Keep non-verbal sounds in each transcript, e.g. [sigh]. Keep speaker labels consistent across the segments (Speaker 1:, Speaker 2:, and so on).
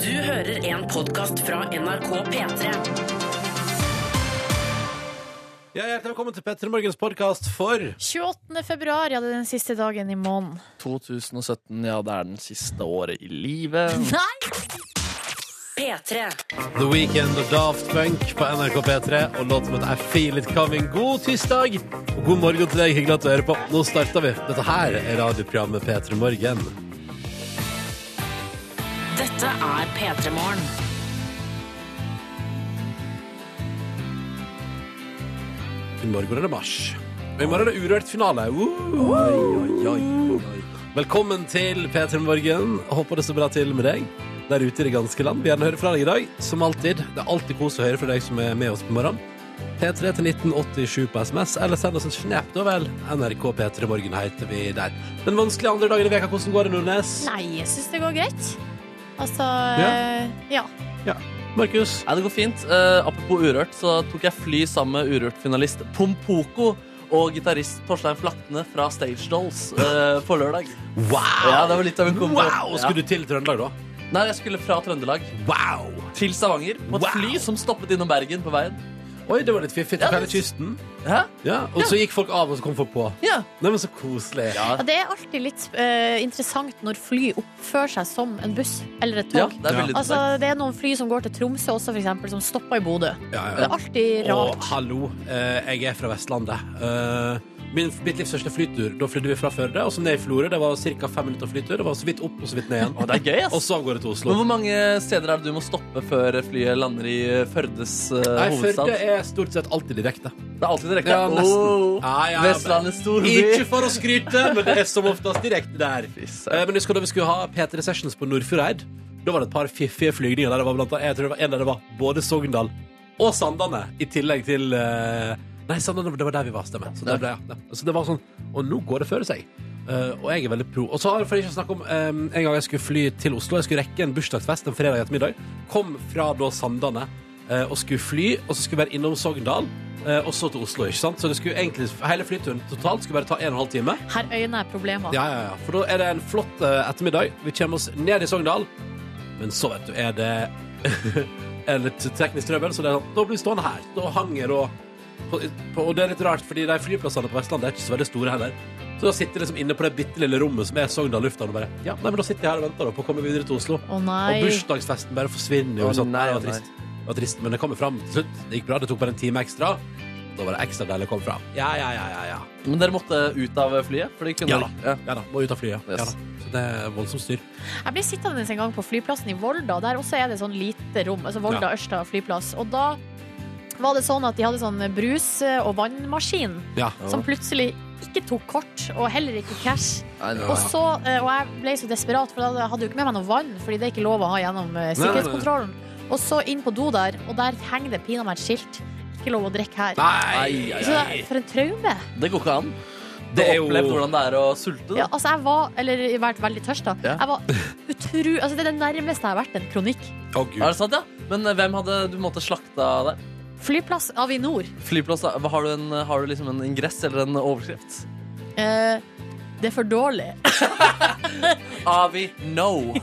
Speaker 1: Du hører en podkast fra NRK P3.
Speaker 2: Ja, Hjertelig velkommen til Petter Morgens podkast for
Speaker 3: 28. februar, ja, det er den siste dagen i måneden.
Speaker 4: 2017, ja, det er den siste året i livet.
Speaker 3: Nei!
Speaker 1: P3.
Speaker 2: The Weekend og Daft Punk på NRK P3 og låt som heter I Feel It Coming. God tirsdag og god morgen til deg. Hyggelig at du hører på. Nå starter vi. Dette her er radioprogrammet P3 Morgen.
Speaker 1: Dette er P3 Morgen.
Speaker 2: I morgen er det mars. Og i morgen er det urørt finale. Uh! Velkommen til P3 Morgen. Håper det står bra til med deg der ute i det ganske land. Vi gjerne høre fra deg i dag, som alltid. Det er alltid kos å høre fra deg som er med oss på morgenen. P3 til 1987 på SMS, eller send oss en snap, da vel. NRK P3 Morgen heter vi der. Den vanskelige andre dagen i veka, hvordan går det, Nordnes?
Speaker 3: Nei, jeg syns det går greit. Altså
Speaker 2: Ja.
Speaker 3: eh, ja.
Speaker 2: Markus?
Speaker 4: Nei, det går fint. Eh, apropos Urørt, så tok jeg fly sammen med Urørt-finalist Pompoko og gitarist Torstein Flatne fra Stage Dolls eh, på lørdag.
Speaker 2: Wow!
Speaker 4: Ja, det var litt av en kombo.
Speaker 2: Wow! Skulle du til Trøndelag, da?
Speaker 4: ja. Nei, jeg skulle fra Trøndelag
Speaker 2: Wow!
Speaker 4: til Stavanger på et
Speaker 2: Wow.
Speaker 4: fly som stoppet innom Bergen på veien.
Speaker 2: Oi, det var litt fiffig. Til
Speaker 4: Ja,
Speaker 2: hele
Speaker 4: det-
Speaker 2: kysten.
Speaker 4: Hæ?
Speaker 2: Ja, og så gikk folk av, og så kom folk på.
Speaker 4: Ja.
Speaker 2: Nei, men så koselig.
Speaker 4: Ja,
Speaker 3: ja. Det er alltid litt eh, interessant når fly oppfører seg som en buss eller et
Speaker 4: ja
Speaker 3: tog.
Speaker 4: det er veldig
Speaker 3: Altså,
Speaker 4: interessant.
Speaker 3: det er noen fly som går til Tromsø også, for eksempel, som stopper i Bodø.
Speaker 2: Ja,
Speaker 3: Det er alltid
Speaker 2: Og
Speaker 3: rart.
Speaker 2: hallo, eh, jeg er fra Vestlandet. Eh, Min, mitt livs største flytur. Da flydde vi fra Førde og så ned i Florø. Det var ca. fem minutter flytur. Det var så vidt opp og så vidt ned igjen.
Speaker 4: [laughs] Å, det er gøy, ass.
Speaker 2: Og så av gårde til Oslo.
Speaker 4: Men hvor mange steder er det du må stoppe før flyet lander i Førdes eh,
Speaker 2: Nei,
Speaker 4: hovedstad?
Speaker 2: Førde er stort sett alltid direkte.
Speaker 4: Det er alltid direkte.
Speaker 2: Ja, nesten.
Speaker 4: Åh,
Speaker 2: Ja, ja,
Speaker 4: Vestlandets storby.
Speaker 2: Ikke for å skryte, men det er som oftest direkte der.
Speaker 4: Fy
Speaker 2: Eh,
Speaker 4: søren.
Speaker 2: Men husker du da vi skulle ha P3 Sessions på Nordfjordeid? Da var det et par fiffige flygninger der det var blant annet, jeg tror det var en der det var både Sogndal og Sandane, i tillegg til eh, Nei, Sandane, det var der vi var, stemmer. Så, der ble, jeg- ja. så det var sånn Og nå går det føre seg. Eh, og jeg er veldig pro. Og så har for ikke å snakke om eh, en gang jeg skulle fly til Oslo. Jeg skulle rekke en bursdagsfest en fredag ettermiddag. Kom fra da Sandane eh, og skulle fly, og så skulle jeg være innom Sogndal. eh, Og så til Oslo, ikke sant? Så det skulle egentlig, hele flyturen totalt skulle bare ta en og en halv time.
Speaker 3: Her øyner jeg problemer.
Speaker 2: Ja, ja, ja. For da er det en flott eh, ettermiddag. Vi kommer oss ned i Sogndal. Men så, vet du, er det [laughs] er litt teknisk trøbbel, så det er sånn, da blir vi stående her. Da hanger og på, på, Og det er litt rart, fordi de flyplassene på Vestlandet er ikke så veldig store heller. Så da sitter jeg liksom inne på det bitte lille rommet som er Sogndal lufthavn, og bare Ja, nei, men da sitter jeg her og venter da, på å komme videre til Oslo.
Speaker 3: Å
Speaker 2: Og
Speaker 3: nei.
Speaker 2: bursdagsfesten bare forsvinner jo.
Speaker 4: Å,
Speaker 2: sånn.
Speaker 4: nei,
Speaker 2: det var
Speaker 4: nei.
Speaker 2: trist. Det var trist, men det kom jo fram til slutt. Det gikk bra. Det tok bare en time ekstra. Da var det ekstra deilig å komme fram. Ja, ja, ja, ja. ja.
Speaker 4: Men dere måtte ut av flyet? For de kunne
Speaker 2: Ja
Speaker 4: dere- ja.
Speaker 2: Ja da, må ut av flyet. Ja,
Speaker 4: Yes.
Speaker 2: da. Så det er voldsomt styr.
Speaker 3: Jeg ble sittende en gang på flyplassen i Volda. Der også er det sånn lite rom. Altså Volda Ørsta flyplass. Og da var det sånn at de hadde sånn brus- og vannmaskin
Speaker 2: Ja.
Speaker 3: som plutselig ikke tok kort, og heller ikke cash.
Speaker 4: Nei, det
Speaker 3: Og,
Speaker 4: var-
Speaker 3: så, eh, og jeg ble så desperat, for jeg hadde jo ikke med meg noe vann, fordi det er ikke lov å ha gjennom eh,
Speaker 2: nei, nei.
Speaker 3: sikkerhetskontrollen. Og så inn på do der, og der henger det pinadø et skilt. Ikke lov å drikke her.
Speaker 2: Nei!
Speaker 4: Ai,
Speaker 3: Så det- for en traume.
Speaker 4: Det går ikke an. Du
Speaker 2: Det er
Speaker 4: har
Speaker 2: jo-
Speaker 4: opplevd hvordan det er å sulte.
Speaker 3: Ja,
Speaker 4: Da.
Speaker 3: altså, jeg var, eller jeg har vært veldig tørst, da.
Speaker 4: Ja.
Speaker 3: Jeg var utru... Altså, det er det nærmeste jeg har vært en kronikk.
Speaker 2: Å, Gud.
Speaker 4: Er det sant, ja? Men eh, hvem hadde du måtte slakta der?
Speaker 3: Flyplass Avinor.
Speaker 4: Flyplass, da. Har du, en, har du liksom en ingress eller en overskrift?
Speaker 3: Eh, det er for dårlig. [laughs]
Speaker 4: Avi no.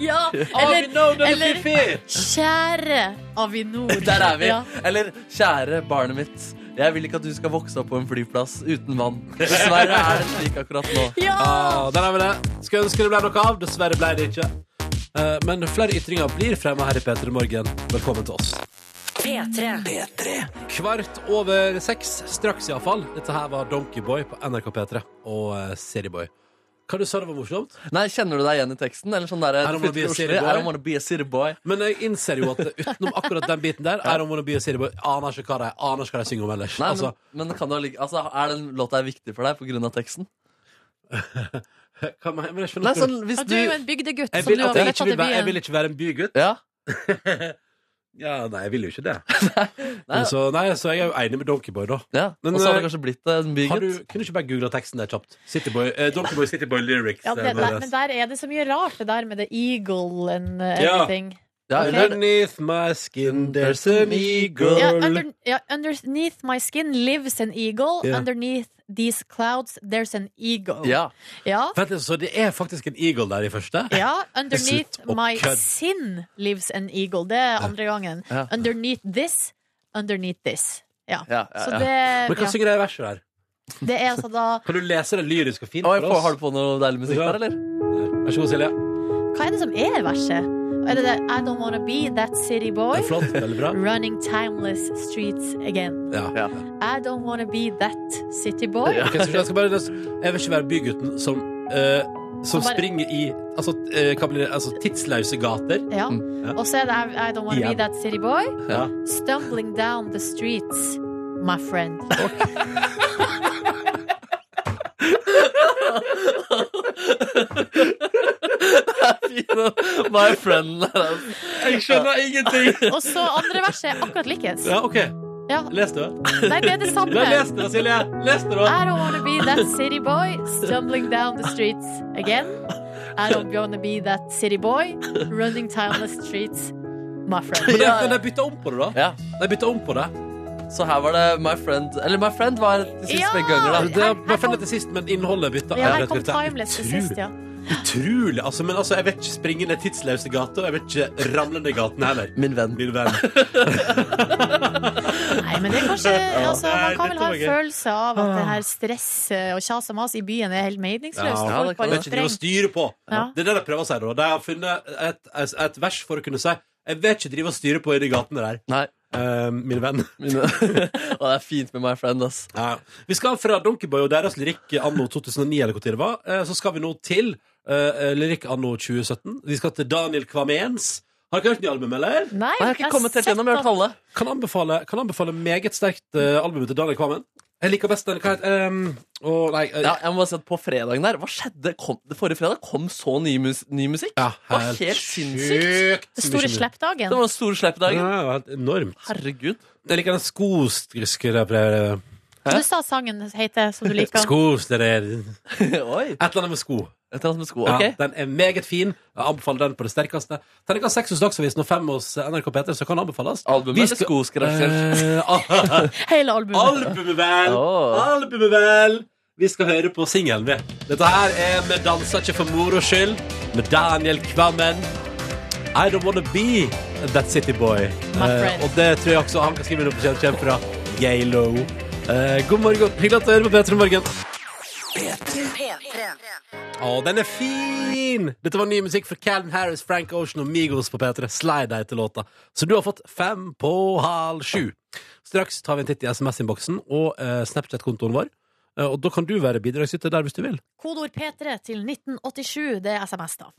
Speaker 3: ja, eller eller- Kjære Avinor.
Speaker 4: Der er vi.
Speaker 3: Ja.
Speaker 4: Eller kjære barnet mitt. Jeg vil ikke at du skal vokse opp på en flyplass uten vann. Dessverre er det slik akkurat nå.
Speaker 3: ja!
Speaker 2: Ah, der har vi det. Skulle ønske det ble noe av. Dessverre ble det ikke. Eh, Men flere ytringer blir fremma her i P3 Morgen. Velkommen til oss.
Speaker 1: P3.
Speaker 2: Kvart over seks, straks iallfall. Dette her var Donkeyboy på NRK P3 og eh, Cityboy. Hva du sa det var morsomt?
Speaker 4: Nei, Kjenner du deg igjen i teksten? Eller sånn der,
Speaker 2: I don't wanna be a city boy.
Speaker 4: I don't wanna be a city boy.
Speaker 2: Men jeg innser jo at utenom akkurat den biten
Speaker 4: [laughs]
Speaker 2: der, I don't wanna be a cityboy, aner ikke hva de, aner ikke hva de synger om ellers.
Speaker 4: Nei,
Speaker 2: altså,
Speaker 4: men, men kan du, allike- altså, er den låta her viktig for deg pga. teksten?
Speaker 2: hva, men jeg skjønner
Speaker 4: Nei,
Speaker 2: ikke-
Speaker 4: sånn hvis
Speaker 3: Ja, Du
Speaker 4: du
Speaker 3: er jo en bygdegutt
Speaker 2: jeg,
Speaker 3: som
Speaker 2: vil,
Speaker 3: du har
Speaker 2: at jeg,
Speaker 3: flytta
Speaker 2: ikke vil
Speaker 3: til
Speaker 2: være, jeg
Speaker 3: byen.
Speaker 2: vil ikke være en bygutt.
Speaker 4: Ja.
Speaker 2: Ja, nei, jeg vil jo ikke [laughs] det.
Speaker 4: Nei.
Speaker 2: Men Så, nei, så jeg er jo enig med Donkeyboy, da.
Speaker 4: ja.
Speaker 2: Men,
Speaker 4: Og så har
Speaker 2: eh,
Speaker 4: det kanskje blitt en
Speaker 2: Har du,
Speaker 4: bygutt.
Speaker 2: kunne du ikke bare googla teksten der kjapt? Cityboy, eh, Donkeyboy, Cityboy lyrics.
Speaker 3: Ja,
Speaker 2: eh,
Speaker 3: det, der,
Speaker 2: Nordnes.
Speaker 3: men der er det så mye rart, det der med The Eagle and eh,
Speaker 2: Ja.
Speaker 3: everything.
Speaker 4: Ja,
Speaker 3: Ok.
Speaker 4: under-
Speaker 2: Underneath my skin there's an eagle.
Speaker 3: Ja, under, ja, underneath my skin lives an eagle.
Speaker 2: Ja.
Speaker 3: Underneath these clouds there's an ego.
Speaker 4: ja.
Speaker 3: Ja.
Speaker 2: Vent litt, så det er faktisk en eagle der i første?
Speaker 3: Ja, underneath
Speaker 2: Slutt å
Speaker 3: my
Speaker 2: kødde.
Speaker 3: sin lives an eagle. Det er andre gangen.
Speaker 4: Ja.
Speaker 3: Underneath this, underneath this. Ja.
Speaker 4: ja, ja,
Speaker 3: Så
Speaker 4: ja.
Speaker 2: Men
Speaker 3: det,
Speaker 2: hva
Speaker 3: ja,
Speaker 2: synger de i verset der?
Speaker 3: det er altså da
Speaker 2: Kan du lese det lyrisk og fint
Speaker 4: Oi, får- har
Speaker 2: for
Speaker 4: du
Speaker 2: oss?
Speaker 4: på noe deilig musikk
Speaker 2: Ja.
Speaker 4: der, eller?
Speaker 2: Vær så god, Silje.
Speaker 3: Hva er det som er verset? Er det det I don't wanna be that city
Speaker 2: Det
Speaker 3: boy?
Speaker 2: er flott. Veldig bra.
Speaker 3: Running timeless streets again.
Speaker 2: Ja.
Speaker 4: [laughs] Ja.
Speaker 3: I don't wanna be that city boy.
Speaker 4: Ja.
Speaker 2: Ok, så jeg, skal bare, jeg vil ikke være bygutten som, eh, som
Speaker 3: Som bare-
Speaker 2: springer i altså, eh, hva blir det, altså, tidsløse gater.
Speaker 3: Ja.
Speaker 2: Ja.
Speaker 3: Og så er det I- I don't wanna
Speaker 2: Igjen.
Speaker 3: be that city boy.
Speaker 2: Ja.
Speaker 3: Stumbling down the streets, my friend.
Speaker 4: My friend.
Speaker 2: Jeg skjønner ingenting!
Speaker 3: Og så andre verset er akkurat likens.
Speaker 2: Ja, OK.
Speaker 3: Ja.
Speaker 2: Les det.
Speaker 3: Nei, det er det samme.
Speaker 2: Da les det, Silje. Les det, da.
Speaker 3: I don't wanna be that city boy stumbling down the streets again. I don't wanna be that city boy running timeless streets, my friend.
Speaker 2: Men
Speaker 4: Ja.
Speaker 2: de- de bytta om på det, da.
Speaker 4: Ja,
Speaker 2: De bytta om på det.
Speaker 4: så her var det My friend Eller My friend var til sist
Speaker 3: Ja!
Speaker 4: begge ganger,
Speaker 2: Det
Speaker 4: da.
Speaker 2: er bare funnet til sist, men innholdet bytta. [laughs] Ja,
Speaker 3: Ja, her kom
Speaker 2: dette er
Speaker 3: Timeless til
Speaker 2: utrolig.
Speaker 3: sist, ja.
Speaker 2: Utrolig. Altså, men altså, jeg vet ikke springe ned tidsløse gater, og jeg vet ikke ramle ned gaten heller.
Speaker 4: Min venn.
Speaker 2: Min
Speaker 3: [laughs]
Speaker 2: venn.
Speaker 3: Nei, men det er
Speaker 2: [laughs]
Speaker 3: kanskje altså,
Speaker 2: Nei,
Speaker 3: Man kan
Speaker 2: dette var
Speaker 3: vel ha en
Speaker 2: gøy.
Speaker 3: følelse av at det
Speaker 4: Ah.
Speaker 3: her stresset og kjas og mas i byen er helt meningsløst.
Speaker 2: Ja,
Speaker 3: Folk
Speaker 4: det kan
Speaker 2: Det
Speaker 3: bare
Speaker 2: er ikke drive og
Speaker 3: spreng-
Speaker 2: styre på.
Speaker 3: Ja.
Speaker 2: Det er det de prøver å si. da. De har funnet et, et, et vers for å kunne si Jeg vet ikke drive og styre på i de gatene der,
Speaker 4: Nei.
Speaker 2: eh, min venn.
Speaker 4: [laughs] Mine. Og det er fint med My friend, ass.
Speaker 2: Ja. Vi skal fra Donkeyboy og deres lyrikk anno 2009, eller hvor tid det var, eh, så skal vi nå til eh, lyrikk anno 2017. Vi skal til Daniel Kvamens. Har dere hørt ny album, eller?
Speaker 3: Nei,
Speaker 4: Nei, jeg har ikke kommet helt
Speaker 3: sett
Speaker 4: gjennom. Jeg har
Speaker 3: at-
Speaker 4: hørt halve.
Speaker 2: Kan anbefale, kan anbefale meget sterkt eh, albumet til Daniel Kvammen. Jeg liker best den Hva heter um, nei, eh,
Speaker 4: Ja, jeg må bare si at på fredagen der, hva skjedde? Kom, det forrige fredag kom så ny, mus, ny musikk.
Speaker 2: ja,
Speaker 4: var helt sinnssykt.
Speaker 2: sjukt
Speaker 3: Den store
Speaker 2: mye musikk.
Speaker 4: Det
Speaker 3: sleppdagen.
Speaker 4: var den store sleppedagen.
Speaker 2: Ja, det var helt enormt.
Speaker 4: Herregud. [laughs]
Speaker 2: Jeg liker den eh, skoskriskeren.
Speaker 3: Du sa sangen heter som du liker.
Speaker 2: Skosleder.
Speaker 4: Oi.
Speaker 2: Et eller annet med sko.
Speaker 4: Et eller annet med sko.
Speaker 2: Ja,
Speaker 4: Ok.
Speaker 2: den er meget fin. Jeg anbefaler den på det sterkeste. Terningkast seks hos Dagsavisen og fem hos NRK P3, så kan den anbefales.
Speaker 4: Albumet
Speaker 2: Vi
Speaker 4: eller
Speaker 2: skal-
Speaker 4: skoskrasjer?
Speaker 2: Eh, [laughs] al-
Speaker 3: Hele albumet.
Speaker 2: albumet, vel!
Speaker 4: [laughs] Åh.
Speaker 2: Albumet, vel! Vi skal høre på singelen, vi. Dette her er Vi danser ikke for moro skyld, med Daniel Kvammen. I don't wanna be that city boy.
Speaker 3: My
Speaker 2: Eh,
Speaker 3: friend.
Speaker 2: og det tror jeg også han kan skrive under på selv, kjem fra Yalo. Eh, god morgen. Hyggelig at du hører på P3 Morgen. Å, den er fin! Dette var ny musikk fra Calvin Harris, Frank Ocean og Migos på P3. Slide deg til låta. Så du har fått fem på halv sju. Straks tar vi en titt i SMS-innboksen og eh, Snapchat-kontoen vår. Eh, og da kan du være bidragsyter der hvis du vil.
Speaker 3: Kodeord P3 til 1987. Det er SMS, da.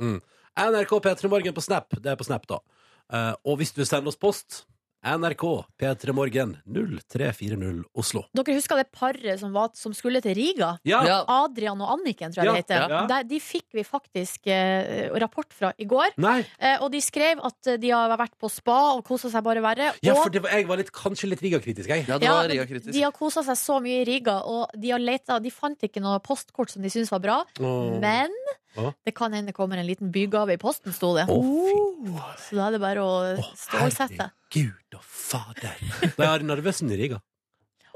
Speaker 2: NRK P3 Morgen på Snap. Det er på Snap, da. Eh, og hvis du vil sende oss post, NRK P3 Morgen 0340 Oslo.
Speaker 3: Dere husker det paret som, var, som skulle til Riga?
Speaker 4: Ja.
Speaker 3: Adrian og Anniken, tror jeg det
Speaker 2: Ja,
Speaker 3: heter.
Speaker 2: ja.
Speaker 3: Der, de fikk vi faktisk eh, rapport fra i går.
Speaker 2: Nei!
Speaker 3: Eh, og de skrev at de har vært på spa og kosa seg bare verre.
Speaker 2: Ja,
Speaker 3: og
Speaker 2: for det var, jeg var litt, kanskje litt Riga-kritisk, jeg.
Speaker 4: Ja, det
Speaker 3: Ja,
Speaker 4: var
Speaker 3: men
Speaker 4: Riga-kritisk.
Speaker 3: de har kosa seg så mye i Riga, og de har leta De fant ikke noe postkort som de syntes var bra,
Speaker 2: Åh.
Speaker 3: men
Speaker 2: Åh.
Speaker 3: det kan hende det kommer en liten bygave i posten, sto det.
Speaker 2: Å, fy
Speaker 3: Så da er det bare å stålsette.
Speaker 2: Herregud og fader. [laughs] Da er Narvesen i Riga.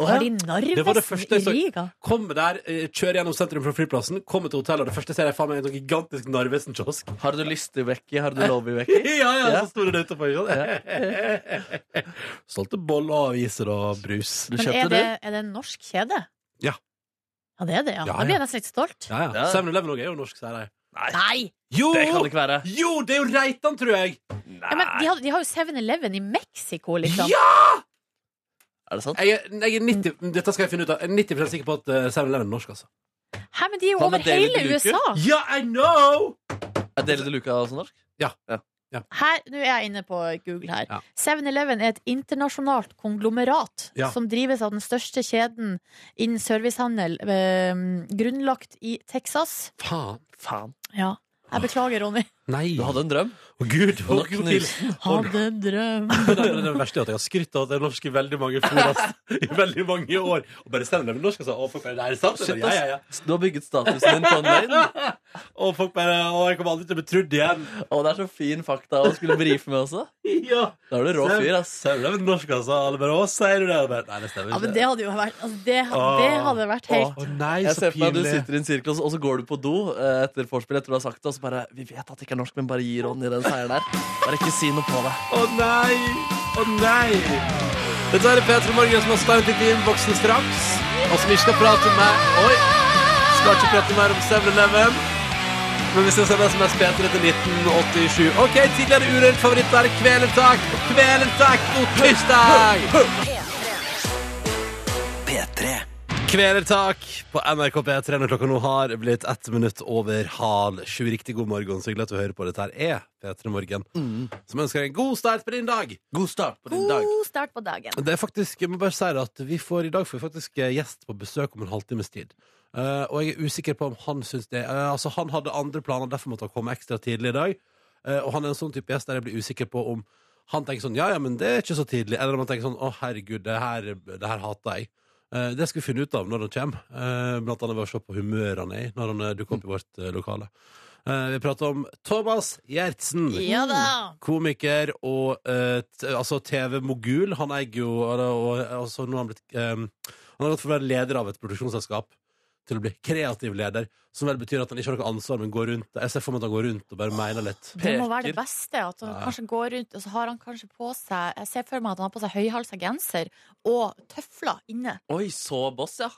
Speaker 3: Har de
Speaker 2: Det var det
Speaker 3: Narvesen
Speaker 2: første jeg
Speaker 3: i
Speaker 2: så-
Speaker 3: Riga?
Speaker 2: Kommer der, eh, kjører gjennom sentrum fra flyplassen, kommer til hotellet, og det første jeg ser, er faen meg en sånn gigantisk Narvesen-kiosk.
Speaker 4: Har du lyst til vekke? Har du lov i vekke?
Speaker 2: [laughs] Ja, ja,
Speaker 4: Ja.
Speaker 2: så står det utenfor. ikke sant? [laughs] Solgte boller og aviser og brus.
Speaker 4: Du
Speaker 3: Men
Speaker 4: kjøpte
Speaker 3: er det,
Speaker 4: det?
Speaker 3: er det en norsk kjede?
Speaker 2: Ja.
Speaker 3: Ja, det er det, ja.
Speaker 2: Ja,
Speaker 3: Da blir
Speaker 2: ja.
Speaker 3: jeg nesten litt stolt.
Speaker 2: Ja, ja.
Speaker 4: Ja.
Speaker 2: 7-Eleven også er jo norsk, sier de.
Speaker 3: Nei!
Speaker 2: Jo!
Speaker 4: Det kan det ikke være.
Speaker 2: Jo, det er jo Reitan, tror jeg!
Speaker 3: Ja, men de har, de har jo 7-Eleven i Mexico, liksom.
Speaker 2: Ja!
Speaker 4: Er det sant?
Speaker 2: Jeg er, jeg er 90, dette skal jeg finne ut av. Jeg er 90 sikker på at eh, 7-Eleven er norsk, altså.
Speaker 3: Hæ, men de er jo
Speaker 4: Hva med
Speaker 3: over
Speaker 4: Daily
Speaker 3: hele
Speaker 4: Deluca?
Speaker 3: USA!
Speaker 2: Ja, I know!
Speaker 4: Er Deli de Luca også norsk?
Speaker 3: Her, nå er jeg inne på Google her.
Speaker 2: Ja.
Speaker 3: 7-Eleven er et internasjonalt konglomerat
Speaker 2: Ja.
Speaker 3: som drives av den største kjeden innen servicehandel, eh, grunnlagt i Texas.
Speaker 2: Faen.
Speaker 4: Faen.
Speaker 3: Ja. Jeg beklager, Ronny.
Speaker 2: Nei.
Speaker 4: Du hadde en drøm.
Speaker 2: Å, Gud,
Speaker 4: Og
Speaker 2: å,
Speaker 4: da
Speaker 2: Gud.
Speaker 4: knuste den.
Speaker 3: Hadde en drøm.
Speaker 2: Men Det er det verste er at jeg har skrytt av at det er norsk i veldig mange fora i veldig mange år. Og bare stemmer det med norsk, altså. Å, fuck, det er sant?
Speaker 4: Shit,
Speaker 2: Ja, ja, ja.
Speaker 4: ass. Du har bygget statusen din på online.
Speaker 2: Å, folk bare Å, jeg kommer aldri til å bli trodd igjen. [laughs]
Speaker 4: Og det er så fin fakta å skulle brife med også.
Speaker 2: Ja.
Speaker 4: Da er du rå fyr, ass.
Speaker 2: Stemmer det med norsk, altså? Alle bare Å, sier du det? Jeg Bare, Nei, det stemmer
Speaker 3: Ja,
Speaker 2: ikke.
Speaker 3: men det hadde jo vært altså, det,
Speaker 2: Åh.
Speaker 3: det hadde vært helt
Speaker 2: Å nei,
Speaker 4: Jeg
Speaker 2: så
Speaker 4: ser for meg at du
Speaker 2: pinlig.
Speaker 4: sitter i en sirkel, og så- og så går du på do eh, etter vorspiel etter du har sagt det, og så bare Vi vet at det ikke er norsk, men bare gi Ronny den seieren der. Bare ikke si noe på det.
Speaker 2: Å nei! Å nei! Dette er Petra Morgen som har startet i innboksen straks, og som ikke skal prate med Oi! Skal ikke prate mer om 7-Eleven. Men vi sender SMS P3 til 1987. OK, tidligere urørt favoritt er Kvelertak. Kvelertak mot tirsdag!
Speaker 4: P3.
Speaker 2: Kvelertak på NRK P3 når klokka nå har blitt ett minutt over halv sju. Riktig god morgen. Så hyggelig at du hører på. Dette her er P3 Morgen, som ønsker deg en god start på din dag.
Speaker 4: God start på din dag.
Speaker 3: god start på dagen.
Speaker 2: Det er faktisk, jeg må bare si det at vi får, I dag får vi faktisk eh, gjest på besøk om en halvtimes tid. Eh, og jeg er usikker på om han syns det. Eh, altså Han hadde andre planer, derfor måtte han komme ekstra tidlig i dag. Eh, og han er en sånn type gjest der jeg blir usikker på om han tenker sånn Ja, ja, men det er ikke så tidlig. Eller om han tenker sånn Å, herregud, det her, det her hater jeg. Eh, det skal vi finne ut av når han kommer. Eh, blant annet ved å se på humøret han er i når han eh, dukker opp i vårt eh, lokale. Eh, vi prater om Thomas Gjertsen.
Speaker 3: Ja da.
Speaker 2: Komiker og eh, t- altså TV-mogul. Han eier jo og, og, altså, nå har han, blitt, eh, han har gått fra å være leder av et produksjonsselskap til å bli kreativ leder, som vel betyr at han ikke har noe ansvar, men går rundt. Jeg ser for meg at han går rundt og bare mener litt.
Speaker 3: Det må være det
Speaker 4: Peker.
Speaker 3: beste. At han
Speaker 2: Ja.
Speaker 3: kanskje går rundt, og så har han kanskje på seg Jeg ser for meg at han har på seg høyhalsa genser og tøfler inne.
Speaker 4: Oi, så boss, ja.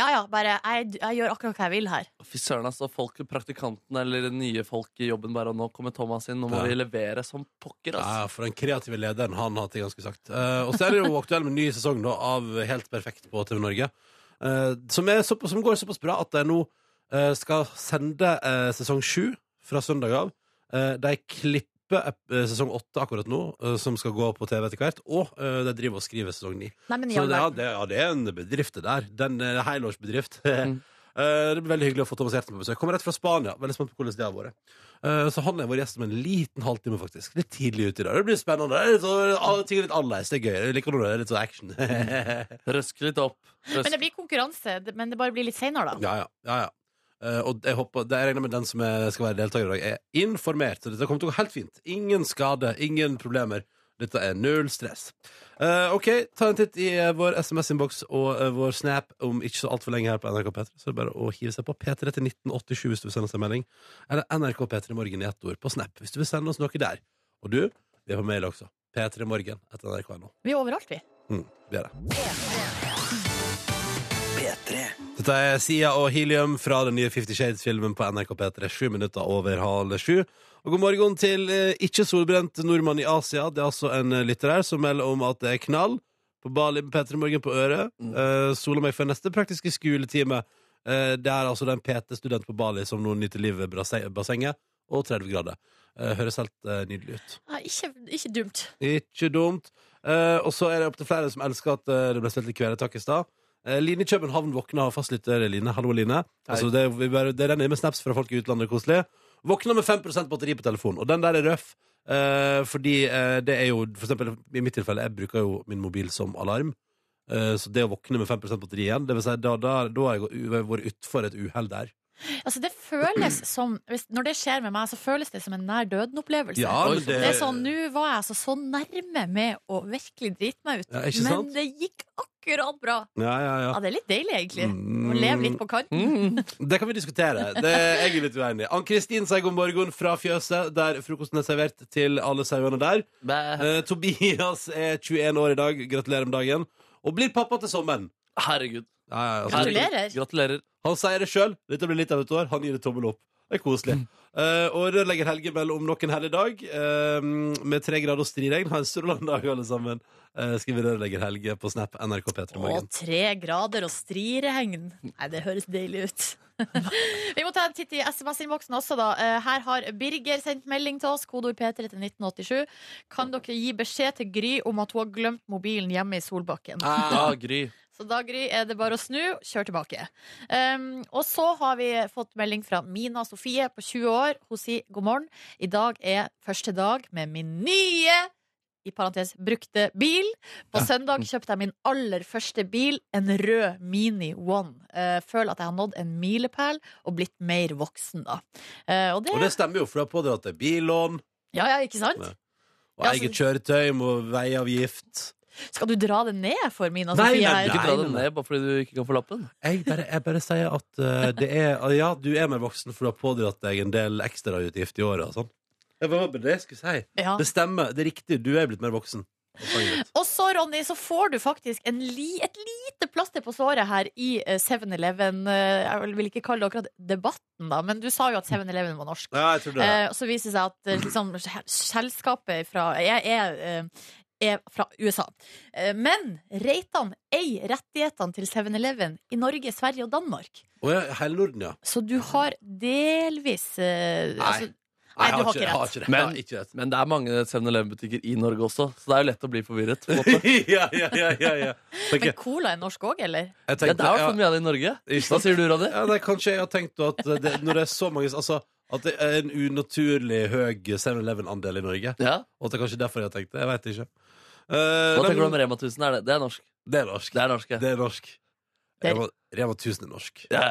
Speaker 3: Ja ja, bare jeg, jeg gjør akkurat hva jeg vil her.
Speaker 4: Fy søren, altså. Folk, praktikantene eller nye folk i jobben bare og Nå kommer Thomas inn, nå må
Speaker 2: Ja.
Speaker 4: vi levere som pokker, ass.
Speaker 2: Ja, for den kreative lederen, han hadde jeg ganske sagt. Eh, og så er det jo aktuell med en ny sesong da, av Helt perfekt på TV Norge. eh, som, er såpass, som går såpass bra at de nå eh, skal sende eh, sesong sju fra søndag av. Eh, de klipper ep- eh, sesong åtte akkurat nå, eh, som skal gå på TV etter hvert. Og eh, de driver og skriver sesong ni.
Speaker 3: Nei, men i
Speaker 2: Så
Speaker 3: all
Speaker 2: det, ja,
Speaker 3: verden.
Speaker 2: det, ja, det er en bedrift det der. Den er en helårsbedrift.
Speaker 4: Mm.
Speaker 2: [laughs] Eh, det blir veldig hyggelig å få Thomas Gjertsen på besøk. Kommer rett fra Spania. Veldig spent på hvordan det har vært. Eh, så han er vår gjest om en liten halvtime, faktisk. Litt tidlig ute i dag. Det blir spennende. Det er litt, så, alle ting er litt annerledes. Det er gøy. Jeg liker når det er litt sånn action. [laughs] ja,
Speaker 4: Røsk litt opp.
Speaker 3: Men det
Speaker 4: Røsk.
Speaker 3: blir konkurranse, det- men det bare blir litt seinere, da.
Speaker 2: ja. ja, ja. Eh, og jeg håper, det jeg regner med den som er, skal være deltaker i dag, er informert. Så dette kommer til å gå helt fint. Ingen skade, ingen problemer. Dette er null stress. Eh, OK, ta en titt i eh, vår SMS-innboks og eh, vår Snap om ikke så altfor lenge her på NRK P3. Så er det bare å hive seg på P3 til 1987 hvis du vil sende oss en melding. Eller NRK P3 Morgen i ett ord på Snap hvis du vil sende oss noe der. Og du, vi er på mail også. P3 Morgen etter nrk.no.
Speaker 3: Vi er overalt, vi.
Speaker 2: Mm, vi er det. Dette er Sia og Helium fra den nye Fifty Shades-filmen på NRK P3. Sju minutter over halv sju. Og god morgen til eh, ikke-solbrent nordmann i Asia. Det er altså en eh, lytter her som melder om at det er knall på Bali med P3 Morgen på øret. Eh, sola meg for neste praktiske skoletime. Eh, det er altså den PT-student på Bali som nå nyter livet i brasse- bassenget. Og 30 grader. Eh, høres helt eh, nydelig ut.
Speaker 3: Nei, ikke, ikke dumt.
Speaker 2: Ikke dumt. Eh, og så er det opp til flere som elsker at eh, det ble stilt litt kvelertak i stad. Eh, Line i København våkna av fastlytter Line. Hallo, Line. Altså, det, vi bare, det renner inn med snaps fra folk i utlandet. Koselig. Våkna med 5 batteri på telefonen, og den der er røff. eh, fordi eh, det er jo For eksempel i mitt tilfelle, jeg bruker jo min mobil som alarm. Eh, så det å våkne med 5 batteri igjen, det vil si, da, da, da har jeg gå- vært utfor et uhell der.
Speaker 3: Altså, det føles [clears throat] som hvis, Når det skjer med meg, så føles det som en nær døden-opplevelse.
Speaker 2: Ja, men
Speaker 3: Det er sånn, Nå var jeg altså så nærme med å virkelig drite meg ut,
Speaker 2: Ja, ikke sant?
Speaker 3: men det gikk akkurat bra.
Speaker 2: Ja, ja, ja.
Speaker 3: Ja, Det er litt deilig, egentlig.
Speaker 2: Mm.
Speaker 3: Å leve litt på kanten.
Speaker 4: Mm.
Speaker 2: Det kan vi diskutere. Det er jeg litt uenig i. Ann-Kristin sier god morgen fra fjøset, der frokosten er servert til alle sauene der.
Speaker 4: Bæ.
Speaker 2: Eh, Tobias er 21 år i dag. Gratulerer med dagen. Og blir pappa til sommeren.
Speaker 4: Herregud.
Speaker 2: Ja, ja, altså,
Speaker 3: Gratulerer.
Speaker 4: Gratulerer.
Speaker 2: han sier det sjøl. Dette blir litt av et år. Han gir det tommel opp. Det er koselig.
Speaker 3: Mm.
Speaker 2: Eh, og rørlegger Helge melder om nok en herlig dag. eh, med tre grader og striregn. Ha en strålende dag, alle sammen. Eh, skriver rørlegger Helge på Snap NRK P3
Speaker 3: Og
Speaker 2: Morgen.
Speaker 3: tre grader og striregn. Nei, det høres deilig ut. Vi må ta en titt i SMS-innboksen også, da. Eh, Her har Birger sendt melding til oss, kodeord P3 til 1987. Kan dere gi beskjed til Gry om at hun har glemt mobilen hjemme i Solbakken?
Speaker 4: Ja, Gry.
Speaker 3: Så da Gry, er det bare å snu, kjør tilbake. Um, og så har vi fått melding fra Mina Sofie på 20 år. Hun sier god morgen. I dag er første dag med min nye i parentes brukte bil. På søndag kjøpte jeg min aller første bil, en rød Mini One. Uh, føler at jeg har nådd en milepæl og blitt mer voksen, da. Eh, og det,
Speaker 2: Og det stemmer jo, for du har pådratt deg billån
Speaker 3: Ja, ja, ikke sant?
Speaker 2: Nei. og
Speaker 3: Ja, så-
Speaker 2: eget kjøretøy med veiavgift.
Speaker 3: Skal du dra det ned for Mina
Speaker 2: Nei,
Speaker 3: Sofie
Speaker 2: nei,
Speaker 3: her?
Speaker 4: Ikke dra
Speaker 2: Nei,
Speaker 4: den
Speaker 2: nei.
Speaker 4: ned bare fordi du ikke kan få lappen.
Speaker 2: Jeg bare, jeg bare sier at eh, det er ah, Ja, du er mer voksen, for du har pådratt deg en del ekstrautgift i året og sånn. Det var bare det jeg skulle si.
Speaker 3: Ja.
Speaker 2: Det stemmer. Det er riktig. Du er blitt mer voksen.
Speaker 3: Og så, Ronny, så får du faktisk en li, et lite plaster på såret her i eh, 7-Eleven. eh, Jeg vil ikke kalle det akkurat debatten, da, men du sa jo at 7-Eleven var norsk.
Speaker 2: Mm. Ja, jeg tror det.
Speaker 3: Eh, og så viser det seg at eh, liksom, sel- selskapet fra, er, er, eh, er fra USA. Eh, men Reitan eier rettighetene til 7-Eleven i Norge, Sverige og Danmark.
Speaker 2: Å ja, hele Norden, ja.
Speaker 3: Så du har delvis eh,
Speaker 2: Nei.
Speaker 3: altså,
Speaker 2: Nei,
Speaker 3: du har ikke
Speaker 2: jeg
Speaker 3: rett.
Speaker 2: ikke det.
Speaker 4: Men-
Speaker 2: Jeg har ikke rett.
Speaker 4: Men det er mange 7-Eleven-butikker i Norge også, så det er jo lett å bli forvirret. På en
Speaker 2: [laughs]
Speaker 4: måte.
Speaker 2: [laughs] ja, ja, ja, ja, ja. Tenker,
Speaker 3: Men Cola er norsk òg, eller?
Speaker 2: jeg
Speaker 4: Ja, det
Speaker 2: tenkte,
Speaker 4: er i hvert
Speaker 2: ja,
Speaker 4: fall mye av det i Norge.
Speaker 2: Ikke
Speaker 4: Hva
Speaker 2: sant?
Speaker 4: sier du, Ronny?
Speaker 2: ja, nei, kanskje jeg har tenkt at eh, det, når det er så mange Altså at det er en unaturlig høy 7-Eleven-andel i Norge.
Speaker 4: Ja,
Speaker 2: Og at det er kanskje derfor jeg har tenkt det. Jeg vet ikke. Eh,
Speaker 4: Hva
Speaker 2: nei,
Speaker 4: tenker du om
Speaker 2: men-
Speaker 4: Rema 1000? Er det? det er norsk.
Speaker 2: Det er norsk.
Speaker 4: Det er norsk, ja.
Speaker 2: Det er norsk.
Speaker 3: Det er-
Speaker 2: Rema, Rema 1000 er norsk.
Speaker 4: Ja,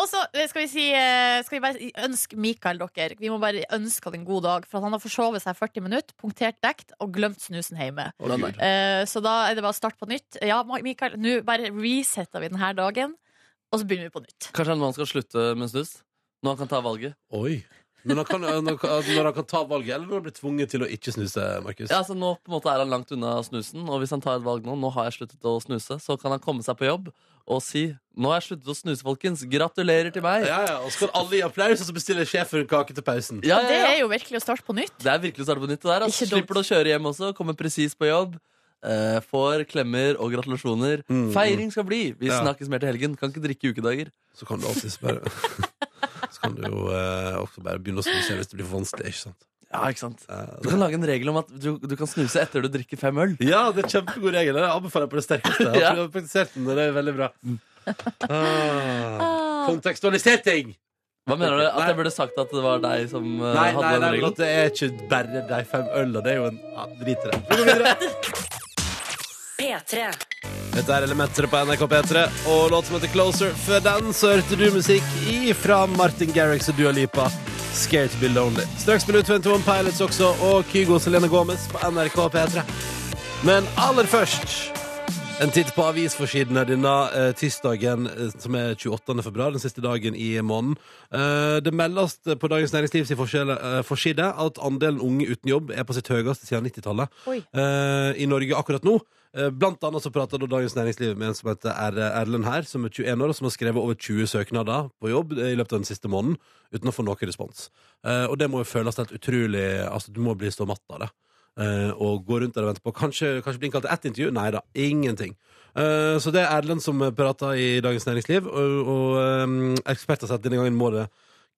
Speaker 3: Og så eh, skal vi si eh, Skal vi bare ønske Mikael dere Vi må bare ønske han en god dag For at han har forsovet seg 40 minutter Punktert dekt og glemt snusen hjemme
Speaker 2: Å, Gud.
Speaker 3: Eh, Så da er det bare å starte på nytt Ja, Ma- Mikael, nå bare resetter vi denne dagen Og så begynner vi på nytt
Speaker 4: Kanskje en mann skal slutte med snus? Når han kan ta valget?
Speaker 2: Oi. Men han kan, når han når han kan ta valget, eller når han blir tvunget til å ikke snuse, Markus.
Speaker 4: Ja, altså Nå på en måte er han langt unna snusen, og hvis han tar et valg nå Nå har jeg sluttet å snuse, så kan han komme seg på jobb og si Nå har jeg sluttet å snuse, folkens. Gratulerer til meg!
Speaker 2: Ja, ja, og så kan alle gi applaus, og så bestiller sjefen en kake til pausen.
Speaker 4: Ja,
Speaker 3: Og
Speaker 4: ja,
Speaker 3: det
Speaker 4: ja.
Speaker 3: er jo virkelig å starte på nytt
Speaker 4: Det er virkelig å starte på nytt. det der altså.
Speaker 3: Ikke dumt.
Speaker 4: Slipper du å kjøre hjem også, kommer presis på jobb. eh, får klemmer og gratulasjoner.
Speaker 2: Mm, mm.
Speaker 4: Feiring skal bli! Vi
Speaker 2: Ja.
Speaker 4: snakkes mer til helgen. Kan ikke drikke ukedager.
Speaker 2: Så kan du alltid
Speaker 3: [laughs]
Speaker 2: bare Så kan du jo eh, også bare begynne å snuse hvis det blir for vanskelig, ikke sant.
Speaker 4: Ja, ikke sant? Du
Speaker 2: Eh,
Speaker 4: kan lage en regel om at du, du kan snuse etter du drikker fem øl.
Speaker 2: [laughs] ja, det er kjempegod regel. Jeg anbefaler på det sterkeste. [laughs] Jeg
Speaker 4: Ja.
Speaker 2: tror jeg har praktisert den, og det er veldig bra. Ah,
Speaker 3: Mm. Ah.
Speaker 2: kontekstualisering!
Speaker 4: Hva mener du? At
Speaker 2: Nei.
Speaker 4: jeg burde sagt at det var deg som eh,
Speaker 2: Nei, nei,
Speaker 4: hadde
Speaker 2: nei,
Speaker 4: den
Speaker 2: men
Speaker 4: regelen?
Speaker 2: at det er ikke bare de fem øla. Det er jo en ja, Drit i det. Vi går videre.
Speaker 1: P3.
Speaker 2: Dette er Elementer på NRK P3 og låt som heter Closer. Før den så hørte du musikk ifra Martin Garrix og Dua Lipa. Scared to be lonely. Straks minutt 21 Pilots også og Kygo og Selene Gomez på NRK P3. Men aller først en titt på avisforsidene denne eh, tirsdagen, eh, som er 28. februar, den siste dagen i måneden. Eh, det meldes på Dagens Næringslivs forskjell- eh, forside at andelen unge uten jobb er på sitt høyeste siden 90-tallet
Speaker 3: Oi.
Speaker 2: eh, i Norge akkurat nå. Eh, Blant annet så prater da Dagens Næringsliv med en som heter Er- Erlend her, som er 21 år, og som har skrevet over 20 søknader på jobb eh, i løpet av den siste måneden, uten å få noe respons. Eh, Og det må jo føles helt utrolig Altså, du må bli så matt av det. Eh, Og gå rundt der og vente på Kanskje, kanskje bli innkalt til ett intervju? Nei da, ingenting. Eh, Så det er Erlend som prater i Dagens Næringsliv, og, og eh, eksperter sier at denne gangen må det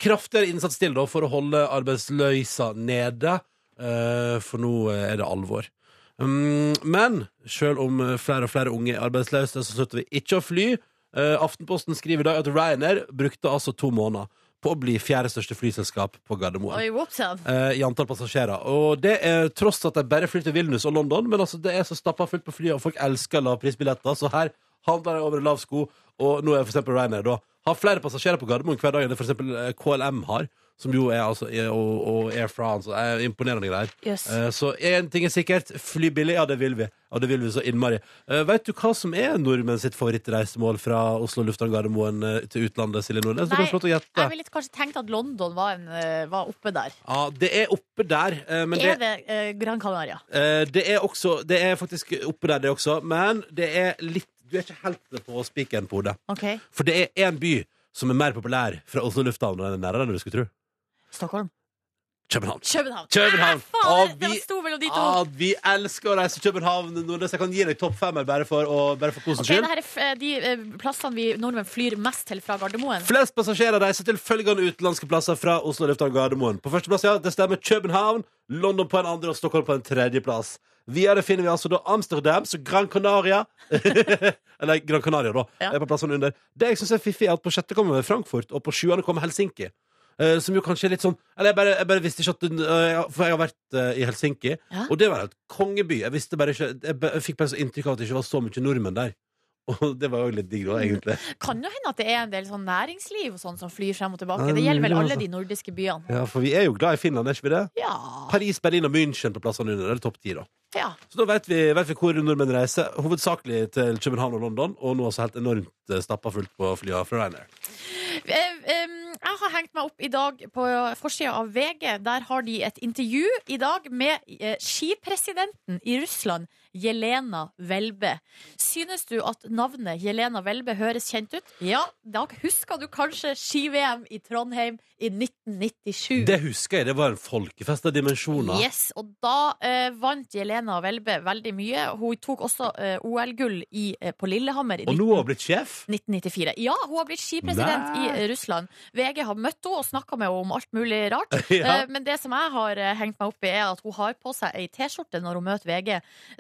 Speaker 2: kraftigere innsats til da, for å holde arbeidsløysa nede, eh, for nå er det alvor. Mm, Men selv om eh, flere og flere unge er arbeidsløse, så slutter vi ikke å fly. Eh, Aftenposten skriver i dag at Ryanair brukte altså to måneder på å bli fjerde største flyselskap på Gardermoen.
Speaker 3: Oi, whoops, ja.
Speaker 2: eh, I antall passasjerer. Og det er tross at de bare flyr til Vilnius og London, men altså det er så stappa fullt på flyet, og folk elsker lavprisbilletter, så her handler det over en lav sko. Og nå er for eksempel Ryanair da har flere passasjerer på Gardermoen hver dag enn det for eksempel eh, KLM har, som jo er altså er- og, og Air France og er imponerende greier.
Speaker 3: Jøss.
Speaker 2: Eh, Så én ting er sikkert. Fly billig, ja, det vil vi. Ja, det vil vi så innmari. Eh, Vet du hva som er nordmenn sitt favorittreisemål fra Oslo lufthavn Gardermoen eh, til utlandet, Silje Nordnes? Du
Speaker 3: Nei,
Speaker 2: kan få lov til å
Speaker 3: Jeg
Speaker 2: gjette.
Speaker 3: ville kanskje tenkt at London var, en, eh, var oppe der
Speaker 2: Ja, det er oppe der, eh, men det
Speaker 3: Er det eh, Gran Canaria?
Speaker 2: Eh, det er også Det er faktisk oppe der, det også, men det er litt Du er ikke helt på spikeren på hodet.
Speaker 3: Ok,
Speaker 2: For det er én by som er mer populær fra Oslo lufthavn enn nærere enn du skulle tro.
Speaker 3: Stockholm
Speaker 2: København.
Speaker 3: København
Speaker 2: København!
Speaker 3: Fader,
Speaker 2: Og
Speaker 3: det
Speaker 2: vi,
Speaker 3: var stor mellom de to
Speaker 2: ah, vi elsker å reise til København, Nordnes. Jeg kan gi deg topp femmer bare for, å- bare for kosens
Speaker 3: Ok,
Speaker 2: skyld.
Speaker 3: det her er f de eh, plassene vi nordmenn flyr mest til fra Gardermoen.
Speaker 2: Flest passasjerer reiser til følgende utenlandske plasser fra Oslo lufthavn Gardermoen. På førsteplass, ja, det stemmer København. London på en andre og Stockholm på en tredjeplass. Videre finner vi altså da Amsterdam, så Gran Canaria [laughs] Eller Gran Canaria, da.
Speaker 3: Ja.
Speaker 2: Er på plassene under. Det jeg syns er fiffig, er at på sjette kommer Frankfurt, og på sjuende kommer Helsinki. Eh, som jo kanskje er litt sånn Eller jeg bare, jeg bare visste ikke at den, eh, For jeg har vært eh, i Helsinki,
Speaker 3: Ja.
Speaker 2: og det var et kongeby. Jeg visste bare ikke Jeg, ba- jeg fikk bare så inntrykk av at det ikke var så mye nordmenn der. [laughs] Og det var jo litt digg, da, egentlig.
Speaker 3: [laughs] Kan jo hende at det er en del sånn næringsliv og sånn som flyr frem og tilbake.
Speaker 2: Ja,
Speaker 3: Det gjelder vel
Speaker 2: mulig,
Speaker 3: alle
Speaker 2: altså.
Speaker 3: de nordiske byene.
Speaker 2: Ja, For vi er jo glad i Finland, er ikke vi det?
Speaker 3: Ja.
Speaker 2: Paris, Berlin og München på plassene under. Det er topp ti, da.
Speaker 3: ja.
Speaker 2: Så da vet vi, vet vi hvor nordmenn reiser, hovedsakelig til København og London, og nå også helt enormt eh, stappa fullt på flya fra Ryanair.
Speaker 3: Eh, em, Jeg har hengt meg opp i dag på forsida av VG. Der har de et intervju i dag med eh, skipresidenten i Russland, Jelena Velbe. Synes du at navnet Jelena Velbe høres kjent ut? Ja, da husker du kanskje ski-VM i Trondheim i 1997.
Speaker 2: Det husker jeg, det var en folkefest av dimensjoner.
Speaker 3: Mm. Yes, og da eh, vant Jelena Velbe veldig mye. Hun tok også eh, OL-gull i, eh, på Lillehammer i
Speaker 2: Og
Speaker 3: 19...
Speaker 2: nå har hun blitt sjef.
Speaker 3: 1994. Ja, hun har blitt skipresident i eh, Russland. VG har møtt henne og snakka med henne om alt mulig
Speaker 2: [laughs]
Speaker 3: rart.
Speaker 2: Ja.
Speaker 3: Eh, Men det som jeg har eh, hengt meg opp i, er at hun har på seg ei T-skjorte når hun møter VG,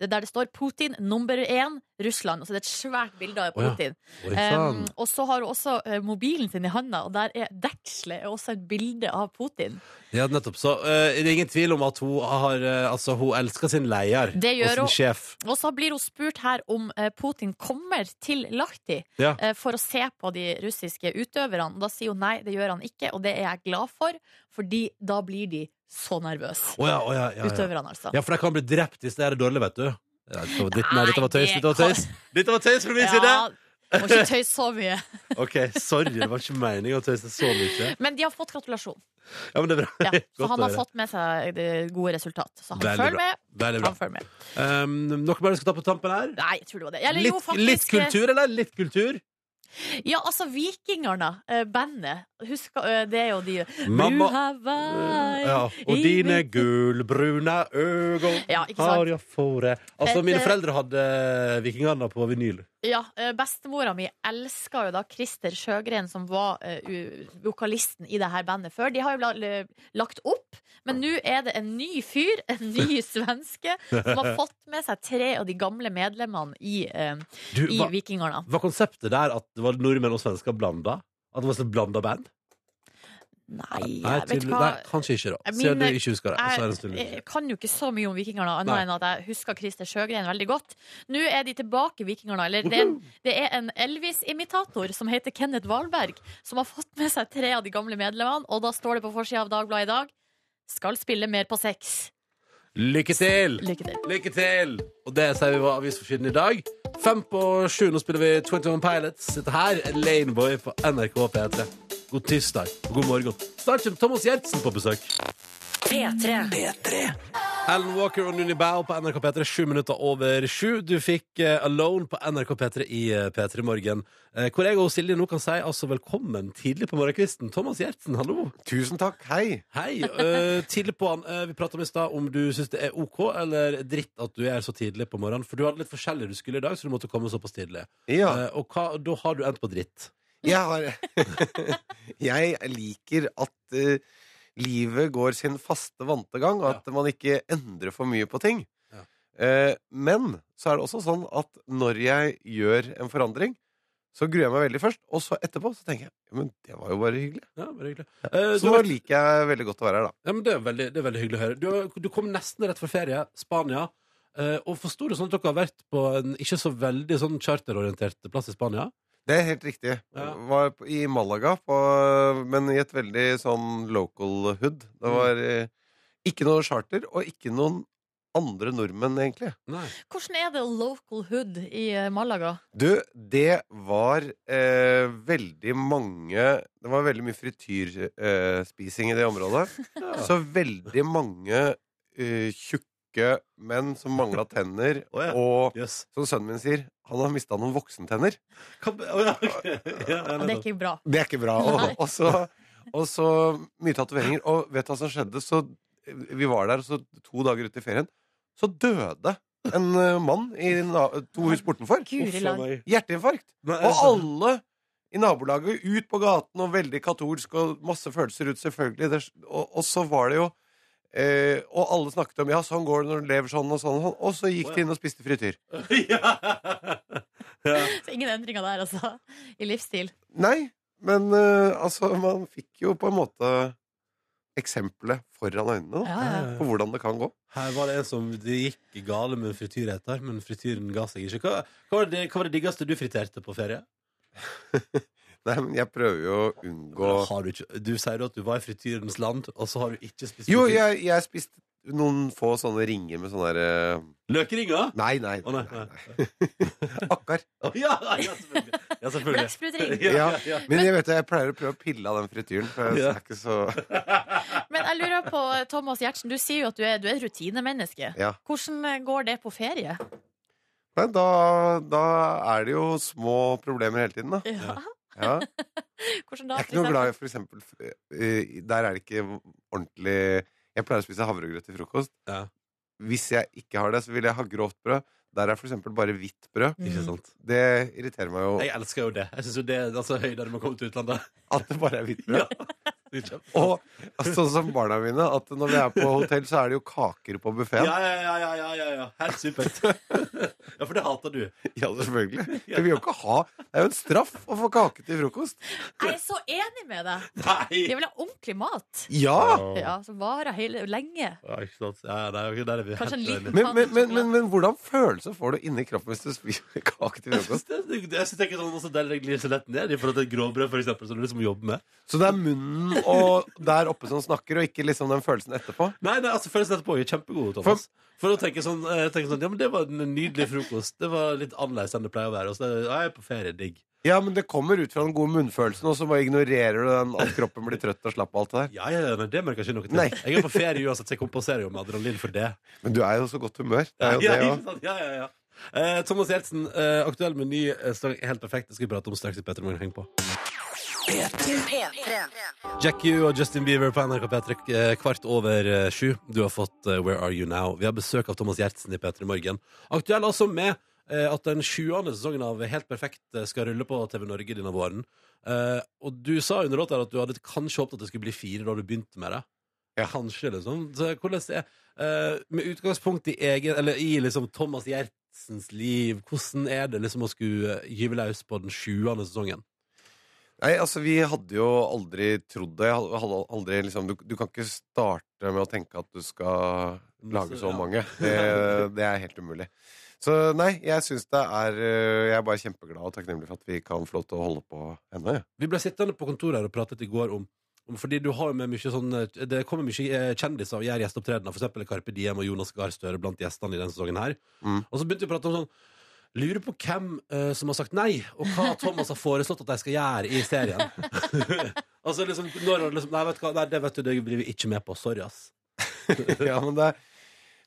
Speaker 3: der det står 'Putin nummer én Russland'. Og så er det et svært bilde av
Speaker 2: Å ja.
Speaker 3: Putin.
Speaker 2: Oi,
Speaker 3: Eh,
Speaker 2: sann.
Speaker 3: og så har hun også eh, mobilen sin i handa, og der er dekselet er også et bilde av Putin.
Speaker 2: Ja, nettopp. Så eh, det er ingen tvil om at hun har eh, Altså, hun elsker sin leder
Speaker 3: Det gjør
Speaker 2: og sin
Speaker 3: hun.
Speaker 2: sjef.
Speaker 3: Og så blir hun spurt her om eh, Putin kommer til Lahti
Speaker 2: Ja.
Speaker 3: eh, for å se på de russiske utøverne. Og Da sier hun nei, det gjør han ikke, og det er jeg glad for, fordi da blir de så nervøse.
Speaker 2: Å ja, å ja, ja, ja.
Speaker 3: Utøverne, altså.
Speaker 2: ja, for de kan bli drept hvis det er dårlig, vet du. Ja, dette var- dette- nei, dette var
Speaker 3: Nei,
Speaker 2: tøys.
Speaker 3: det
Speaker 2: Dette var
Speaker 3: kan-
Speaker 2: tøys, dette var tøys fra min side!
Speaker 3: Ja, Må ikke tøyse så mye.
Speaker 2: [laughs] OK, sorry. Det var ikke meningen å tøyse så mye.
Speaker 3: Men de har fått
Speaker 2: [laughs]
Speaker 3: gratulasjon.
Speaker 2: Ja, men det er bra. [laughs]
Speaker 3: Ja.
Speaker 2: Godt
Speaker 3: Så
Speaker 2: å
Speaker 3: han har
Speaker 2: høre.
Speaker 3: fått med seg det gode resultat. Så han
Speaker 2: Veldig
Speaker 3: følger
Speaker 2: bra.
Speaker 3: med.
Speaker 2: Veldig bra.
Speaker 3: Han følger med.
Speaker 2: Um, noe mer du skal ta på tampen her?
Speaker 3: Nei, jeg tror det var det. Eller
Speaker 2: litt,
Speaker 3: jo, faktisk eh,
Speaker 2: litt kultur, eller? Litt kultur?
Speaker 3: Ja, altså Vikingerne, eh, bandet. Husk, eh, det er jo de Blue
Speaker 2: Mamma
Speaker 3: Hawaii.
Speaker 2: ja,
Speaker 3: i
Speaker 2: Og dine
Speaker 3: mitt-
Speaker 2: gulbrune øyne
Speaker 3: Ja, ikke sant?
Speaker 2: har jeg fore Altså,
Speaker 3: Dette-
Speaker 2: mine foreldre hadde Vikingene på vinyl.
Speaker 3: Ja, eh, bestemora mi elska jo da Christer Sjøgren, som var eh, u- vokalisten i det her bandet før. De har jo la- lagt opp, men nå er det en ny fyr, [laughs] en ny svenske, som har fått med seg tre av de gamle medlemmene i, eh,
Speaker 2: Du,
Speaker 3: i
Speaker 2: var,
Speaker 3: Vikingerne.
Speaker 2: var konseptet der at det var nordmenn og svensker blanda? At det var et blanda band?
Speaker 3: Nei,
Speaker 2: nei,
Speaker 3: vet du
Speaker 2: tydelig-
Speaker 3: hva?
Speaker 2: nei, kanskje ikke, da.
Speaker 3: Jeg
Speaker 2: Siden
Speaker 3: minner-
Speaker 2: du ikke husker det. Så er det en
Speaker 3: Jeg,
Speaker 2: stund.
Speaker 3: jeg kan jo ikke så mye om vikingerne, annet
Speaker 2: Nei.
Speaker 3: enn at jeg husker Christer Sjøgren veldig godt. Nå er de tilbake, vikingerne. Eller det er en, det er en Elvis-imitator som heter Kenneth Wahlberg, som har fått med seg tre av de gamle medlemmene, og da står det på forsida av Dagbladet i dag skal spille mer på sex.
Speaker 2: Lykke til!
Speaker 3: Lykke til.
Speaker 2: Lykke til! Og det sier vi var avisforsiden i dag. Fem på sju, nå spiller vi 21 Pilots. Dette her er Laneboy på NRK P3. God tirsdag og god morgen. Snart kommer Thomas Gjertsen på besøk.
Speaker 1: P3.
Speaker 2: Alan Walker og Nuni Bao på NRK P3, sju minutter over sju. Du fikk eh, Alone på NRK P3 i eh, P3 Morgen. Eh, hvor jeg og Silje nå kan si altså velkommen tidlig på morgenkvisten. Thomas Gjertsen, hallo.
Speaker 5: Tusen takk, hei.
Speaker 2: Hei. eh, tidlig på han. Eh, vi prata om i stad om du syns det er OK eller dritt at du er så tidlig på morgenen. For du hadde litt forskjellig du skulle i dag, så du måtte komme såpass tidlig.
Speaker 5: Ja,
Speaker 2: Eh, og hva, da har du endt på dritt.
Speaker 5: jeg har [laughs] Jeg liker at eh, livet går sin faste vante gang, og at man ikke endrer for mye på ting.
Speaker 2: Ja.
Speaker 5: Eh, men så er det også sånn at når jeg gjør en forandring, så gruer jeg meg veldig først, og så etterpå så tenker jeg ja, men det var jo bare hyggelig.
Speaker 2: Ja, bare hyggelig. Eh, du
Speaker 5: Så nå
Speaker 2: har vært-
Speaker 5: liker jeg veldig godt å være her, da.
Speaker 2: ja, men det, er veldig, det er veldig hyggelig å høre. Du, har- du kom nesten rett fra ferie, Spania. Eh, og forsto det sånn at dere har vært på en ikke så veldig sånn charterorientert plass i Spania?
Speaker 5: Det er helt riktig.
Speaker 2: Ja.
Speaker 5: Var på- i Malaga, på, men i et veldig sånn local hood.
Speaker 2: Mm.
Speaker 5: Det var eh, ikke noe charter, og ikke noen andre nordmenn, egentlig.
Speaker 2: Nei.
Speaker 3: Hvordan er det local hood i eh, Malaga?
Speaker 5: Du, det var eh, veldig mange Det var veldig mye frityrspising eh, spising i det området.
Speaker 2: [laughs] Ja.
Speaker 5: Så veldig mange eh, tjukke menn som mangla tenner,
Speaker 2: Å ja.
Speaker 5: og
Speaker 2: Yes.
Speaker 5: som sønnen min sier, han har mista noen voksentenner.
Speaker 2: Hva, å ja, ok. ja,
Speaker 3: Ja,
Speaker 2: ja,
Speaker 3: det er
Speaker 2: nettopp.
Speaker 3: ikke bra.
Speaker 5: Det er ikke bra. Og,
Speaker 3: Nei.
Speaker 5: og, så, og så mye tatoveringer. Og vet du hva som skjedde? Så vi var der, og så to dager ut i ferien, så døde en eh, mann i na to hus bortenfor.
Speaker 3: Guri land.
Speaker 5: Hjerteinfarkt.
Speaker 2: Nei, er det
Speaker 5: Og
Speaker 2: sant?
Speaker 5: alle i nabolaget ut på gaten og veldig katolsk og masse følelser ut, selvfølgelig. Det, og, og så var det jo Eh, og alle snakket om ja, sånn går det når du lever sånn og sånn. Og, sånn. og så gikk de inn og spiste frityr.
Speaker 2: [laughs]
Speaker 3: Så ingen endringer der, altså. I livsstil.
Speaker 5: Nei, men eh, altså, man fikk jo på en måte eksempelet foran øynene da,
Speaker 3: Ja, ja.
Speaker 5: på hvordan det kan gå.
Speaker 2: Her var det en som det gikk gale med frityrretter, men frityren ga seg ikke. Hva, hva, var det, hva var det diggeste du friterte på ferie?
Speaker 5: Nei, men jeg prøver jo å unngå
Speaker 2: Har du, ikke, du sier jo at du var i frityrens land, og så har du ikke spist
Speaker 5: Jo,
Speaker 2: frityr.
Speaker 5: jeg, jeg spiste noen få sånne ringer med sånne der eh,
Speaker 2: Løkringer?
Speaker 5: Nei, nei.
Speaker 2: Å nei.
Speaker 5: nei,
Speaker 2: nei.
Speaker 5: nei. Akkar.
Speaker 2: Å, ja, [laughs] ja, selvfølgelig. Ja, selvfølgelig.
Speaker 3: Blekksprutring.
Speaker 2: Ja, ja, ja.
Speaker 5: Men jeg vet det, jeg pleier å prøve å pille av den frityren. For jeg
Speaker 2: Ja.
Speaker 5: er ikke så
Speaker 3: Men jeg lurer på, Thomas Gjertsen, du sier jo at du er, du er et rutinemenneske.
Speaker 5: Ja.
Speaker 3: Hvordan eh, går det på ferie?
Speaker 5: Nei, da, da er det jo små problemer hele tiden, da.
Speaker 3: Ja.
Speaker 5: Ja.
Speaker 3: Hvordan da?
Speaker 5: Jeg er ikke noe glad i for eksempel eh, Der er det ikke ordentlig Jeg pleier å spise havregrøt til frokost.
Speaker 2: Ja.
Speaker 5: Hvis jeg ikke har det, så vil jeg ha grovt brød. Der er for eksempel bare hvitt brød.
Speaker 2: Ikke sant?
Speaker 5: Det irriterer meg jo
Speaker 2: Mm. Jeg elsker jo det. Jeg synes jo det er altså, høydere med å komme til utlandet.
Speaker 5: at det bare er hvitt brød.
Speaker 2: [laughs] Ja. Det er kjempe-
Speaker 5: Og sånn som barna mine, at når vi er på hotell, så er det jo kaker på buffeen.
Speaker 2: Ja, ja, ja, ja, ja, ja, ja. Helt [laughs] supert. Ja, for det hater du.
Speaker 5: Ja,
Speaker 2: [laughs]
Speaker 5: selvfølgelig. Det vil jo ikke ha Det er jo en straff å få kake til frokost.
Speaker 3: Jeg er så enig med deg!
Speaker 2: Nei!
Speaker 3: De vil ha ordentlig mat.
Speaker 5: Ja!
Speaker 3: Ja, Som varer hele, lenge.
Speaker 2: Ja, ikke sant. Ja, nei, ok, der er vi
Speaker 3: Kanskje en
Speaker 2: helt
Speaker 3: liten
Speaker 2: uenige.
Speaker 5: Men, men, men, men, men hvordan følelse får du inni kroppen hvis du spiser kake til
Speaker 2: Jeg syns
Speaker 5: frokost?
Speaker 2: det, jeg synes det er ikke sånn også deler jeg glir så lett ned i forhold til et grovbrød, for eksempel, som du liksom jobber med.
Speaker 5: Så det er munnen og der oppe som snakker, og ikke liksom den følelsen etterpå?
Speaker 2: Nei, nei, altså Følelsen etterpå er jo kjempegod. Thomas For å tenke sånn, eh, tenke sånn Ja, men det var en nydelig frokost. Det var litt annerledes enn det pleier å være. Og så er det- ja, jeg er på ferie. Digg.
Speaker 5: Ja, men det kommer ut fra den gode munnfølelsen, og så bare ignorerer du den at kroppen blir trøtt og slapp og alt det der.
Speaker 2: Ja, ja, ja, nei, det merker jeg ikke noe til.
Speaker 5: Nei.
Speaker 2: Jeg er på ferie uansett, så jeg kompenserer jo med adrenalin for det.
Speaker 5: Men du er jo så godt humør. Det
Speaker 2: Ja,
Speaker 5: er jo det
Speaker 2: ikke
Speaker 5: òg.
Speaker 2: sant? ja, ja, ja. Eh, Thomas Gjertsen, eh, aktuell med ny eh, sang Helt perfekt. Det skal vi prate om straks i Petter Morgen. Heng på. Jack U og Justin Bieber på NRK P3 eh, kvart over eh, sju. Du har fått eh, Where Are You Now. Vi har besøk av Thomas Gjertsen i P3 Morgen. Aktuell altså med eh, at den sjuende sesongen av Helt perfekt eh, skal rulle på TV Norge denne våren. Eh, og du sa under låta her at du hadde kanskje håpet at det skulle bli fire da du begynte med det.
Speaker 5: Ja.
Speaker 2: Kanskje, liksom. Så hvordan er eh, Med utgangspunkt i egen Eller i liksom Thomas Gjertsens liv, hvordan er det liksom å skulle eh, gyve løs på den sjuende sesongen?
Speaker 5: Nei, altså vi hadde jo aldri trodd det. Jeg hadde aldri liksom du, du kan ikke starte med å tenke at du skal lage så
Speaker 2: Ja.
Speaker 5: mange. Det, det er helt umulig. Så nei, jeg syns det er øh, Jeg er bare kjempeglad og takknemlig for at vi kan få lov til å holde på ennå. Ja.
Speaker 2: Vi ble sittende på kontoret her og pratet i går om, om Fordi du har jo med mye sånn eh, Det kommer mye eh, kjendiser og gjør gjesteopptredener. For eksempel Carpe Diem og Jonas Gahr Støre blant gjestene i denne sesongen her.
Speaker 5: Mm.
Speaker 2: Og så begynte vi å prate om sånn Lurer på hvem eh, som har sagt nei, og hva Thomas har foreslått at de skal gjøre i serien. [laughs] altså liksom, når han liksom Nei, vet du hva, nei, det vet du, det blir vi ikke med på. Sorry, ass.
Speaker 5: [laughs] ja, men det er-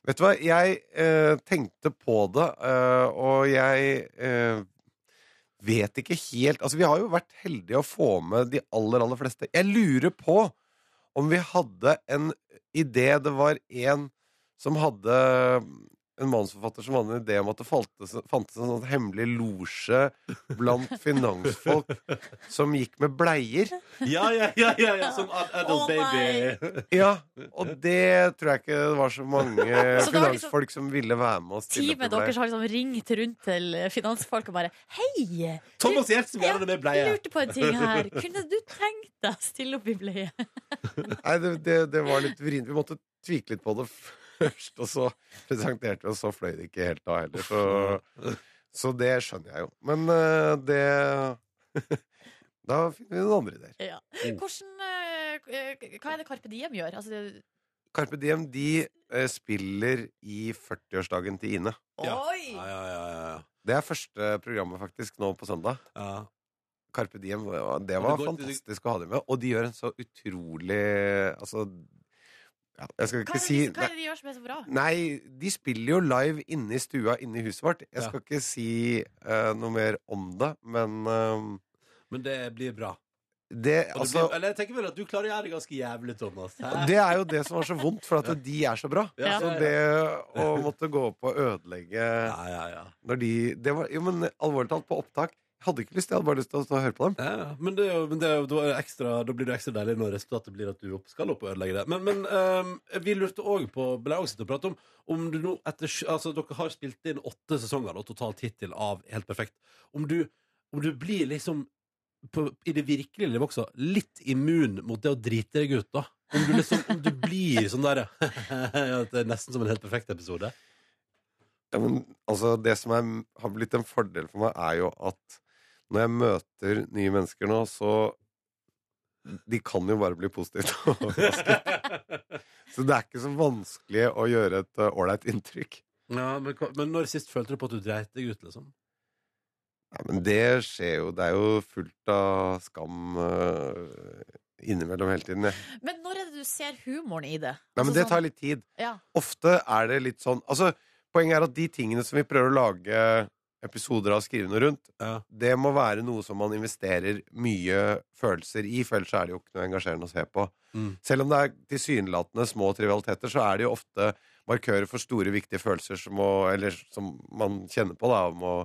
Speaker 5: Vet du hva, jeg eh, tenkte på det, eh, og jeg eh, vet ikke helt Altså, vi har jo vært heldige å få med de aller, aller fleste. Jeg lurer på om vi hadde en idé Det var en som hadde en manusforfatter som hadde en idé om at det fantes, fantes en sånn hemmelig losje blant finansfolk som gikk med bleier.
Speaker 2: Ja, ja, ja, ja, ja sånn ad- adult
Speaker 3: Å, nei.
Speaker 2: baby.
Speaker 5: Ja, og det tror jeg ikke det var så
Speaker 3: [laughs]
Speaker 5: mange
Speaker 3: liksom-
Speaker 5: finansfolk som ville være med og stille
Speaker 3: Teamet deres har liksom ringt rundt til finansfolk og bare Hei!
Speaker 2: Thomas Gjertsen gjør det med
Speaker 3: Jeg
Speaker 2: bleie.
Speaker 3: lurte på en ting her. Kunne du tenkt deg å stille opp i bleie?
Speaker 5: Nei, det, det, det var litt vrient. Vi måtte tvike litt på det [laughs] først, og så presenterte vi, og så fløy det ikke helt da heller. Så, så det skjønner jeg jo. Men eh, det [laughs] Da finner vi noen andre ideer.
Speaker 3: Ja. Hvordan, eh, eh, hva er det Carpe Diem gjør? Altså, det,
Speaker 5: Carpe Diem de eh, spiller i 40-årsdagen til Ine.
Speaker 2: Ja.
Speaker 3: Oi!
Speaker 2: Ja, ja, ja, ja, ja.
Speaker 5: Det er første programmet faktisk nå på søndag.
Speaker 2: ja.
Speaker 5: Carpe Diem, ja, det
Speaker 2: Men det
Speaker 5: var
Speaker 2: går-
Speaker 5: fantastisk å ha dem med. Og de gjør en så utrolig Altså ja, Jeg
Speaker 3: Hva
Speaker 5: skal ikke
Speaker 3: er,
Speaker 5: si
Speaker 3: det, de- hva er det de gjør som er så bra?
Speaker 5: Nei, de spiller jo live inne i stua inne i huset vårt. Jeg
Speaker 2: Ja.
Speaker 5: skal ikke si eh, noe mer om det, men eh,
Speaker 2: Men det blir bra.
Speaker 5: det,
Speaker 2: Og det
Speaker 5: altså,
Speaker 2: blir, eller jeg tenker vel at du klarer å gjøre det ganske jævlig, Thomas. Hæ?
Speaker 5: det er jo det som var så vondt, for at de er så bra.
Speaker 2: Ja,
Speaker 5: Så
Speaker 2: ja,
Speaker 5: det
Speaker 2: ja.
Speaker 5: å måtte gå opp og ødelegge
Speaker 2: Ja, ja, ja.
Speaker 5: når de det var, Jo, men alvorlig talt, på opptak hadde ikke lyst, jeg hadde bare lyst til å stå og høre på dem.
Speaker 2: Ja, ja. men, det, er jo- men det, er jo- da, er det ekstra, da blir det ekstra deilig når resultatet blir at du opp, skal opp og ødelegge det. Men, men ehm, vi lurte òg på ble også sitte og prate om, om du nå etter, sju- altså, Dere har spilt inn åtte sesonger da, totalt hittil av Helt perfekt. Om du, om du blir liksom på, i det virkelige livet også litt immun mot det å drite deg ut, da? Om du, liksom, om du blir sånn der [laughs] ja, Det er nesten som en helt perfekt episode.
Speaker 5: Ja, men altså, det som er, har blitt en fordel for meg, er jo at når jeg møter nye mennesker nå, så De kan jo bare bli positivt [laughs] overrasket. Så det er ikke så vanskelig å gjøre et eh, ålreit inntrykk.
Speaker 2: Ja, men, hva- men når sist følte du på at du dreit deg ut, liksom?
Speaker 5: Nei, men det skjer jo. Det er jo fullt av skam eh, innimellom hele tiden. jeg.
Speaker 3: Men når er det du ser humoren i det?
Speaker 5: Nei, men
Speaker 3: Altså
Speaker 5: det
Speaker 3: sånn-
Speaker 5: tar litt tid.
Speaker 3: ja.
Speaker 5: Ofte er det litt sånn Altså, poenget er at de tingene som vi prøver å lage episoder av skrivende rundt,
Speaker 2: Ja.
Speaker 5: det må være noe som man investerer mye følelser i, for ellers er det jo ikke noe engasjerende å se på.
Speaker 2: Mm.
Speaker 5: Selv om det er tilsynelatende små trivialiteter, så er det jo ofte markører for store, viktige følelser som, må, eller, som man kjenner på, da, om å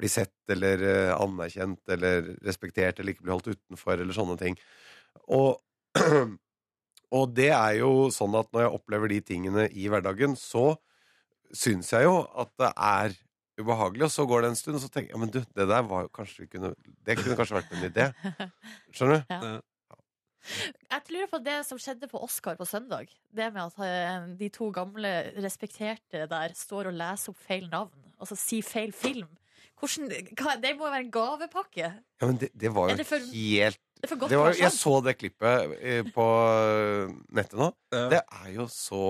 Speaker 5: bli sett eller eh, anerkjent eller respektert eller ikke bli holdt utenfor eller sånne ting. Og, [clears throat] og det er jo sånn at når jeg opplever de tingene i hverdagen, så syns jeg jo at det er ubehagelig, og så går det en stund, og så tenker jeg ja, men du, det der var jo kanskje vi kunne Det kunne kanskje vært en idé.
Speaker 3: [laughs]
Speaker 5: Skjønner du?
Speaker 3: Jeg lurer på det som skjedde på Oscar på søndag. Det med at eh, de to gamle respekterte der står og leser opp feil navn. Altså sier feil film. Hvordan, hva, det må jo være en gavepakke.
Speaker 5: Ja, men det, det var
Speaker 3: Er
Speaker 5: jo
Speaker 3: det for-
Speaker 5: helt
Speaker 3: Det er for godt
Speaker 5: det
Speaker 3: til å
Speaker 5: var,
Speaker 3: være
Speaker 5: Jeg
Speaker 3: sant.
Speaker 5: så det klippet eh, på eh, nettet nå. Det er jo så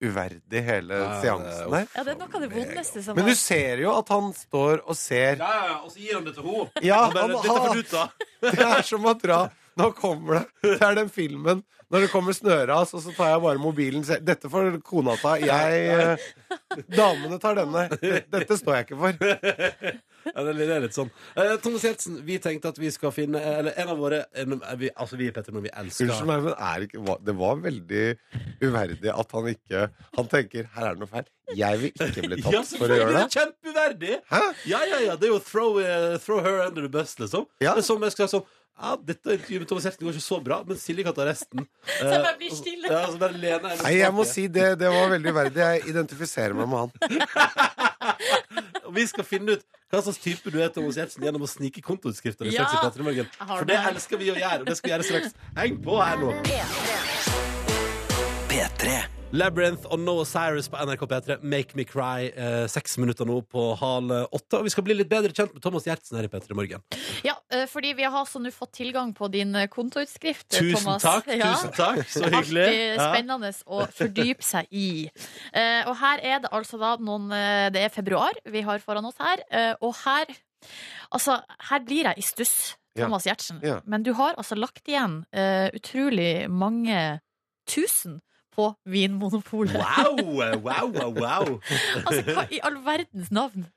Speaker 5: uverdig, hele
Speaker 2: Ja, det er
Speaker 5: seansen
Speaker 2: jo
Speaker 5: der.
Speaker 3: Ja, det er noe av det vondeste som
Speaker 5: Men du
Speaker 3: var.
Speaker 5: ser jo at han står og ser
Speaker 2: Ja, ja, og så gir han det til henne.
Speaker 5: Ja,
Speaker 2: Og bare,
Speaker 5: han,
Speaker 2: Dette får
Speaker 5: han,
Speaker 2: du ta.
Speaker 5: [laughs] det er som å dra Nå kommer det. Det er den filmen. Når det kommer snøras, og så tar jeg bare mobilen selv. Dette får kona ta. Jeg eh, Damene tar denne. Dette står jeg ikke for.
Speaker 2: Ja, det det er litt sånn. Eh, Thomas Gjertsen, vi tenkte at vi skal finne eh, Eller en av våre en, eh, vi, Altså, vi i Petter, men vi elsker
Speaker 5: Unnskyld meg, men er ikke, hva- det var veldig uverdig at han ikke Han tenker her er det noe feil. Jeg vil ikke bli
Speaker 2: Ja,
Speaker 5: tatt for å
Speaker 2: selvfølgelig,
Speaker 5: gjøre
Speaker 2: det
Speaker 5: det.
Speaker 2: er kjempeuverdig!
Speaker 5: Hæ?
Speaker 2: Ja, ja, ja, det er jo throw, eh, throw her under the bus, liksom.
Speaker 5: Ja.
Speaker 2: Men som jeg skal si sånn ja, dette intervjuet med Thomas Gjertsen går ikke så bra, men Silje kan ta resten. Eh, Så
Speaker 3: jeg bare blir stille.
Speaker 2: Ja, så bare lener jeg meg
Speaker 5: Nei, jeg må
Speaker 2: tilbake.
Speaker 5: si det. Det var veldig uverdig. Jeg identifiserer meg med han.
Speaker 2: Og vi skal finne ut hva slags type du er Thomas Gjertsen gjennom å snike kontoutskrifter.
Speaker 3: Ja.
Speaker 2: straks i Petter i Morgen.
Speaker 3: har
Speaker 2: For
Speaker 3: den
Speaker 2: det
Speaker 3: her.
Speaker 2: elsker vi å gjøre, og det skal vi gjøre straks. Heng på her nå. Labyrinth og No Cyrus på NRK P3. Make Me Cry. Eh, seks minutter nå på halv åtte. Og vi skal bli litt bedre kjent med Thomas Gjertsen her i P3 Morgen.
Speaker 3: Ja, eh, fordi vi har altså nå fått tilgang på din eh, kontoutskrift,
Speaker 2: Tusen
Speaker 3: Thomas.
Speaker 2: takk,
Speaker 3: Ja.
Speaker 2: tusen takk. Så hyggelig.
Speaker 3: Alltid
Speaker 2: Ja.
Speaker 3: spennende å fordype seg i. Eh, og her er det altså da noen eh, Det er februar vi har foran oss her, eh, og her Altså, her blir jeg i stuss,
Speaker 5: Ja.
Speaker 3: Thomas Gjertsen.
Speaker 5: Ja.
Speaker 3: Men du har altså lagt igjen eh, utrolig mange tusen på Vinmonopolet.
Speaker 2: Wow, wow, wow, wow.
Speaker 3: altså, hva i all verdens navn?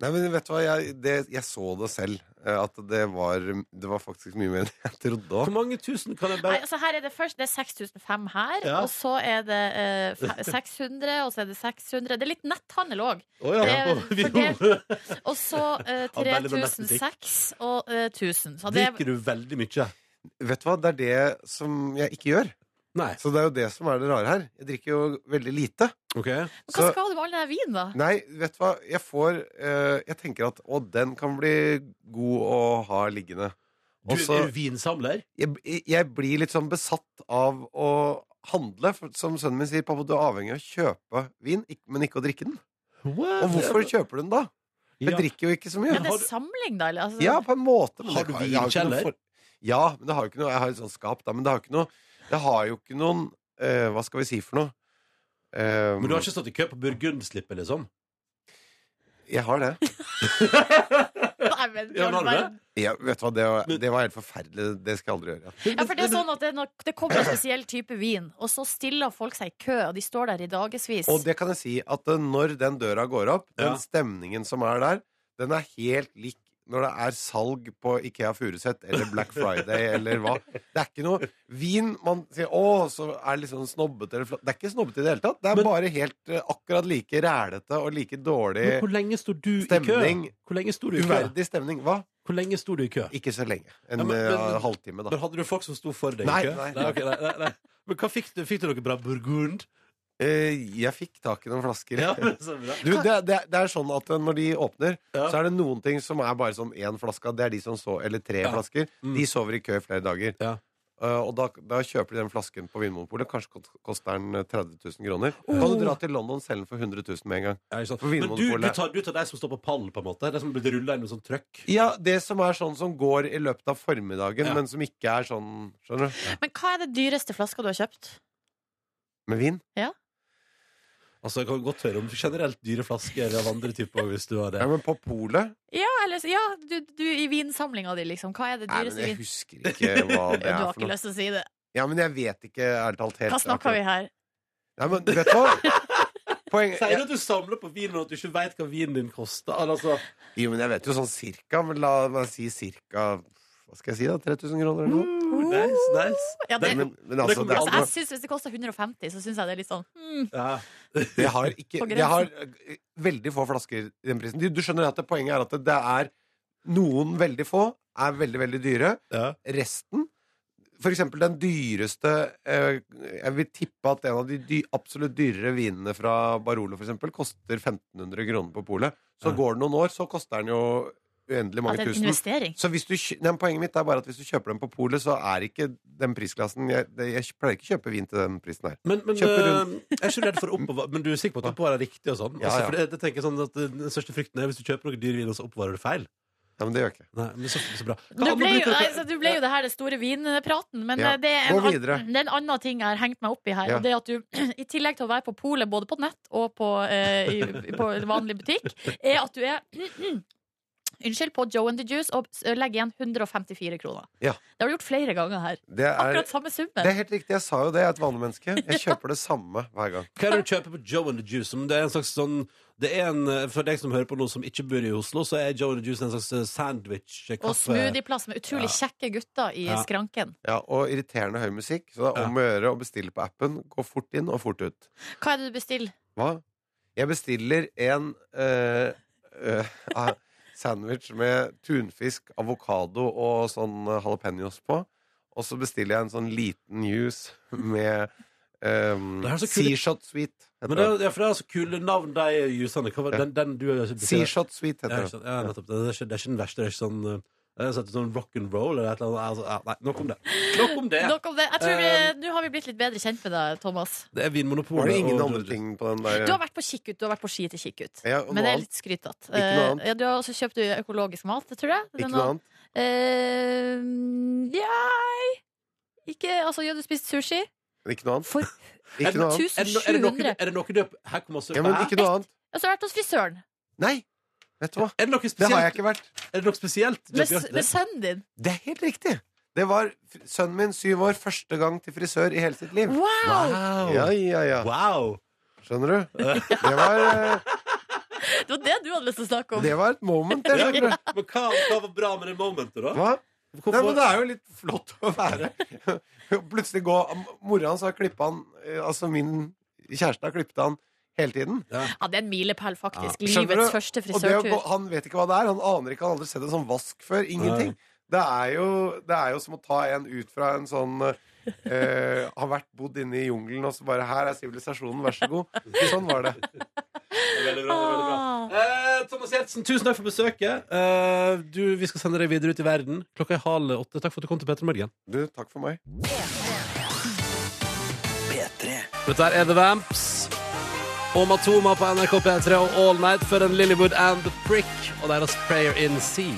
Speaker 5: Nei, men vet du hva? Jeg, det, jeg så det selv. eh, At det var, det var faktisk mye mer enn jeg trodde
Speaker 2: Hvor
Speaker 5: òg.
Speaker 2: mange tusen kan jeg
Speaker 3: Nei,
Speaker 2: bare
Speaker 3: altså her er det først Det er 6005 her,
Speaker 2: Ja.
Speaker 3: og så er det eh, fe- 600, og så er det 600 Det er litt netthandel òg.
Speaker 2: Å ja. [laughs]
Speaker 3: Det er
Speaker 2: Vi-
Speaker 3: Og så eh,
Speaker 2: Ja, veldig med nesten
Speaker 3: 3006 og eh, 1000. Så det,
Speaker 2: [laughs] Drikker du veldig mye?
Speaker 5: Vet du hva? Det er det som jeg ikke gjør.
Speaker 2: Nei.
Speaker 5: Så det er jo det som er det rare her. Jeg drikker jo veldig lite.
Speaker 2: OK.
Speaker 3: hva
Speaker 5: så-
Speaker 3: skal du med all den vinen, da?
Speaker 5: Nei, vet du hva? Jeg får eh, Jeg tenker at å, den kan bli god å ha liggende.
Speaker 2: Du
Speaker 5: Og så
Speaker 2: er vinsamler?
Speaker 5: jeg, jeg blir litt sånn besatt av å handle. For, som sønnen min sier, pappa, du er avhengig av å kjøpe vin, ikk- men ikke å drikke den. Og hvorfor kjøper du den da? Jeg
Speaker 2: Ja.
Speaker 5: drikker jo ikke så
Speaker 3: Men
Speaker 5: mye.
Speaker 3: det
Speaker 2: har
Speaker 3: er
Speaker 2: du-
Speaker 3: samling, da? Eller? Altså,
Speaker 5: Ja, på en måte. men
Speaker 2: Har du
Speaker 5: det jeg har jo ikke noe
Speaker 2: vinkjeller?
Speaker 5: for- Ja, men det har jo ikke noe Jeg har et sånt skap, da, men det har ikke noe Jeg har jo ikke noen eh, Hva skal vi si for noe? Eh,
Speaker 2: Men du har ikke stått i kø på Burgundslippet, liksom?
Speaker 5: Ehm, Jeg har det.
Speaker 3: [laughs] Nei, men,
Speaker 2: Ja, men har du det?
Speaker 5: Ja, vet du hva, det var, det var helt forferdelig. Det skal jeg aldri gjøre. igjen.
Speaker 3: Ja, for Det er sånn at det, er nok- det kommer en spesiell type vin, og så stiller folk seg i kø, og de står der i dagevis.
Speaker 5: Og det kan jeg si at eh, når den døra går opp,
Speaker 2: Ja.
Speaker 5: den stemningen som er der, den er helt lik når det er salg på Ikea Furuset eller Black Friday
Speaker 2: [laughs]
Speaker 5: eller hva. Det er ikke noe vin man sier 'å, så er det litt sånn snobbete' eller flott. Det er ikke snobbete i det hele tatt. Det er
Speaker 2: Men-
Speaker 5: bare helt eh, akkurat like rælete og like dårlig
Speaker 2: Men hvor lenge sto du i
Speaker 5: Stemning.
Speaker 2: kø? Hvor lenge sto du i kø?
Speaker 5: Uverdig stemning. Hva?
Speaker 2: Hvor lenge sto du i kø?
Speaker 5: Ikke så lenge. En
Speaker 2: Ja, men- men-
Speaker 5: eh, halvtime, da.
Speaker 2: Men hadde du folk som sto for deg
Speaker 5: Nei,
Speaker 2: i kø?
Speaker 5: nei.
Speaker 2: ok, nei, nei, nei. Men hva fikk du? Fikk du noe bra burgund?
Speaker 5: Eh, jeg fikk tak i noen flasker.
Speaker 2: [laughs] Ja, men så bra.
Speaker 5: Du, det, det, det er sånn at når de åpner,
Speaker 2: Ja.
Speaker 5: så er det noen ting som er bare sånn én flaske. Det er de som så, eller tre
Speaker 2: Ja.
Speaker 5: flasker.
Speaker 2: Mm.
Speaker 5: De sover i kø i flere dager.
Speaker 2: Ja.
Speaker 5: Eh, og da, da kjøper de den flasken på Vinmonopolet. Kanskje kost- koster den eh, 30 000 kroner.
Speaker 2: Oh.
Speaker 5: Kan du dra til London og selge den for 100 000 med en gang?
Speaker 2: Ja, ikke sant.
Speaker 5: For
Speaker 2: Men du, du,
Speaker 5: Vinmonopolet.
Speaker 2: tar, du tar de som står på pallen, på en måte? De som blir rulla inn med sånn trøkk?
Speaker 5: Ja, det som er sånn som går i løpet av formiddagen,
Speaker 2: Ja.
Speaker 5: men som ikke er sånn Skjønner du?
Speaker 3: Men hva er det dyreste flaska du har kjøpt?
Speaker 5: Med vin.
Speaker 2: Altså, Jeg kan godt høre om generelt dyre flasker av andre typer. hvis du har det
Speaker 5: Ja, men på polet
Speaker 3: Ja, eller, ja du, du i vinsamlinga di, liksom. Hva er det
Speaker 5: Nei, men
Speaker 3: dyreste
Speaker 5: jeg
Speaker 3: vin?
Speaker 5: husker ikke
Speaker 3: [laughs]
Speaker 5: hva
Speaker 3: Du
Speaker 5: det er
Speaker 3: har
Speaker 5: for
Speaker 3: ikke
Speaker 5: noe.
Speaker 3: lyst til å si det.
Speaker 5: Ja, men jeg vet ikke, ærlig talt, helt
Speaker 3: Hva snakka vi her?
Speaker 5: Nei, men vet
Speaker 3: [laughs]
Speaker 5: du hva? Poenget
Speaker 2: Sier du at du samler på vin, og at du ikke veit hva vinen din koster? Altså,
Speaker 5: Jo, men jeg vet jo sånn cirka, men la meg si cirka Hva skal jeg si, da? 3000 kroner eller noe?
Speaker 2: nice, nice.
Speaker 3: Ja, Mm, det,
Speaker 5: Men, men, men altså,
Speaker 2: kommer
Speaker 5: det,
Speaker 3: altså,
Speaker 5: er,
Speaker 3: jeg synes Hvis det koster 150, så syns jeg det er litt sånn hmm.
Speaker 2: Ja.
Speaker 5: jeg har ikke
Speaker 3: På grensen.
Speaker 5: Jeg har eh, veldig få flasker i den prisen. Du, du skjønner at det, poenget er at det, det er noen veldig få er veldig, veldig dyre.
Speaker 2: Ja.
Speaker 5: Resten for eksempel den dyreste eh, Jeg vil tippe at en av de dy, absolutt dyrere vinene fra Barolo for eksempel, koster 1500 kroner på polet. Så
Speaker 2: Ja.
Speaker 5: går det noen år, så koster den jo
Speaker 3: ja,
Speaker 5: uendelig
Speaker 3: Det
Speaker 5: mange
Speaker 3: er en
Speaker 5: tusen.
Speaker 3: investering.
Speaker 5: Så hvis du, kjø- nei, men poenget mitt er bare at hvis du kjøper den på polet, så er ikke den prisklassen Jeg, det- jeg pleier ikke å kjøpe vin til den prisen her.
Speaker 2: Men, men
Speaker 5: Kjøper
Speaker 2: eh, jeg er ikke redd for å oppbevare Men du er sikker på at du oppbevarer riktig og sånn?
Speaker 5: Ja,
Speaker 2: altså,
Speaker 5: ja.
Speaker 2: for det, det tenker jeg sånn at eh, Den største frykten er hvis du kjøper noe dyr vin, og så oppbevarer du feil.
Speaker 5: Ja, men det gjør jeg ikke.
Speaker 2: Nei, men så, så bra. Hva
Speaker 3: Du
Speaker 2: annet
Speaker 3: ble, jo,
Speaker 2: bruker dere-
Speaker 3: altså, du ble jo det her det store vinpraten, men
Speaker 5: Ja,
Speaker 3: eh, det, er en,
Speaker 5: gå
Speaker 3: an-
Speaker 5: videre.
Speaker 3: det er en annen ting jeg har hengt meg opp i her.
Speaker 5: Ja.
Speaker 3: Og det er at du, [clears throat] I tillegg til å være på polet både på nett og på, eh, i, på vanlig butikk, er at du er [clears throat] Unnskyld, på Joe and the Juice og s- legger igjen 154 kroner.
Speaker 5: Ja.
Speaker 3: Det har du gjort flere ganger her.
Speaker 5: Det er,
Speaker 3: Akkurat samme
Speaker 5: det
Speaker 3: summen.
Speaker 5: er helt riktig. Jeg sa jo det. Jeg er et
Speaker 3: [laughs]
Speaker 5: vanemenneske. Jeg kjøper det samme hver gang.
Speaker 2: Hva er det du kjøper på Joe and the Juice? Om Det er en slags sånn det er en, eh, For deg som hører på noe som ikke bor i Oslo, så er Joe and the Juice en slags eh, sandwich eh,
Speaker 3: Og
Speaker 2: kaffe.
Speaker 3: smoothieplass med utrolig kjekke gutter i
Speaker 2: Ja.
Speaker 3: skranken.
Speaker 5: Ja, og irriterende høy musikk. Så det er om å gjøre å bestille på appen. Gå fort inn og fort ut.
Speaker 3: Hva er det du bestiller?
Speaker 5: Hva? Jeg bestiller en eh, eh, [laughs] ah, sandwich med tunfisk, avokado og sånn eh, jalapeños på. Og så bestiller jeg en sånn liten juice [laughs] med um,
Speaker 2: Det er så kule-
Speaker 5: Seashot Sweet.
Speaker 2: Men
Speaker 5: Heter
Speaker 2: det,
Speaker 5: det.
Speaker 2: er- ja, for det er så kule navn, de jusene. Hva var den, den du
Speaker 5: Seashot Sweet
Speaker 2: Ja,
Speaker 5: heter
Speaker 2: ikke
Speaker 5: det.
Speaker 2: sant? ja, nettopp. Det er ikke, det er ikke den verste. Det er ikke sånn eh, det er sånn, sånn rock and roll eller et eller annet. Altså, ja, nei, nok om det. Nok om det.
Speaker 3: Nok om det. Jeg tror vi,
Speaker 5: Eh,
Speaker 3: Nå har vi blitt litt bedre kjent med deg, Thomas.
Speaker 2: Det er Vinmonopolet.
Speaker 5: Var det ingen
Speaker 2: og-
Speaker 5: andre ting på den der?
Speaker 3: Du har vært på kikkut, du har vært på ski til kikkut.
Speaker 5: Ja, og
Speaker 3: Men
Speaker 5: noe
Speaker 3: det er
Speaker 5: annet.
Speaker 3: litt skrytete.
Speaker 5: Ikke noe annet.
Speaker 3: ja, du har også kjøpt økologisk mat, tror jeg.
Speaker 5: Ikke noe annet?
Speaker 3: annet? Nei Ikke Altså, ja, du spiste sushi
Speaker 5: Ikke noe annet?
Speaker 3: for
Speaker 5: Ikke noe annet?
Speaker 2: Er det, no- er det, noe,
Speaker 3: 1700.
Speaker 2: er det noe du Her kommer også
Speaker 5: Ja, men ikke noe annet.
Speaker 3: Og så har jeg vært hos frisøren.
Speaker 5: Nei! Vet du hva?
Speaker 2: Er det noe
Speaker 5: Det har jeg
Speaker 2: spesielt?
Speaker 5: ikke vært.
Speaker 2: Er det noe spesielt?
Speaker 3: Med,
Speaker 2: Jeff Bjarte?
Speaker 3: med sønnen din.
Speaker 5: Det er helt riktig. Det var f- sønnen min, syv år, første gang til frisør i hele sitt liv.
Speaker 3: Wow!
Speaker 2: Wow!
Speaker 5: Ja, ja, ja.
Speaker 2: Wow!
Speaker 5: Skjønner du? Det var, eh,
Speaker 3: Det var det du hadde lyst til å snakke om.
Speaker 5: det var et moment, det,
Speaker 2: Ja,
Speaker 5: skjønner du.
Speaker 2: Men hva, hva var bra med det momentet, da?
Speaker 5: Hva?
Speaker 2: Hvorfor-
Speaker 5: Nei, men det er jo litt flott å være [laughs] Plutselig gå Mora hans har klippet han eh, Altså min kjæreste har klippet han hele tiden.
Speaker 3: Ja, det er en milepæl, faktisk.
Speaker 5: Ja. Skjønner
Speaker 3: Livets
Speaker 5: du?
Speaker 3: første
Speaker 5: Og det å gå,
Speaker 3: frisørtur.
Speaker 5: han vet ikke hva det er. Han aner ikke, han har aldri sett en sånn vask før. Ingenting. Det er, jo, det er jo som å ta en ut fra en sånn eh, Har vært bodd inne i jungelen, og så bare Her er sivilisasjonen, vær så god. Sånn var det.
Speaker 2: Veldig bra, veldig bra. Eh, Thomas Gjertsen, tusen takk for besøket. Eh, du, vi skal sende deg videre ut i verden. Klokka er halv åtte. Takk for at du kom til Petter Morgen.
Speaker 5: Du, takk for meg.
Speaker 2: Dette her er The Vamps. Og Matoma på NRK P3 og All Night for en Lillywood and The Prick og deres Prayer in Sea.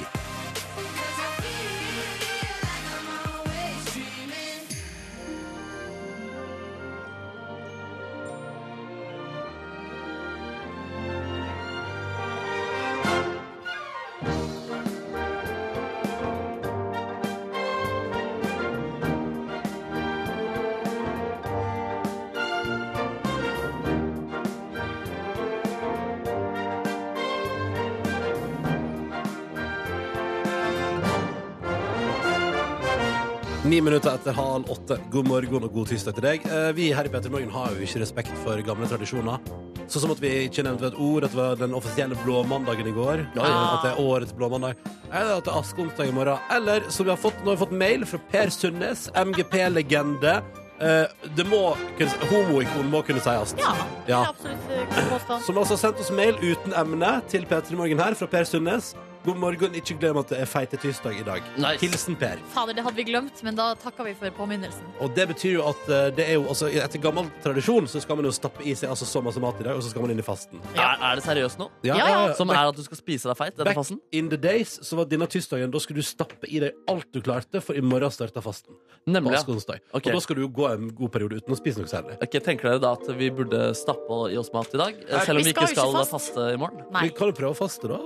Speaker 2: Ni minutter etter halv åtte. God morgen og god tirsdag til deg. Eh, Vi her i Petter Morgen har jo ikke respekt for gamle tradisjoner. Sånn som at vi ikke nevnte et ord at det var den offisielle blåmandagen i går. Eh, At det er årets blåmandag. Eller at det er askeonsdag i morgen. Eller som vi har fått, nå har vi fått mail fra Per Sundnes, MGP-legende. Eh, Det må kunne Homoikon må kunne sies.
Speaker 3: Ja, det er absolutt eh, god påstand.
Speaker 2: Som altså har sendt oss mail uten emne til P3 Morgen her fra Per Sundnes. God morgen, ikke glem at det er feite tirsdag i dag.
Speaker 4: Nice.
Speaker 2: Hilsen Per.
Speaker 3: Fader, det hadde vi glemt, men da takka vi for påminnelsen.
Speaker 2: Og det betyr jo at eh, det er jo, altså, etter gammel tradisjon så skal man jo stappe i seg altså, så masse mat i dag, og så skal man inn i fasten.
Speaker 4: Er, er det seriøst nå?
Speaker 3: Ja, ja.
Speaker 4: Som er at du skal spise deg feit? Denne
Speaker 2: Back
Speaker 4: fasen?
Speaker 2: in the days så var denne tirsdagen da skulle du stappe i deg alt du klarte, for i morgen starta fasten. På
Speaker 4: Nemlig. ja.
Speaker 2: askeonsdag.
Speaker 4: Ok.
Speaker 2: Og da skal du jo gå en god periode uten å spise noe særlig.
Speaker 4: Ok, Tenker dere da at vi burde stappe i oss mat i dag?
Speaker 2: Nei,
Speaker 4: Selv om
Speaker 3: vi
Speaker 4: vi ikke
Speaker 3: skal jo
Speaker 4: skal
Speaker 3: ikke fast.
Speaker 4: faste i morgen?
Speaker 3: Nei.
Speaker 2: Vi kan jo prøve å faste, da.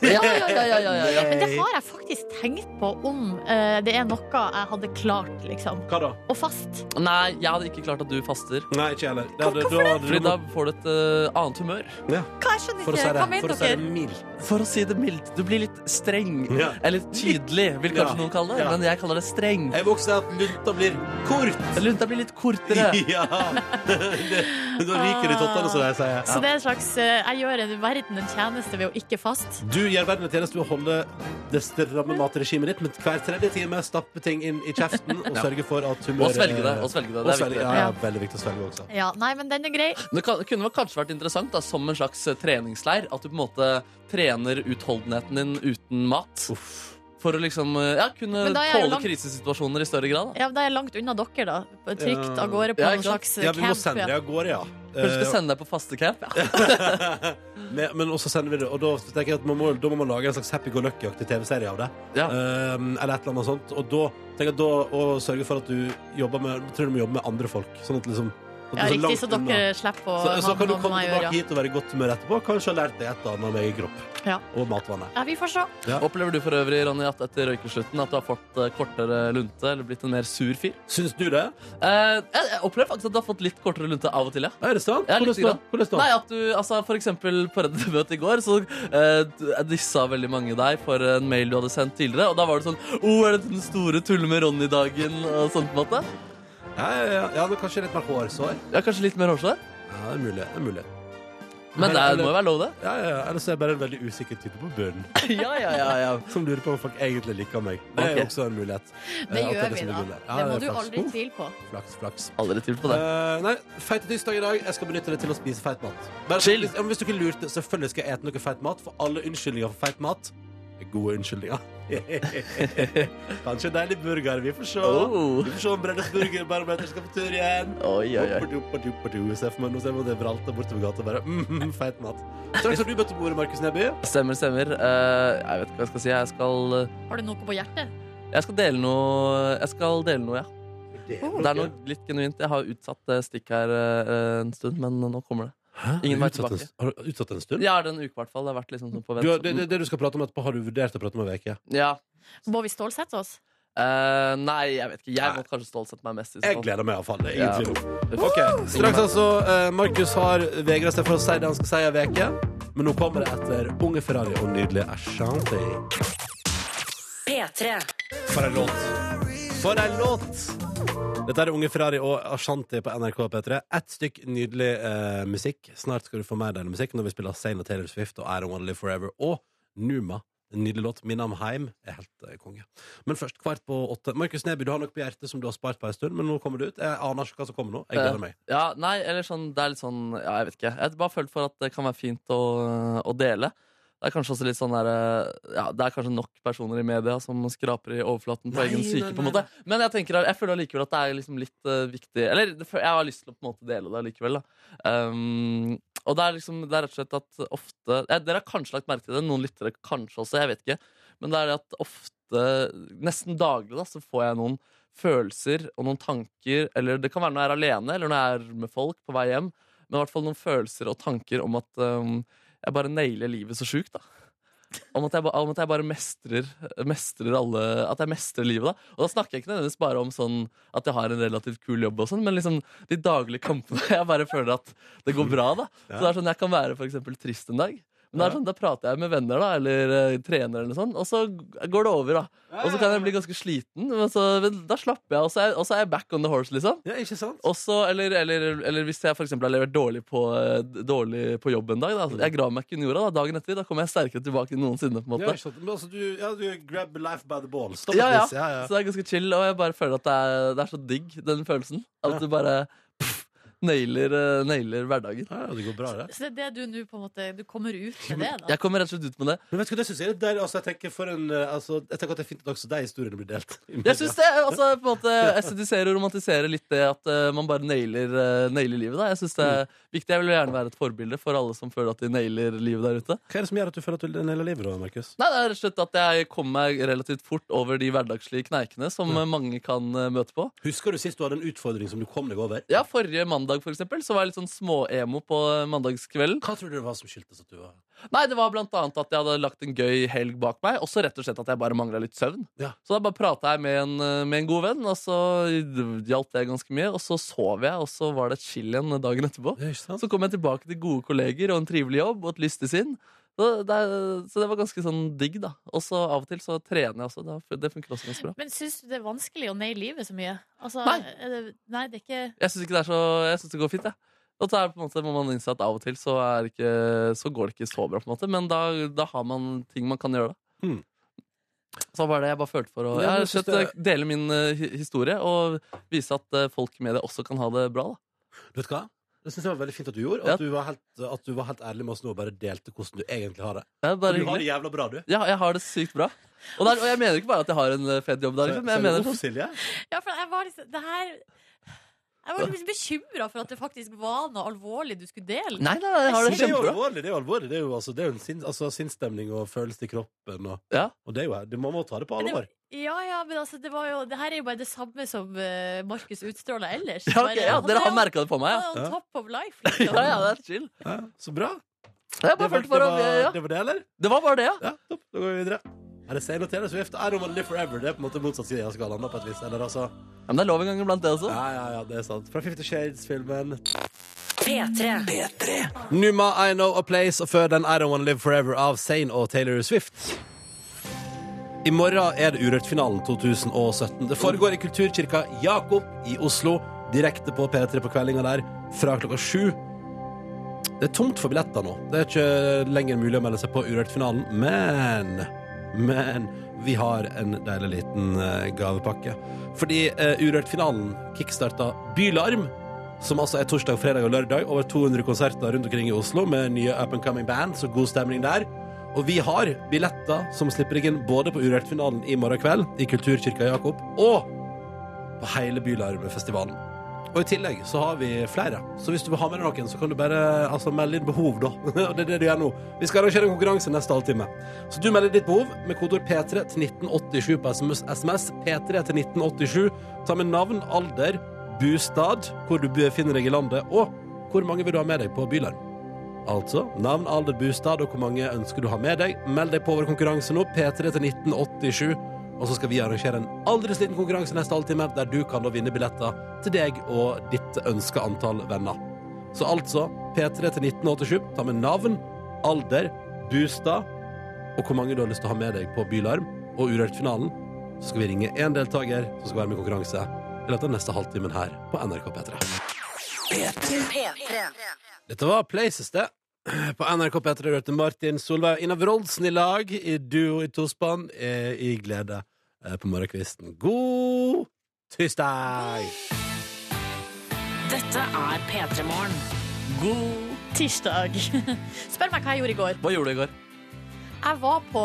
Speaker 4: Ja, ja, ja, ja, ja, ja.
Speaker 3: Men det har jeg faktisk tenkt på om eh, det er noe jeg hadde klart, liksom.
Speaker 2: Hva da?
Speaker 3: Og fast.
Speaker 4: Nei, jeg hadde ikke klart at du faster.
Speaker 2: Nei, ikke jeg heller. Det hadde- da hadde du
Speaker 4: Fordi da
Speaker 2: mått-
Speaker 4: får du et eh, annet humør.
Speaker 3: Hva, jeg skjønner
Speaker 2: For å si
Speaker 3: ikke. Hva
Speaker 2: det, for
Speaker 3: mener
Speaker 2: å si det
Speaker 3: dere?
Speaker 2: mildt.
Speaker 4: For å si det mildt, du blir litt streng.
Speaker 2: Ja.
Speaker 4: Eller tydelig, vil
Speaker 2: Ja.
Speaker 4: kanskje noen kalle det.
Speaker 2: Ja.
Speaker 4: Men jeg kaller det streng.
Speaker 2: Jeg vokser at lunta blir kort.
Speaker 4: Lunta blir litt kortere.
Speaker 2: [laughs]
Speaker 3: [laughs]
Speaker 2: Ja. Det, da ryker det i tottene, som de sier.
Speaker 3: Så det er en slags eh, Jeg gjør en verden en tjeneste ved å ikke faste.
Speaker 2: Du gjør verden en tjeneste ved å holde det stramme matregimet ditt, men hver tredje time stappe ting inn i kjeften
Speaker 4: [laughs]
Speaker 2: og sørge for at humøret
Speaker 4: Og svelge det. Og svelge det,
Speaker 2: Og
Speaker 4: det er
Speaker 2: svelge,
Speaker 4: viktig.
Speaker 2: ja,
Speaker 3: Ja.
Speaker 2: ja, veldig viktig å svelge også.
Speaker 3: Ja, nei, men den er grei.
Speaker 4: Det kan, kunne kanskje vært interessant da, som en slags eh, treningsleir. At du på en måte trener utholdenheten din uten mat. For å liksom ja, kunne
Speaker 3: Men da er jeg
Speaker 4: tåle
Speaker 3: langt-
Speaker 4: krisesituasjoner i større
Speaker 2: Eh,
Speaker 4: grad. Da.
Speaker 3: Ja, da er jeg langt unna dere, da. Trygt
Speaker 2: Ja.
Speaker 3: av gårde på
Speaker 4: Ja, ikke
Speaker 3: noen
Speaker 4: sant?
Speaker 3: slags
Speaker 2: Ja, vi må
Speaker 3: camp.
Speaker 2: sende det
Speaker 3: Ja.
Speaker 2: av gårde, ja. Eh,
Speaker 4: Kanskje vi skal sende deg på fastecamp? Ja.
Speaker 2: Men, men også sender vi det, og da tenker jeg at man må, da må man lage en slags happy go lucky-aktig TV-serie av det.
Speaker 4: Ja.
Speaker 2: Um, eller et eller annet sånt. Og da tenker jeg da å sørge for at du jobber med tror du må jobbe med andre folk. Sånn at liksom sånn
Speaker 3: Ja,
Speaker 2: at du
Speaker 3: riktig,
Speaker 2: langt
Speaker 3: så
Speaker 2: unna.
Speaker 3: dere slipper å
Speaker 2: Så, så kan du
Speaker 3: noe
Speaker 2: komme
Speaker 3: meg å
Speaker 2: tilbake
Speaker 3: gjøre.
Speaker 2: hit og være i godt humør etterpå. Kanskje ha lært deg et eller annet om egen kropp
Speaker 3: Ja.
Speaker 2: og matvannet.
Speaker 3: Ja, vi får se.
Speaker 4: Opplever du for øvrig, Ronny, at etter røykeslutten at du har fått eh, kortere lunte? Eller blitt en mer sur fyr?
Speaker 2: Syns du det?
Speaker 4: Eh, jeg, jeg opplever faktisk at du har fått litt kortere lunte av og til, ja.
Speaker 2: Er det sant?
Speaker 4: Ja,
Speaker 2: Hvordan
Speaker 4: litt
Speaker 2: da?
Speaker 4: grann.
Speaker 2: Hvordan da?
Speaker 4: Nei, at du, altså For eksempel på Reddit-møtet i går, så eh, du- jeg dissa veldig mange deg for en mail du hadde sendt tidligere. Og da var det sånn Å, oh, er det den store tulle med Ronny-dagen? Og sånt på en måte.
Speaker 2: Ja, ja, ja. ja men kanskje litt mer hårsår.
Speaker 4: Ja, Kanskje litt mer hårsår.
Speaker 2: Ja, det er mulig. Det er mulig.
Speaker 4: Men det er- det må jo være lov, det.
Speaker 2: Ja, ja, ja. Ellers er jeg bare en veldig usikker type på bunnen
Speaker 4: [laughs] ja, ja, ja, ja.
Speaker 2: [laughs] som lurer på om folk egentlig liker meg. Det er
Speaker 4: Ok.
Speaker 2: jo også en mulighet.
Speaker 3: Det
Speaker 2: Eh, at
Speaker 3: gjør
Speaker 2: er
Speaker 3: vi,
Speaker 2: som
Speaker 3: da.
Speaker 2: ligger der. Ja,
Speaker 3: Det må
Speaker 2: er
Speaker 3: du
Speaker 2: flaks.
Speaker 3: aldri
Speaker 2: Uff,
Speaker 3: tvile på.
Speaker 2: Flaks, flaks.
Speaker 4: Aldri tvil på det.
Speaker 2: Eh, nei, feite tirsdag i dag. Jeg skal benytte det til å spise feit mat. Bare,
Speaker 4: Chill.
Speaker 2: Hvis, ja, men hvis du ikke lurte, selvfølgelig skal jeg ete noe feit mat, for alle unnskyldninger for feit mat er gode unnskyldninger. [laughs] Kanskje en deilig burger. Vi får se.
Speaker 4: Oh.
Speaker 2: Vi får se om Brennes burger bare blir skal på tur igjen.
Speaker 4: Oi, oi, oi.
Speaker 2: Hoppadoppadoppadoo, ser jeg for meg. Nå ser jeg for meg det vralter bortover gata. Bare mm, feit mat. Straks har du bedt om ordet, Markus Neby.
Speaker 4: Stemmer, stemmer. Eh, jeg vet ikke hva jeg skal si. Jeg skal, eh,
Speaker 3: Har du noe på hjertet?
Speaker 4: jeg skal dele noe, Jeg skal dele noe, ja.
Speaker 2: Oh,
Speaker 4: Det er noe litt genuint. Jeg har utsatt det stikk her eh, en stund, men nå kommer det. Ingen vei
Speaker 2: Utsatt en-
Speaker 4: tilbake.
Speaker 2: Har du utsatt en stund?
Speaker 4: Jeg har det en uke, i hvert fall. Det har vært liksom sånn på
Speaker 2: Du, har-
Speaker 4: vent.
Speaker 2: det, det, det du skal prate om etterpå, har du vurdert å prate om en uke?
Speaker 4: Ja.
Speaker 3: Må vi stålsette oss?
Speaker 4: Eh, nei, jeg vet ikke. Jeg må kanskje stålsette meg mest. I så
Speaker 2: Jeg
Speaker 4: fall.
Speaker 2: gleder meg iallfall. Ingen
Speaker 4: Ja.
Speaker 2: tvil om Ok, Straks altså, eh, Markus har vegra seg for å si det han skal si i en veke Men nå kommer det etter Unge Ferrari og nydelige Ashanti.
Speaker 1: P3.
Speaker 2: For en låt! For en låt! Dette er Unge Ferrari og Ashanti på NRK P3. Ett stykk nydelig eh, musikk. Snart skal du få mer deilig musikk når vi spiller Zayn og Taylor Swift og I Don't Wanna Live Forever og Numa. En nydelig låt. Min am heim er helt eh, konge. Men først, kvart på åtte. Markus Neby, du har noe på hjertet som du har spart på en stund, men nå kommer det ut. Jeg aner ikke hva som kommer nå. Jeg gleder meg.
Speaker 4: Ja, nei, eller sånn, det er litt sånn Ja, jeg vet ikke. Jeg har bare følt for at det kan være fint å, å dele. Det er kanskje også litt sånn der, eh, ja, det er kanskje nok personer i media som skraper i overflaten på
Speaker 2: Nei,
Speaker 4: egen
Speaker 2: nei,
Speaker 4: syke. på en
Speaker 2: nei,
Speaker 4: måte Men jeg tenker, jeg føler allikevel at det er liksom litt eh, viktig Eller det fø- jeg har lyst til å på en måte dele det allikevel. da. Um, og det er liksom, det er rett og slett at ofte ja, Dere har kanskje lagt merke til det, noen lyttere kanskje også, jeg vet ikke. Men det er det at ofte, nesten daglig, da, så får jeg noen følelser og noen tanker Eller det kan være når jeg er alene, eller når jeg er med folk på vei hjem. Men i hvert fall noen følelser og tanker om at um, jeg bare nailer livet så sjukt, da. Om at jeg, ba- om at jeg bare mestrer, mestrer alle At jeg mestrer livet, da. Og da snakker jeg ikke nødvendigvis bare om sånn at jeg har en relativt kul jobb, og sånn men liksom de [laughs] daglige kampene. Jeg bare føler at det går bra, da. Så det er sånn jeg kan være for eksempel trist en dag. Men det er sånn, da prater jeg med venner da, eller eh, trener, eller noe sånt, og så g- går det over. da Og så kan jeg bli ganske sliten, men, så, men da slapper jeg, og så er, og så er jeg back on the horse. liksom
Speaker 2: Ja, ikke sant?
Speaker 4: og så- eller, eller, eller hvis jeg for eksempel har levert dårlig på, eh, dårlig på jobb en dag. Da. Jeg graver meg ikke under jorda da, dagen etter. Da kommer jeg sterkere tilbake enn noensinne. på en
Speaker 2: Ja,
Speaker 4: måte
Speaker 2: ikke sant? Men altså, du, ja, du grab life by the balls. da,
Speaker 4: Ja, ja.
Speaker 2: faktisk. ja, ja.
Speaker 4: Så det er ganske chill, og jeg bare føler at det er, det er så digg, den følelsen. At du bare pff, nailer, eh, nailer hverdagen.
Speaker 2: Ja, ja, det går bra, det.
Speaker 3: Så det er det du nå på en måte Du kommer ut med det, da?
Speaker 4: Jeg kommer rett og slett ut med det.
Speaker 2: Men vet du hva, det synes jeg er litt deilig. Altså, jeg, tenker for en, eh, altså, jeg tenker at det er fint at også de historiene blir delt.
Speaker 4: Jeg synes det, altså på en måte Estetiserer og romantiserer litt det at eh, man bare nailer, eh, nailer livet. da Jeg synes det
Speaker 2: Mm.
Speaker 4: er viktig, jeg vil jo gjerne være et forbilde for alle som føler at de nailer livet der ute.
Speaker 2: Hva er det som gjør at du føler at du nailer livet, da, Markus?
Speaker 4: Nei, det er rett og slett at jeg kommer meg relativt fort over de hverdagslige kneikene som eh, mange kan eh, møte på.
Speaker 2: Husker du sist du hadde en utfordring som du kom deg over?
Speaker 4: Ja, Forrige mandag for eksempel, så var jeg litt sånn småemo på eh, mandagskvelden.
Speaker 2: Hva tror du det var som skyldtes at du var
Speaker 4: Nei, det var blant annet at jeg hadde lagt en gøy helg bak meg. Også rett og slett at jeg bare mangla litt søvn.
Speaker 2: Ja.
Speaker 4: Så da bare prata jeg med en, eh, med en god venn, og så hjalp det ganske mye. Og så sov jeg, og så var det chill igjen dagen etterpå.
Speaker 2: Ja, ikke sant?
Speaker 4: Så kom jeg tilbake til gode kolleger og en trivelig jobb og et lystig sinn. Så det, så det var ganske sånn digg, da. Og så av og til så trener jeg også. Det, det funker også ganske bra.
Speaker 3: Men syns du det er vanskelig å naile livet så mye? Altså,
Speaker 4: Nei.
Speaker 3: er det- nei, det er ikke
Speaker 4: Jeg syns det, er så- jeg synes det går fint, jeg. Og så er det på en måte, må man innse at av og til så, er det ikke, så går det ikke så bra, på en måte. Men da, da har man ting man kan gjøre, da.
Speaker 2: Mm.
Speaker 4: Så var det jeg bare følte for å
Speaker 2: Ja, men
Speaker 4: jeg har
Speaker 2: jeg synes
Speaker 4: sett, dele min eh, hi- historie og vise at eh, folk i media også kan ha det bra. da
Speaker 2: Du vet hva? Det synes jeg var veldig fint at du gjorde.
Speaker 4: Ja.
Speaker 2: At, du var helt, at du var helt ærlig med oss nå og bare delte hvordan du egentlig har det.
Speaker 4: Det er bare
Speaker 2: du har
Speaker 4: hyggelig.
Speaker 2: det jævla bra, du.
Speaker 4: Ja, jeg har det sykt bra. Og, det er- og jeg mener ikke bare at jeg har en eh, fet jobb der, liksom. Jeg mener
Speaker 2: Uff,
Speaker 4: sånn,
Speaker 2: Silje.
Speaker 3: Ja, for jeg var liksom Det her Jeg var litt bekymra for at det faktisk var noe alvorlig du skulle dele.
Speaker 4: Nei, nei, nei, jeg har
Speaker 2: Det er
Speaker 4: det
Speaker 2: jo
Speaker 4: kjempebra.
Speaker 2: alvorlig. Det er jo alvorlig Det er jo, altså, det er jo en sin, altså, sinnsstemning og følelse i kroppen. Og,
Speaker 4: Ja.
Speaker 2: og det er jo, det, man må ta det på
Speaker 3: Men det-
Speaker 2: alvor.
Speaker 3: Ja, ja, men altså, det var jo Det her er jo bare det samme som eh, Markus utstråler ellers.
Speaker 4: Ja, ok,
Speaker 3: Bare-
Speaker 4: ja,
Speaker 3: han
Speaker 4: dere
Speaker 3: er
Speaker 4: har
Speaker 3: jo-
Speaker 4: merka det på meg, ja.
Speaker 3: Han er
Speaker 2: Ja.
Speaker 3: on top of
Speaker 4: [laughs]
Speaker 3: life,
Speaker 4: Ja, ja,
Speaker 3: liksom.
Speaker 4: det er chill.
Speaker 2: Ja, så bra.
Speaker 4: Jeg
Speaker 2: Det
Speaker 4: bare
Speaker 2: var
Speaker 4: følte
Speaker 2: det,
Speaker 4: for å
Speaker 2: var,
Speaker 4: ja.
Speaker 2: det, var det eller?
Speaker 4: Det var bare det, ja.
Speaker 2: Ja, topp. Da går vi videre. Er det Sailor Taylor Swift? I don't wanna live forever. Det er på en måte motsatt side av skalaen. da, på et vis, eller altså.
Speaker 4: Ja, Men det er lov en gang iblant, det også.
Speaker 2: Ja, ja, ja, det er sant. Fra Fifty Shades-filmen.
Speaker 1: P3.
Speaker 2: Numa, I Know A Place, og før den I Don't Wanna Live Forever av Zayn og Taylor Swift. I morgen er det Urørt-finalen 2017. Det foregår i Kulturkirka Jakob i Oslo. Direkte på P3 på kveldinga der fra klokka sju. Det er tomt for billetter nå. Det er ikke lenger mulig å melde seg på Urørt-finalen, men Men vi har en deilig liten eh, gavepakke. Fordi eh, Urørt-finalen kickstarta Bylarm som altså er torsdag, fredag og lørdag. Over 200 konserter rundt omkring i Oslo med nye up and coming band, så god stemning der. Og vi har billetter som slipper deg inn både på Urørt-finalen i morgen kveld i Kulturkirka Jakob, og på hele Bylarmfestivalen. Og i tillegg så har vi flere. Så hvis du vil ha med deg noen, så kan du bare altså, melde inn behov, da. [laughs] Og det er det du gjør nå. Vi skal arrangere en konkurranse neste halvtime. Så du melder ditt behov med kodeord P3 til 1987 på SMS. SMS P3 til 1987. Ta med navn, alder, bostad, hvor du befinner deg i landet, og hvor mange vil du ha med deg på Bylarm. Altså navn, alder, bostad og hvor mange ønsker du ha med deg. Meld deg på vår konkurranse nå, P3 til 1987. Og så skal vi arrangere en aldri sliten konkurranse neste halvtime, der du kan da vinne billetter til deg og ditt ønska antall venner. Så altså P3 til 1987. Ta med navn, alder, bostad og hvor mange du har lyst til å ha med deg på Bylarm og Urørt-finalen. Så skal vi ringe én deltaker som skal være med i konkurranse i løpet av neste halvtimen her på NRK P3.
Speaker 1: P3.
Speaker 2: Dette var Places, det. På NRK P3 hørte Martin Solveig og Ina Wroldsen i lag, i duo i tospann, eh, i glede eh, på morgenkvisten. God tirsdag!
Speaker 1: Dette er P3 Morgen.
Speaker 4: God
Speaker 3: Tirsdag. [laughs] Spør meg hva jeg gjorde i går.
Speaker 4: Hva gjorde du i går?
Speaker 3: Jeg var på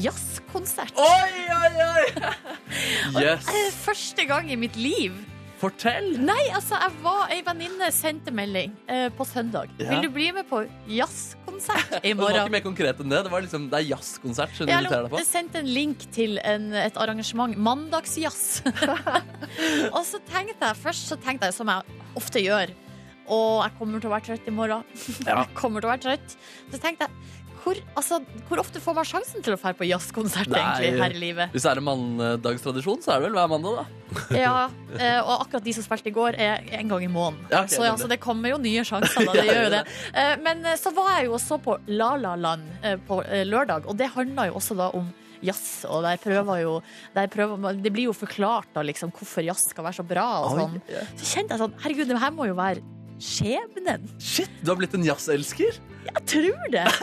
Speaker 3: jazzkonsert.
Speaker 4: Oi, oi, oi! [laughs] Yes.
Speaker 3: Det er Første gang i mitt liv.
Speaker 4: Fortell!
Speaker 3: Nei, altså, jeg var ei venninne sendte melding eh, på søndag.
Speaker 4: Ja.
Speaker 3: Vil du bli med på jazzkonsert i
Speaker 4: Det [laughs] var ikke
Speaker 3: morgen?
Speaker 4: mer konkret enn det. Det var liksom, det er jazzkonsert. Skjønner
Speaker 3: Jeg
Speaker 4: du irriterer deg på?
Speaker 3: sendte en link til en, et arrangement.
Speaker 4: [laughs]
Speaker 3: Mandagsjazz. og så tenkte jeg først så tenkte jeg som jeg ofte gjør. og jeg kommer til å være trøtt i morgen. [laughs] Jeg kommer til å være trøtt. Så tenkte jeg, hvor, altså, hvor ofte får man sjansen til å dra på jazzkonsert
Speaker 4: Nei.
Speaker 3: egentlig her i livet?
Speaker 4: Hvis det er en manndagstradisjon, så er det vel hver mandag, da.
Speaker 3: Ja, eh, og akkurat de som spilte i går, er en gang i måneden.
Speaker 4: Ja, ok,
Speaker 3: så ja,
Speaker 4: det-
Speaker 3: så det kommer jo nye sjanser, da. Det
Speaker 4: Ja,
Speaker 3: gjør jo
Speaker 4: det- [laughs]
Speaker 3: det. Eh, Men eh, så var jeg jo og så på La La Land eh, på eh, lørdag, og det handla jo også da om jazz. Og der prøver jo der prøver, man- Det blir jo forklart da liksom hvorfor jazz skal være så bra og sånn.
Speaker 4: Oi.
Speaker 3: Så kjente jeg sånn Herregud, det her må jo være skjebnen.
Speaker 4: Shit, du har blitt en jazzelsker?
Speaker 3: Jeg tror det. [laughs]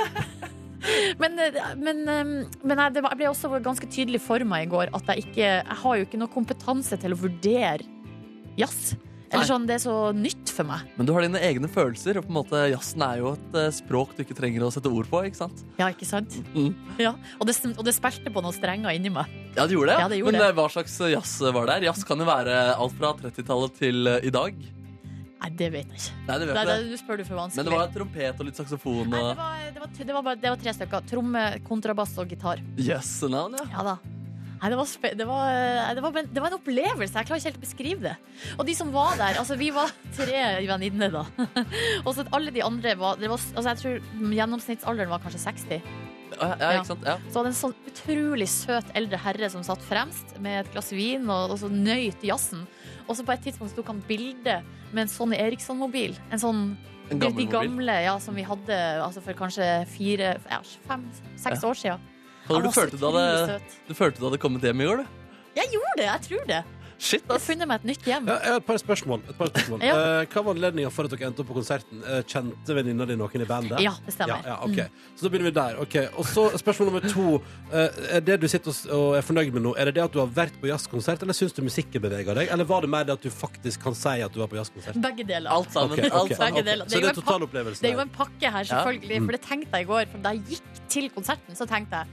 Speaker 3: Men, eh, men, eh, men jeg, det var, jeg ble også ganske tydelig for meg i går at jeg ikke Jeg har jo ikke noe kompetanse til å vurdere jazz. Eller
Speaker 4: Nei.
Speaker 3: sånn, det er så nytt for meg.
Speaker 4: Men du har dine egne følelser, og på en måte jazzen er jo et eh, språk du ikke trenger å sette ord på. ikke sant?
Speaker 3: Ja, ikke sant?
Speaker 4: Mm.
Speaker 3: Ja. Og, det, og det spilte på noen strenger inni meg.
Speaker 4: Ja, det gjorde det.
Speaker 3: Ja, det gjorde
Speaker 4: Men
Speaker 3: det.
Speaker 4: eh, hva slags eh, jazz var det her? Jazz kan jo være alt fra 30-tallet til eh, i dag. Nei,
Speaker 3: Nei, det vet jeg ikke.
Speaker 4: det vet
Speaker 3: Nei,
Speaker 4: jeg.
Speaker 3: det, du spør du for vanskelig.
Speaker 4: Men det var trompet og litt saksofon
Speaker 3: Nei, det
Speaker 4: og
Speaker 3: var, det, var, det, var bare, det var tre stykker. Tromme, kontrabass og gitar.
Speaker 4: jøssenavn, ja.
Speaker 3: Ja da. Nei, det var, spe det, var, eh, det, var, men det var en opplevelse. Jeg klarer ikke helt å beskrive det. Og de som var der altså Vi var [laughs] tre venninner, da. [laughs] Og så alle de andre var, det var altså Jeg tror gjennomsnittsalderen var kanskje 60.
Speaker 4: Ja, ja,
Speaker 3: Ja.
Speaker 4: ikke sant? Ja.
Speaker 3: Så var det en sånn utrolig søt eldre herre som satt fremst med et glass vin og, og så nøyt jazzen. Og så på et tidspunkt så tok han bilde med en Sonny Eriksson-mobil. En sånn
Speaker 4: En
Speaker 3: de,
Speaker 4: gammel
Speaker 3: de
Speaker 4: mobil.
Speaker 3: gamle ja, som vi hadde altså for kanskje fire, ja, fem-seks år siden. Han
Speaker 4: Hadde
Speaker 3: var
Speaker 4: du,
Speaker 3: så
Speaker 4: følte du, hadde,
Speaker 3: utrolig søt.
Speaker 4: du følte du hadde kommet hjem i går, du?
Speaker 3: Jeg gjorde det, jeg tror det.
Speaker 4: Shit,
Speaker 3: Jeg har
Speaker 4: ass.
Speaker 3: funnet meg et nytt hjem.
Speaker 2: Ja, jeg har et par spørsmål. Et par spørsmål.
Speaker 3: Ja.
Speaker 2: Eh, hva var anledningen for at dere endte opp på konserten? Eh, kjente venninna di noen i bandet?
Speaker 3: Ja, det stemmer.
Speaker 2: Ja, ja, ok. Så da begynner vi der. ok. Og så spørsmål nummer to. Eh, er det du sitter og s- og er fornøyd med nå, er det det at du har vært på jazzkonsert, eller syns du musikken beveger deg? Eller var det mer det at du faktisk kan si at du var på jazzkonsert?
Speaker 3: Begge deler.
Speaker 4: Alt sammen.
Speaker 2: Ok, ok.
Speaker 4: Alt sammen.
Speaker 3: Begge deler.
Speaker 2: Så det
Speaker 3: jo
Speaker 2: er
Speaker 3: en pak-
Speaker 2: totalopplevelsen?
Speaker 3: Det er jo
Speaker 2: her. Mm.
Speaker 3: en pakke her, selvfølgelig. For det tenkte jeg i går. For da jeg gikk til konserten, så tenkte jeg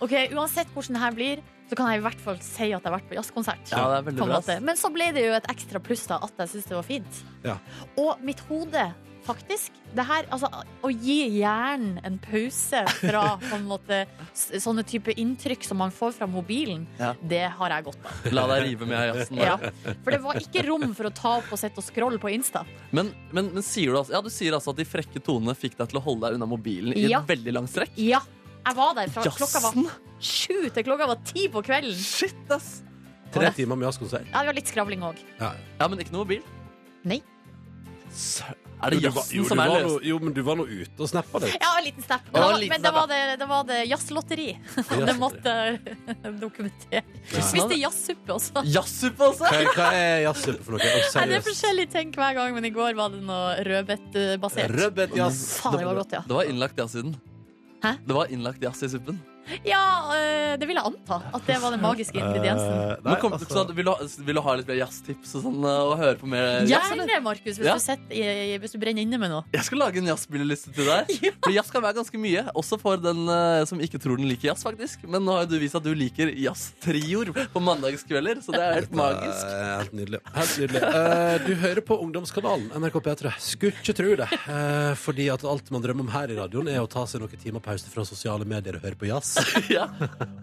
Speaker 3: OK, uansett hvordan det her blir, så kan jeg i hvert fall si at jeg har vært på jazzkonsert.
Speaker 4: Ja, det er veldig
Speaker 3: på en
Speaker 4: bra.
Speaker 3: måte.
Speaker 4: ass.
Speaker 3: Men så ble det jo et ekstra pluss da at jeg syntes det var fint.
Speaker 2: Ja.
Speaker 3: Og mitt hode, faktisk det her, altså, Å gi hjernen en pause fra
Speaker 4: [laughs]
Speaker 3: på en måte, s- sånne type inntrykk som man får fra mobilen,
Speaker 4: Ja.
Speaker 3: det har jeg godt av.
Speaker 4: La deg rive med av jazzen.
Speaker 3: Ja. For det var ikke rom for å ta opp og sitte og scrolle på Insta.
Speaker 4: Men, men, men sier du, altså, ja, du sier altså at de frekke tonene fikk deg til å holde deg unna mobilen i
Speaker 3: Ja.
Speaker 4: et veldig langt strekk?
Speaker 3: Ja, jeg var der fra klokka var
Speaker 4: Jazzen?
Speaker 3: sju til klokka var ti på kvelden.
Speaker 4: Shit, ass!
Speaker 2: Tre timer med jazzkonsert.
Speaker 3: Ja, det var litt skravling òg.
Speaker 2: Ja.
Speaker 4: Ja, men ikke noe mobil?
Speaker 3: Nei.
Speaker 4: Sø- Er det
Speaker 2: Du var- jo,
Speaker 4: jazzen
Speaker 2: du
Speaker 4: som er
Speaker 2: var
Speaker 4: løsningen?
Speaker 2: nå- Jo, men du var nå ute og snappa
Speaker 4: [laughs]
Speaker 2: litt.
Speaker 3: Ja, en liten snap.
Speaker 4: Ja,
Speaker 3: Men da
Speaker 4: en
Speaker 3: var-
Speaker 4: liten
Speaker 3: men da
Speaker 4: snap,
Speaker 3: var det, da var det jazzlotteri. [laughs] Det måtte jeg [laughs] dokumentere. Spiste jazzsuppe også.
Speaker 4: Jazzsuppe, altså!
Speaker 2: Hva, hva er jazzsuppe for noe? Å,
Speaker 3: Nei, det er
Speaker 2: Seriøst.
Speaker 3: forskjellige ting hver gang, men i går var det noe rødbetbasert.
Speaker 2: Rødbetjazz.
Speaker 3: Faen, det var godt, ja.
Speaker 4: Det var innlagt jazz i den.
Speaker 3: Hæ?
Speaker 4: Det var innlagt jazz i suppen.
Speaker 3: Ja, eh, det vil jeg anta. At det var den magiske ingrediensen.
Speaker 2: Eh, nei,
Speaker 4: Men kom,
Speaker 2: altså-
Speaker 4: så, vil, du, ha- vil du ha litt mer jazztips og sånn, og høre på mer jazz? eller?
Speaker 3: Gjerne, Markus, hvis,
Speaker 4: Ja.
Speaker 3: du sitter i- i- hvis du brenner inne med noe.
Speaker 4: Jeg skal lage en jazzspilleliste
Speaker 6: [laughs]
Speaker 4: til deg.
Speaker 3: Ja.
Speaker 4: For jazz kan være ganske mye, også for den eh, som ikke tror den liker jazz, faktisk. Men nå har jo du vist at du liker jazztrioer på mandagskvelder, så det er helt magisk.
Speaker 2: Eh, Helt nydelig. Helt nydelig. Eh, du hører på Ungdomskanalen, NRK P3. Skulle ikke tro det. Eh, fordi at alt man drømmer om her i radioen, er å ta seg noen timer pause fra sosiale medier og høre på jazz.
Speaker 4: [laughs] Ja.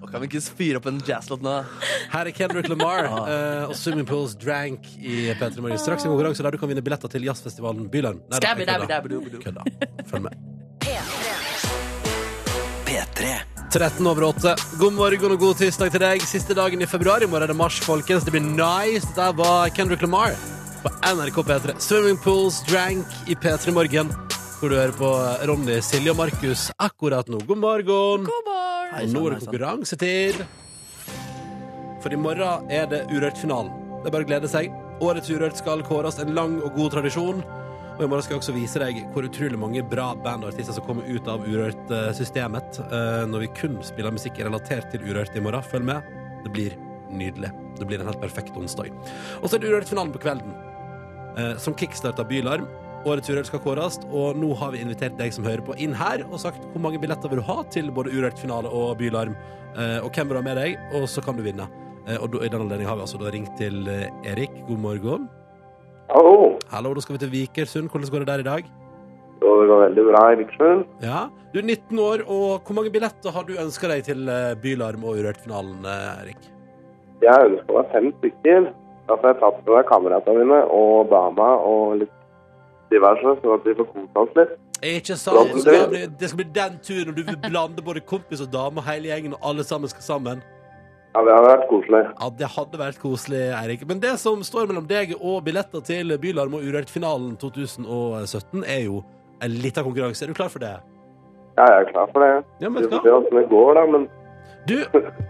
Speaker 4: Og kan vi ikke fyre opp en jazzlåt nå?
Speaker 2: Her er Kendrick Lamar eh, og Swimming Pools Drank i P3 Morgen. Straks en konkurranse der du kan vinne billetter til jazzfestivalen Byland. Nei, da, jeg kødder.
Speaker 4: Skabbi-dabbi-dabbi-dabbi-dabbi.
Speaker 2: Kødda. Følg med. 13 over 8. God morgen og god tirsdag til deg. Siste dagen i februar. I morgen er det mars, folkens. Det blir nice. Der var Kendrick Lamar på NRK P3. Swimming pools, drank i P3 Morgen. Hvor du hører på Ronny, Silje og Markus akkurat nå. God morgen.
Speaker 3: God morgen!
Speaker 2: Og nå er det konkurransetid. For i morgen er det Urørt-finalen. Det er bare å glede seg. Årets Urørt skal kåres en lang og god tradisjon. Og i morgen skal jeg også vise deg hvor utrolig mange bra band og artister som kommer ut av Urørt-systemet eh, når vi kun spiller musikk relatert til Urørt i morgen. Følg med. Det blir nydelig. Det blir en helt perfekt onsdag. Og så er det Urørt-finalen på kvelden, eh, som kickstarta Bylarm. Årets Urørt skal kåres, og nå har vi invitert deg som hører på, inn her og sagt hvor mange billetter vil du ha til både Urørt-finale og Bylarm, eh, og hvem vil du ha med deg, og så kan du vinne. Eh, Og da- i den anledning har vi altså da ringt til eh, Erik. God morgen.
Speaker 7: Hallo.
Speaker 2: Hallo, da skal vi til Vikersund. Hvordan går det der i dag?
Speaker 7: Jo, det går veldig bra i Vikersund.
Speaker 2: Ja, Du er 19 år, og hvor mange billetter har du ønska deg til eh, Bylarm og Urørt-finalen, eh, Erik?
Speaker 7: Jeg ønsker meg fem stykker. Altså, jeg har tatt med meg kameratene mine og dama og litt diverse, sånn at vi får kosa oss litt.
Speaker 2: Ikke sant? Det skal, bli, det skal bli den turen når du vil blande både kompis og dame og hele gjengen, og alle sammen skal sammen.
Speaker 7: Ja, det har vært koselig.
Speaker 2: Ja, det hadde vært koselig, Eirik. Men det som står mellom deg og billetter til Bylarm og Urørt-finalen 2017, er jo en liten konkurranse. Er du klar for det?
Speaker 7: Ja, jeg er klar for det.
Speaker 2: Ja,
Speaker 7: Vi får se hvordan det går, da. Men
Speaker 2: Du,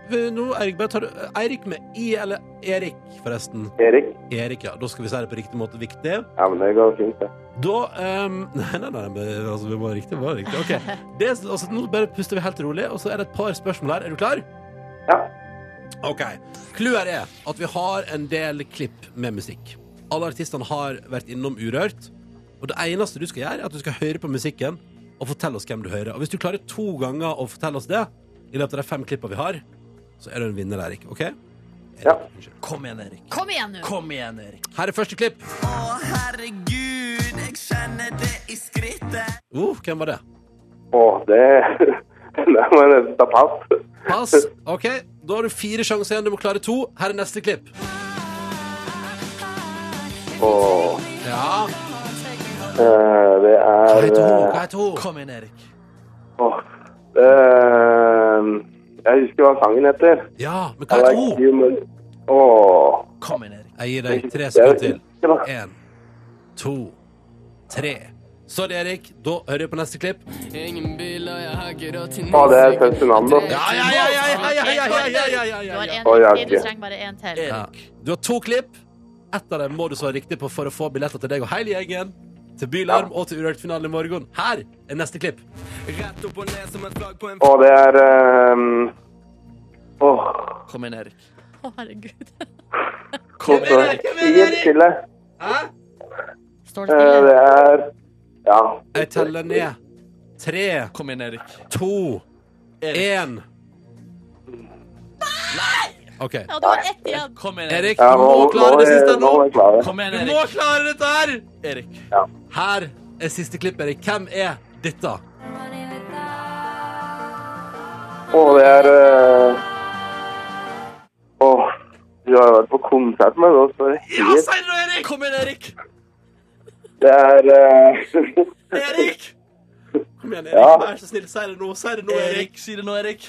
Speaker 2: vi- nå, Eirik, bare tar du Eirik med I, eller Erik, forresten.
Speaker 7: Erik
Speaker 2: Erik, ja. Da skal vi si det på riktig måte. Viktig.
Speaker 7: Ja, men det går fint, det.
Speaker 2: Da ehm, [laughs] Nei, nei, nei, men, altså, vi må ha riktig. Vi må ha riktig. Ok. [laughs] Det, altså, nå bare puster vi helt rolig, og så er det et par spørsmål her. Er du klar?
Speaker 7: Ja.
Speaker 2: Ok. Clouet er at vi har en del klipp med musikk. Alle artistene har vært innom Urørt. Og det eneste du skal gjøre, er at du skal høre på musikken og fortelle oss hvem du hører. Og hvis du klarer to ganger å fortelle oss det i løpet av de fem klippene vi har, så er du en vinner, Erik. OK? Erik,
Speaker 7: Ja.
Speaker 2: unnskyld.
Speaker 6: Kom igjen, Erik.
Speaker 3: Kom igjen nå!
Speaker 6: Kom igjen, Erik.
Speaker 2: Her er første klipp.
Speaker 6: Å, herregud, jeg kjenner det i skrittet.
Speaker 2: Uh, hvem var det?
Speaker 7: Å, det [laughs] Det må jeg nesten ta pass.
Speaker 2: Pass. OK, da har du fire sjanser igjen. Du må klare to. Her er neste klipp.
Speaker 7: Og
Speaker 2: Ja.
Speaker 7: eh, det
Speaker 2: Hva
Speaker 7: er
Speaker 2: heter hun?
Speaker 7: eh,
Speaker 2: Hva heter hun?
Speaker 6: Kom igjen, Erik.
Speaker 7: Åh. Eh, Jeg husker hva sangen heter.
Speaker 2: Ja, men hva heter hun?
Speaker 7: human. Åh.
Speaker 6: Kom igjen, Erik.
Speaker 2: Jeg gir deg tre
Speaker 7: Jeg
Speaker 2: sekunder
Speaker 7: husker
Speaker 2: til.
Speaker 7: ikke, da.
Speaker 2: Én, to, tre. Sorry, Erik. Da hører vi på neste klipp.
Speaker 7: Å, det er Født Fernando.
Speaker 2: Ja, ja, ja, ja, ja, ja, ja, ja, ja, ja, ja,
Speaker 3: Du
Speaker 2: ja,
Speaker 3: har
Speaker 2: ja.
Speaker 3: én
Speaker 7: Å, ja,
Speaker 3: riktig, du
Speaker 7: ok.
Speaker 3: trenger bare én til.
Speaker 2: Ja. Du har to klipp. Ett av dem må du svare riktig på for å få billetter til deg og hele gjengen. Til Bylarm og til Urørt-finalen i morgen. Her er neste klipp.
Speaker 6: Rett opp og ned som et flagg på en
Speaker 7: Å, det er eh, Åh.
Speaker 4: Kom igjen, Erik.
Speaker 3: Å, herregud.
Speaker 7: Kom igjen, Helt stille.
Speaker 3: Står det
Speaker 7: Eh,
Speaker 3: stille?
Speaker 7: Det er Ja.
Speaker 2: Jeg teller ned. Tre,
Speaker 4: Kom igjen, Erik.
Speaker 2: to, én. OK.
Speaker 3: Ja, du har ett igjen.
Speaker 4: Kom igjen, Erik.
Speaker 2: Erik,
Speaker 7: Ja,
Speaker 2: du
Speaker 7: nå,
Speaker 2: må
Speaker 7: nå,
Speaker 2: klare det
Speaker 7: er-
Speaker 2: siste
Speaker 7: nå
Speaker 2: nå.
Speaker 7: er jeg klar.
Speaker 4: Kom igjen,
Speaker 2: Du må
Speaker 4: Erik.
Speaker 2: klare dette her!
Speaker 4: Erik.
Speaker 2: Her er siste klipp, Erik. Hvem er dette?
Speaker 7: Åh, det er eh, Åh. Du har jo vært på konsert med oss. for
Speaker 2: Ja,
Speaker 7: helt-
Speaker 2: si det nå, Erik!
Speaker 4: Kom igjen, Erik.
Speaker 7: Det er eh, [laughs]
Speaker 2: Erik! Kom igjen, Erik.
Speaker 7: Ja.
Speaker 2: Vær så snill, si det nå. Si det nå, Erik.
Speaker 4: Erik, Si det nå, Erik.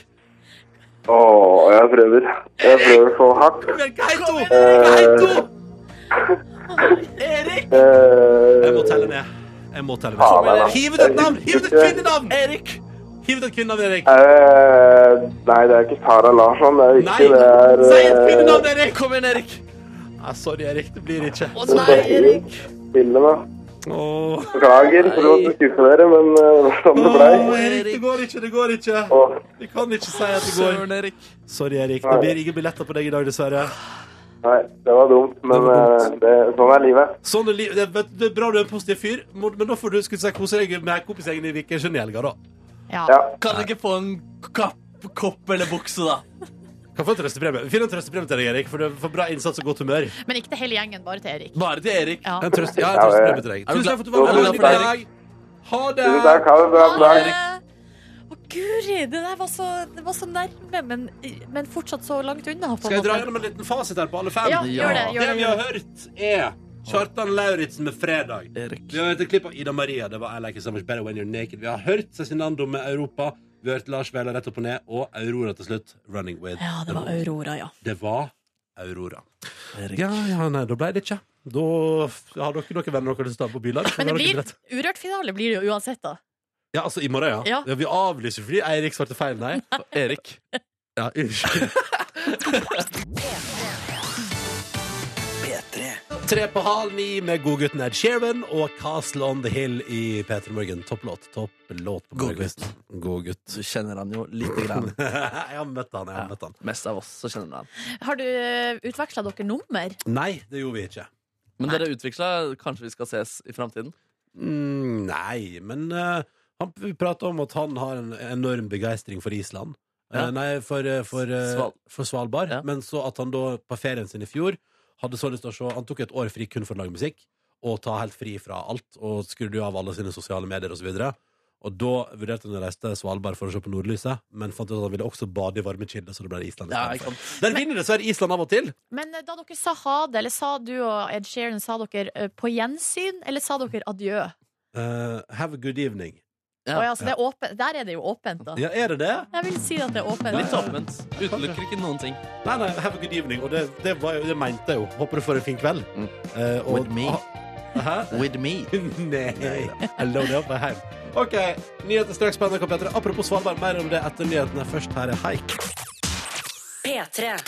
Speaker 7: Åh, jeg prøver. Jeg prøver så hardt.
Speaker 2: Kom igjen, hva heter hun? Hva heter hun?
Speaker 7: Eh,
Speaker 2: Jeg må telle ned. Jeg må telle
Speaker 7: Faen,
Speaker 2: ned.
Speaker 7: Erik.
Speaker 2: Hiv ut et navn! Hiv ut et kvinnenavn! Erik! Hiv ut et kvinnenavn, Erik.
Speaker 7: eh, nei, det er ikke Sara Larsson. Det er
Speaker 2: Nei!
Speaker 7: ikke det er
Speaker 2: Si et kvinnenavn,
Speaker 7: eh,
Speaker 2: Erik! Kom igjen, Erik. Nei, sorry, Erik. Det blir ikke.
Speaker 3: Å, nei, Erik.
Speaker 7: Stille, da.
Speaker 2: Åh,
Speaker 7: Beklager for å skuffe dere, men eh, det var sånn det blei.
Speaker 2: Åh, Erik, det går ikke. Det går ikke.
Speaker 7: Åh,
Speaker 2: Vi kan ikke si at det går.
Speaker 4: Søren, Erik.
Speaker 2: Sorry, Erik. Det blir ingen billetter på deg i dag, dessverre.
Speaker 7: nei, det var dumt, men eh, det, sånn er livet.
Speaker 2: Sånn er liv- det, vet du, det er bra du er en positiv fyr, må- men da får du skulle si, kose deg med kompisgjengen i Vikersund i helga, da.
Speaker 3: Ja.
Speaker 7: Ja.
Speaker 4: Kan jeg ikke få en kapp, kopp eller bukse, da?
Speaker 2: Kan få en trøstepremie. Finn en trøstepremie til deg, Erik, for, du- for bra innsats og godt humør.
Speaker 3: Men ikke til hele gjengen, bare til Erik.
Speaker 4: Bare til Erik.
Speaker 3: Ja.
Speaker 2: En trøst, ja, en
Speaker 7: Ja, ja, ja.
Speaker 2: trøstepremie til deg.
Speaker 4: Er du
Speaker 2: Tusen takk
Speaker 4: glad-
Speaker 2: for at du var
Speaker 4: er
Speaker 2: med
Speaker 4: du
Speaker 2: oss i
Speaker 4: glad for
Speaker 2: dag. Ha det!
Speaker 7: Tusen takk. Ha det bra.
Speaker 3: Ha
Speaker 7: bra.
Speaker 3: det. Å, guri, det der var så, det var så nærme, men, men fortsatt så langt unna. På en
Speaker 2: Skal jeg dra
Speaker 3: måte.
Speaker 2: gjennom en liten fasit her på alle fem?
Speaker 3: Ja, gjør det. Gjør
Speaker 2: Det
Speaker 3: det,
Speaker 2: vi
Speaker 3: gjør
Speaker 2: har
Speaker 3: det.
Speaker 2: hørt, er Kjartan Lauritzen med 'Fredag'.
Speaker 4: Erik.
Speaker 2: Vi har hørt et klipp av Ida Maria. Det var I like it so much better when you're naked. Vi har hørt Cezinando med 'Europa'. Vi har hørt Lars Vaular rett opp og ned. Og Aurora til slutt, 'Running With'.
Speaker 3: Ja, det var Aurora, ja.
Speaker 2: Det var Aurora. Ja, ja, nei, da ble det ikke. Da f- har dere noen venner dere har lyst til å ta på bylag.
Speaker 3: Men det
Speaker 2: Har dere
Speaker 3: blir
Speaker 2: billett?
Speaker 3: urørt finale blir det jo uansett, da.
Speaker 2: Ja, altså i morgen, ja.
Speaker 3: Ja.
Speaker 2: ja. Vi avlyser fordi Eirik svarte feil,
Speaker 3: [laughs]
Speaker 2: nei.
Speaker 4: Erik.
Speaker 2: Ja, unnskyld.
Speaker 6: P3.
Speaker 2: Tre på halv ni med godgutten Ed Sheeran og Castle on the Hill i P3 Morgen. Topplåt. Topplåt på
Speaker 4: Godgutt.
Speaker 2: morgenkvisten. Godgutt.
Speaker 4: Du kjenner han jo lite grann.
Speaker 2: [laughs] jeg har møtt han, jeg har møtt han.
Speaker 4: Mest av oss så kjenner vi han.
Speaker 3: Har du utveksla dere nummer?
Speaker 2: Nei, det gjorde vi ikke.
Speaker 4: Men dere utveksla Kanskje vi skal ses i framtiden?
Speaker 2: Mm, nei, men eh, han vi prater om at han har en enorm begeistring for Island. Eh,
Speaker 4: Ja.
Speaker 2: nei, for, eh, for, eh,
Speaker 4: Sval-
Speaker 2: for Svalbard.
Speaker 4: Ja.
Speaker 2: Men så at han da, på ferien sin i fjor, hadde så lyst til å se Han tok et år fri kun for å lage musikk, og ta helt fri fra alt, og skrudde jo av alle sine sosiale medier osv. Og, så videre. Og da vurderte han å reise til Svalbard for å se på nordlyset, men fant ut at han ville også bade i varme kilder, så det ble Island.
Speaker 4: Ja,
Speaker 2: istedenfor.
Speaker 4: ikke sant.
Speaker 2: Der vinner dessverre Island av og til.
Speaker 3: Men eh, da dere sa ha det, eller sa du og Ed Sheeran, sa dere eh, på gjensyn, eller sa dere adjø?
Speaker 2: Eh, have a good evening.
Speaker 4: Ja.
Speaker 3: Å ja, så det er åpen, der er det jo åpent, da.
Speaker 2: Ja, er det det?
Speaker 3: Jeg vil si at det er åpent.
Speaker 4: Litt åpent. Utelukker ikke noen ting.
Speaker 2: Nei, nei, have a good evening. Og det, det, var, jo- det mente jeg jo. Håper du får en fin kveld.
Speaker 4: Mm.
Speaker 2: Eh, og-
Speaker 8: With me.
Speaker 2: Hæ?
Speaker 8: With me.
Speaker 2: Nei. Jeg loader opp og hjem. OK. Nyheter straks på NRK P3. Apropos Svalbard, mer om det etter nyhetene. Først her er Haik.
Speaker 1: P3.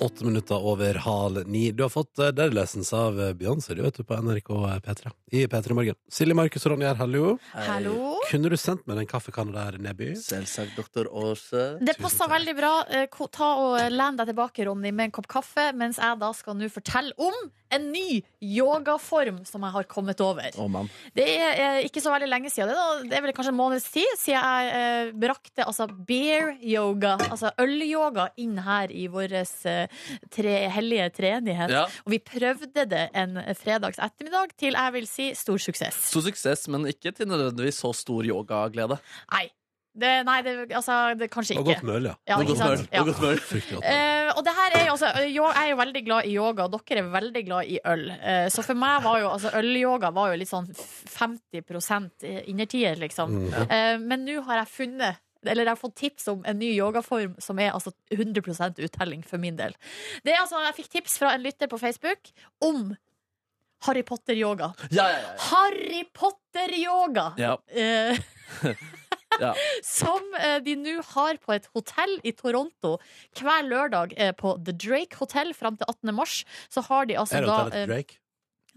Speaker 2: Åtte minutter over halv ni. Du har fått eh, Dead Lessons av eh, Beyoncé du vet du, på NRK eh, P3 i P3 Morgen. Silje Markus og Ronny her, hallo.
Speaker 3: Hallo?
Speaker 2: Kunne du sendt meg den kaffekanna der, Neby?
Speaker 8: Selvsagt, doktor Aase.
Speaker 3: Det passer veldig bra. Eh, ko- Ta og Len deg tilbake, Ronny, med en kopp kaffe, mens jeg da skal nå fortelle om en ny yogaform som jeg har kommet over.
Speaker 8: Å, mann.
Speaker 3: Det er eh, ikke så veldig lenge siden. Det er, da- det er vel kanskje en måneds tid siden jeg eh, brakte altså beer yoga, altså ølyoga, inn her i vår eh, tre, hellige treenighet.
Speaker 4: Ja.
Speaker 3: Og vi prøvde det en fredags ettermiddag til jeg vil si stor suksess.
Speaker 4: Stor suksess, men ikke til nødvendigvis så stor yogaglede.
Speaker 3: Nei. Det, nei, det, altså, det kanskje
Speaker 2: Og
Speaker 3: ikke.
Speaker 2: godt møl, ja.
Speaker 3: Ja, ikke sant? Ja.
Speaker 2: Og godt
Speaker 3: [laughs]
Speaker 2: møl. Fryktelig godt møl.
Speaker 3: Eh, og det her er jo altså ø, jo- Jeg er jo veldig glad i yoga, og dere er veldig glad i øl. Eh, så for meg var jo altså ølyoga var jo litt sånn 50 innertier, liksom. Eh, men nå har jeg funnet eller jeg har fått tips om en ny yogaform som er altså 100 uttelling for min del. Det er altså, Jeg fikk tips fra en lytter på Facebook om Harry Potter-yoga.
Speaker 4: Ja, ja, ja.
Speaker 3: Harry Potter-yoga!
Speaker 4: ja.
Speaker 3: Eh,
Speaker 4: Ja.
Speaker 3: Som eh, de nå har på et hotell i Toronto hver lørdag eh, på The Drake Hotel fram til 18. mars. Så har de altså
Speaker 2: Er det
Speaker 3: da
Speaker 2: hotellet til
Speaker 3: eh,
Speaker 2: Drake?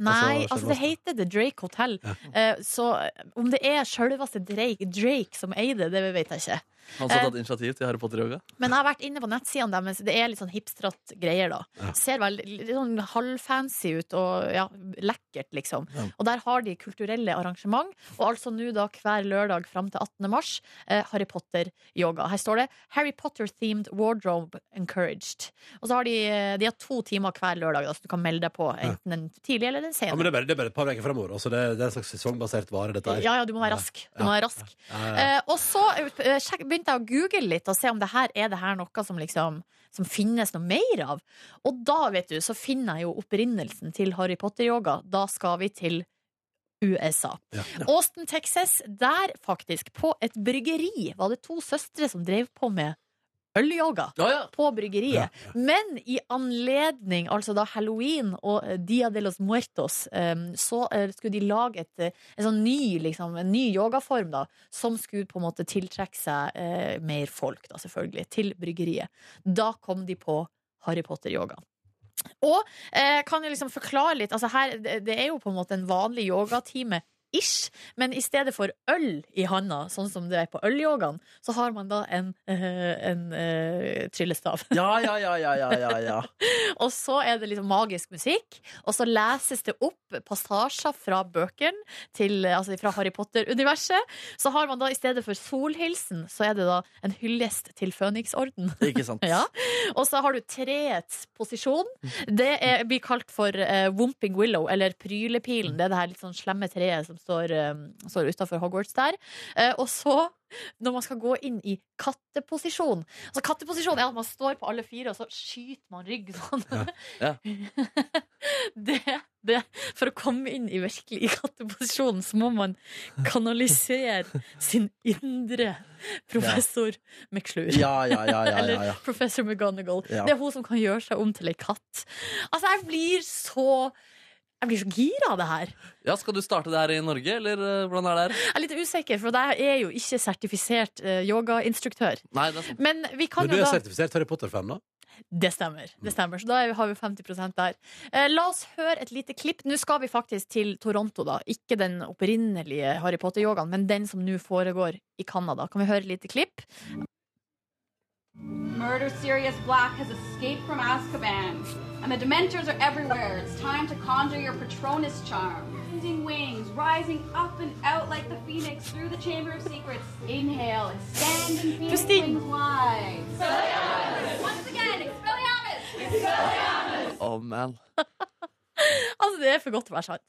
Speaker 3: Nei,
Speaker 2: Altså,
Speaker 3: altså det heter The Drake Hotel. Eh, så eh, om det er sjølveste Drake, Drake som eier det, det vet jeg ikke.
Speaker 4: Han
Speaker 3: Eh.
Speaker 4: som har tatt initiativ til Harry Potter-yoga?
Speaker 3: Men jeg har vært inne på nettsidene deres. Det er litt sånn hipstratt greier, da. Ser veldig litt sånn halvfancy ut og ja, lekkert, liksom. Og der har de kulturelle arrangement, og altså nå da hver lørdag fram til 18. mars, eh, Harry Potter-yoga. Her står det 'Harry Potter-themed wardrobe encouraged'. Og så har de, eh, de har to timer hver lørdag, da, så du kan melde deg på enten den tidlige eller den
Speaker 2: Ja, men
Speaker 3: sene.
Speaker 2: det er, bare, det er bare et par uker fremover. Også. Det, er- det er en slags sesongbasert vare, dette her.
Speaker 3: Ja, ja, du må være rask. Du må være rask.
Speaker 2: Ja, ja.
Speaker 3: Eh, og så eh, sjekk- begynte jeg å google litt og se om det her er det her noe som liksom som finnes noe mer av. Og da, vet du, så finner jeg jo opprinnelsen til Harry Potter-yoga. Da skal vi til USA.
Speaker 2: Ja.
Speaker 3: Austin, Texas, der faktisk, på et bryggeri, var det to søstre som drev på med ølyoga
Speaker 4: Ja, ja.
Speaker 3: på bryggeriet.
Speaker 2: Ja,
Speaker 3: Men i anledning altså da halloween og eh, Dia de los Muertos, eh, så eh, skulle de lage et, eh, en sånn ny, liksom, en ny yogaform da, som skulle på en måte tiltrekke seg eh, mer folk, da, selvfølgelig, til bryggeriet. Da kom de på Harry Potter-yoga. Og eh, kan jeg liksom forklare litt altså her, det, det er jo på en måte en vanlig yogatime Ish, men i stedet for øl i handa, sånn som det er på ølyogaen, så har man da en, eh, en eh, tryllestav. [laughs]
Speaker 8: Ja, ja, ja, ja, ja, ja, ja.
Speaker 3: Og så er det liksom magisk musikk, og så leses det opp passasjer fra bøkene, til, altså fra Harry Potter-universet. Så har man da i stedet for solhilsen, så er det da en hyllest til Føniksorden.
Speaker 8: Ikke sant?
Speaker 3: Ja. Og så har du treets posisjon. Det er, blir kalt for eh, Womping Willow, eller Prylepilen. Det er det her litt sånn slemme treet som står, eh, står utafor Hogwarts der. Eh, og så, når man skal gå inn i katteposisjon Altså Katteposisjon er at man står på alle fire, og så skyter man rygg sånn.
Speaker 4: Ja.
Speaker 3: [laughs] det, det, for å komme inn i virkelig i katteposisjonen, så må man kanalisere sin indre professor McClure.
Speaker 8: Ja, ja, ja, ja, ja, ja.
Speaker 3: Eller Professor McGonagall.
Speaker 8: Ja.
Speaker 3: Det er hun som kan gjøre seg om til ei katt. Altså, jeg blir så jeg blir så gira av det her.
Speaker 4: ja, Skal du starte det her i Norge, eller eh, hvordan er det her?
Speaker 3: Jeg er litt usikker, for jeg er jo ikke sertifisert eh, yogainstruktør.
Speaker 4: Nei, det er sant.
Speaker 3: Men vi kan
Speaker 2: Men du
Speaker 3: jo
Speaker 2: er
Speaker 3: da
Speaker 2: sertifisert Harry Potter-fan, da?
Speaker 3: Det stemmer. det stemmer Så da er vi- har vi 50 der. Eh, la oss høre et lite klipp. Nå skal vi faktisk til Toronto, da. Ikke den opprinnelige Harry Potter-yogaen, men den som nå foregår i Canada. Kan vi høre et lite klipp?
Speaker 9: Murder Sirius Black has escaped from Azkaban, and the Dementors are everywhere. It's time to conjure your Patronus charm. Using wings, rising up and out like the phoenix through the Chamber of Secrets. Inhale, expand and phoenix
Speaker 3: Christine.
Speaker 9: wings wide. Once again, Expelliarmus!
Speaker 4: Oh, man.
Speaker 3: Altså, det er for godt til å være sant.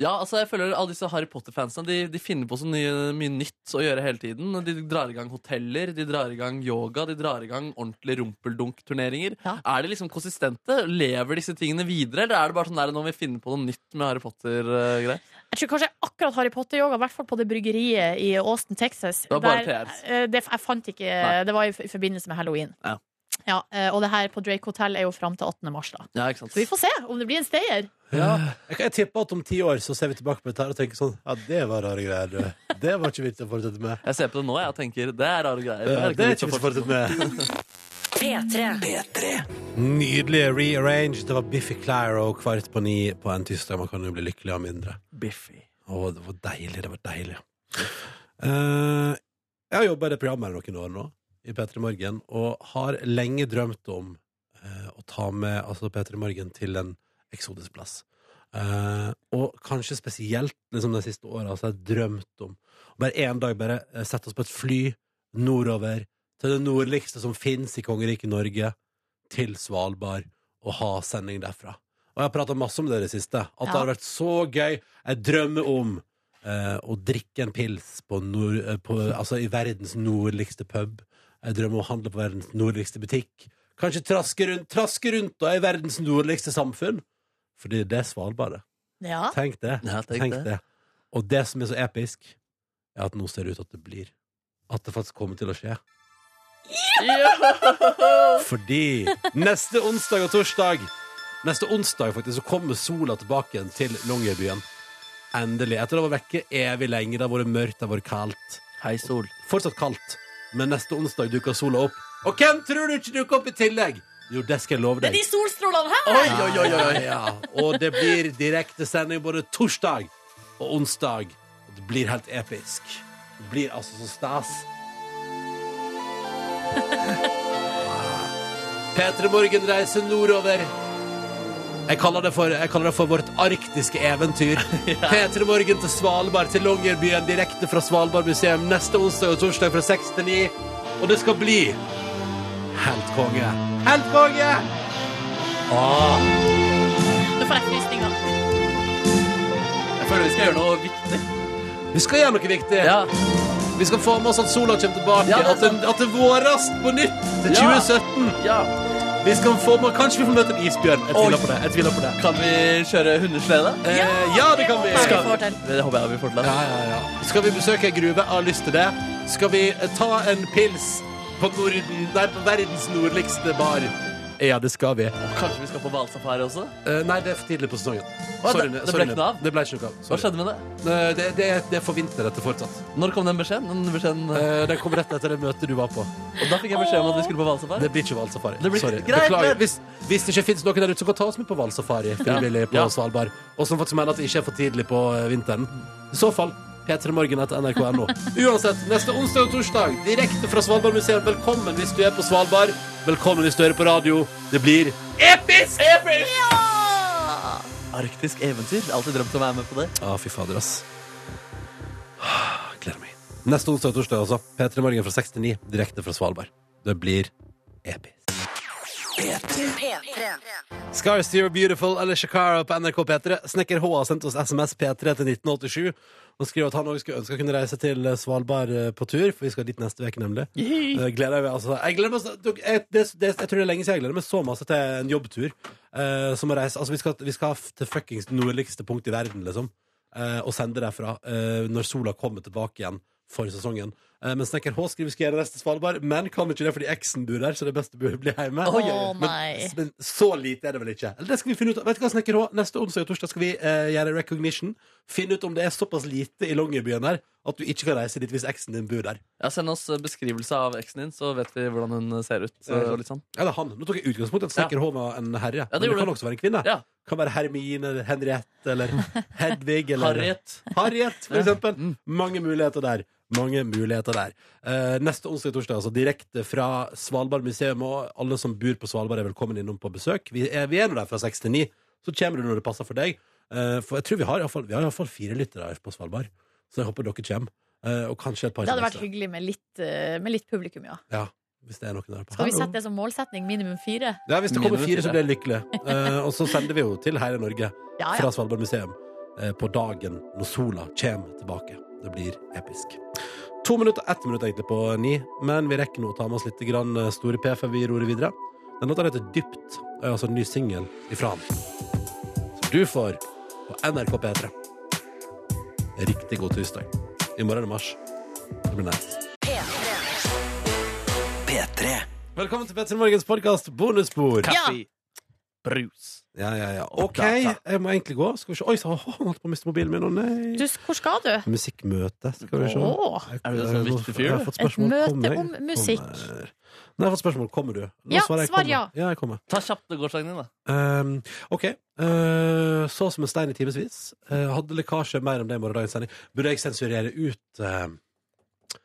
Speaker 4: Ja, altså jeg føler alle disse Harry Potter-fansene De, de finner på så nye, mye nytt å gjøre hele tiden. De drar i gang hoteller, de drar i gang yoga, de drar i gang ordentlige rumpeldunk-turneringer.
Speaker 3: Ja.
Speaker 4: Er de liksom konsistente? Lever disse tingene videre, eller er det bare sånn der, nå må vi finne på noe nytt med Harry Potter-greier?
Speaker 3: Jeg tror kanskje akkurat Harry Potter-yoga, i hvert fall på det bryggeriet i Austin, Texas.
Speaker 4: Det var bare PR.
Speaker 3: eh, det, jeg fant ikke
Speaker 4: Nei.
Speaker 3: Det var i f- i forbindelse med halloween.
Speaker 4: Ja.
Speaker 3: Ja, eh, og det her på Drake Hotel er jo fram til 18. mars, da.
Speaker 4: Ja, ikke sant?
Speaker 3: Så vi får se om det blir en stayer.
Speaker 2: Ja. Jeg, jeg tipper at om ti år så ser vi tilbake på dette her og tenker sånn Ja, det var rare greier, du. Det var ikke vits å fortsette med.
Speaker 4: Jeg ser på det nå jeg, og tenker det er rare greier.
Speaker 2: Ja, det er ikke
Speaker 4: noe
Speaker 2: vits å
Speaker 4: for-
Speaker 2: fortsette med.
Speaker 1: P3.
Speaker 2: Nydelig rearrange. Det var Biffy Clyro kvart på ni på en tirsdag. Man kan jo bli lykkelig av mindre.
Speaker 4: Biffy.
Speaker 2: Å, det var deilig, det var deilig. Eh, jeg har jobba i det programmet her noen år nå, i P3 Morgen, og har lenge drømt om eh, å ta med altså P3 Morgen til en eksotisk plass. Eh, og kanskje spesielt liksom, de siste åra har jeg drømt om å bare en dag bare eh, sette oss på et fly nordover til det nordligste som fins i kongeriket Norge, til Svalbard, og ha sending derfra. Og jeg har prata masse om det i det siste. At det
Speaker 3: Ja.
Speaker 2: har vært så gøy. Jeg drømmer om eh, å drikke en pils på nord, eh, på, altså i verdens nordligste pub. Jeg drømmer om å handle på verdens nordligste butikk. Kanskje traske rundt, traske rundt da, i verdens nordligste samfunn. Fordi det er Svalbard. det.
Speaker 3: Ja.
Speaker 2: Tenk det.
Speaker 4: Ja, tenk
Speaker 2: tenk
Speaker 4: det.
Speaker 2: det. Og det som er så episk, er at nå ser det ut at det blir. At det faktisk kommer til å skje. Fordi neste onsdag og torsdag Neste onsdag faktisk så kommer sola tilbake igjen til Longyearbyen. Endelig. Etter å ha vært vekke evig lenge. Det har vært mørkt, det har vært kaldt.
Speaker 4: Hei, Sol.
Speaker 2: Fortsatt kaldt, men neste onsdag dukker sola opp. Og hvem tror du ikke dukker opp i tillegg? Jo, det skal jeg love
Speaker 3: Det er
Speaker 2: deg.
Speaker 3: de solstrålene her!
Speaker 4: Oi, oi, oi, oi.
Speaker 2: Ja, og det blir direktesending både torsdag og onsdag. Og det blir helt episk. Det blir altså så stas. [laughs] P3 Morgen reiser nordover. Jeg kaller, det for, jeg kaller det for vårt arktiske eventyr. P3 Morgen til Svalbard, til Longyearbyen, direkte fra Svalbard museum neste onsdag og torsdag fra 6 til 9. Og det skal bli helt konge. Helt konge! Åh.
Speaker 4: Ah.
Speaker 3: Nå får jeg frysninger.
Speaker 4: Jeg føler vi skal gjøre noe viktig.
Speaker 2: Vi skal gjøre noe viktig.
Speaker 4: Ja,
Speaker 2: Vi skal få med oss at sola kommer tilbake.
Speaker 4: Ja, det er
Speaker 2: at, det, at det våres på nytt til
Speaker 4: Ja.
Speaker 2: 2017.
Speaker 4: ja.
Speaker 2: Vi skal få med, kanskje vi får møte en isbjørn. Jeg tviler
Speaker 4: Oi.
Speaker 2: på det. Jeg tviler på det.
Speaker 4: Kan vi kjøre hundeslede?
Speaker 2: Eh, ja, det kan vi.
Speaker 3: håper jeg.
Speaker 2: Skal,
Speaker 4: Skal-
Speaker 3: får til.
Speaker 4: Det håper jeg vi får til.
Speaker 2: ja, ja, ja. skal vi besøke ei gruve? Jeg Har lyst til det. Skal vi eh, ta en pils på Norden, nei, på verdens nordligste bar? Ja, det skal vi.
Speaker 4: Og Kanskje vi skal på hvalsafari også?
Speaker 2: Eh, nei, det er for tidlig på sesongen.
Speaker 4: Hva,
Speaker 2: Sorry,
Speaker 4: det- det
Speaker 2: sorry,
Speaker 4: ble ikke noe av?
Speaker 2: Det ble ikke noe av.
Speaker 4: Hva
Speaker 2: Sorry.
Speaker 4: skjedde med det?
Speaker 2: Eh, Det, det, det er for vinter, dette fortsatt.
Speaker 4: Når kom den beskjeden? Den beskjeden eh,
Speaker 2: Eh, Den kom rett etter det møtet du var på.
Speaker 4: og da fikk jeg beskjed om at vi skulle på hvalsafari.
Speaker 2: Det blir ikke hvalsafari.
Speaker 4: Det blir ikke-
Speaker 2: Sorry.
Speaker 4: Greit,
Speaker 2: Beklager.
Speaker 4: greit.
Speaker 2: Hvis, hvis det ikke finnes noen der ute som kan ta oss med på hvalsafari frivillig på
Speaker 4: Ja.
Speaker 2: Svalbard, og som faktisk mener at det ikke er for tidlig på eh, vinteren, i så fall p3morgen etter nrk.no. Uansett, neste onsdag og torsdag, direkte fra Svalbard museum, velkommen hvis du er på Svalbard. Velkommen hvis du hører på radio. Det blir episk! Episk!
Speaker 4: Arktisk eventyr. Alltid drømt om å være med på det.
Speaker 2: Ja, fy fader, ass. Gleder meg. Neste onsdag og torsdag, altså. P3morgen fra 6 til 9, direkte fra Svalbard. Det blir episk.
Speaker 1: P3.
Speaker 2: Scars to Your Beautiful eller Shakara på NRK P3. Snekker H har sendt oss SMS P3 til 1987 og skriver at han òg skulle ønske å kunne reise til Svalbard eh, på tur, for vi skal dit neste uke, nemlig. Eh, Gleder meg, altså. Jeg, gleder meg, så- dok- jeg, det, det, jeg tror det er lenge siden jeg gleder meg så masse til en jobbtur. eh, som å reise Altså, vi skal, vi skal til fuckings nordligste punkt i verden, liksom. eh, og sende derfra eh, når sola kommer tilbake igjen for sesongen. Eh, men Snekker H skriver vi skal gjøre resten til Svalbard, men kan ikke det fordi eksen bor der, så det er best å bo- bli hjemme.
Speaker 3: Oi, oi, oi. Å, nei.
Speaker 2: Men, men så lite er det vel ikke. Eller det skal vi finne ut av. Vet du hva, Snekker H? Neste onsdag og torsdag skal vi eh, gjøre recognition. Finne ut om det er såpass lite i Longyearbyen her at du ikke kan reise dit hvis eksen din bor der.
Speaker 4: Ja, Send oss eh, beskrivelse av eksen din, så vet vi hvordan hun ser ut. eh, og litt sånn.
Speaker 2: Eller han. Nå tok jeg utgangspunkt i at Snekker H var en herre.
Speaker 4: det
Speaker 2: men det
Speaker 4: gjorde
Speaker 2: kan
Speaker 4: du.
Speaker 2: også være en kvinne.
Speaker 4: Ja.
Speaker 2: Kan være Hermine eller Henriette
Speaker 4: [laughs]
Speaker 2: eller Hedvig eller
Speaker 4: Harriet.
Speaker 2: Harriet, for
Speaker 4: Ja.
Speaker 2: eksempel.
Speaker 4: Mm.
Speaker 2: Mange muligheter der. Mange muligheter der. Eh, neste onsdag og torsdag, altså direkte fra Svalbard museum. Og alle som bor på Svalbard, er velkommen innom på besøk. Vi er, vi er nå der fra seks til ni. Så kommer du når det passer for deg. Eh, for jeg tror vi har iallfall, vi har i hvert fall fire lyttere her på Svalbard. Så jeg håper dere kommer. Eh, og kanskje et par
Speaker 3: Det hadde vært
Speaker 2: til neste.
Speaker 3: hyggelig med litt, eh, med litt publikum, ja.
Speaker 2: Ja, hvis det er noen der på.
Speaker 3: Skal vi
Speaker 2: Hallo.
Speaker 3: sette det som målsetning? Minimum fire?
Speaker 2: Ja, hvis det kommer
Speaker 4: Minimum
Speaker 2: fire, så
Speaker 4: fire.
Speaker 2: blir jeg lykkelig. Eh, og så sender vi jo til hele Norge
Speaker 3: Ja, ja.
Speaker 2: fra Svalbard museum. eh, på dagen når sola kommer tilbake. Det blir episk. To minutter, ett minutt egentlig på ni, men vi rekker nå å ta med oss litt grann eh, Store P før vi roer videre. Den låta heter Dypt, og er altså en ny singel ifra han. Som du får på NRK P3. Riktig god tirsdag. I morgen er det mars. Det blir nice. Velkommen til Petter Morgens podkast bonusbord.
Speaker 3: Ja.
Speaker 4: Brus.
Speaker 2: Ja, ja, ja. OK,
Speaker 4: data.
Speaker 2: jeg må egentlig gå. Skal vi se. Oi, så jeg holdt på å miste mobilen min. Å nei.
Speaker 3: Du, hvor skal du?
Speaker 2: Musikkmøte, skal vi se.
Speaker 3: Åh.
Speaker 2: Jeg-
Speaker 4: Er du en sånn
Speaker 2: jeg- nå-
Speaker 4: viktig fyr,
Speaker 2: Jeg har
Speaker 4: du?
Speaker 2: fått spørsmål.
Speaker 3: Et møte
Speaker 2: Kommer jeg?
Speaker 3: om musikk.
Speaker 2: Kommer. Nei, jeg har fått spørsmål. Kommer du? Nå
Speaker 3: Ja,
Speaker 2: svarer jeg
Speaker 3: svar
Speaker 2: kommer.
Speaker 3: ja.
Speaker 2: Ja, jeg kommer.
Speaker 4: Ta kjapt det gårsdagen din, da.
Speaker 2: Ehm, OK. Eh, så som en stein i timevis. Eh, hadde lekkasje mer om det i morgendagens sending. Burde jeg sensurere ut eh,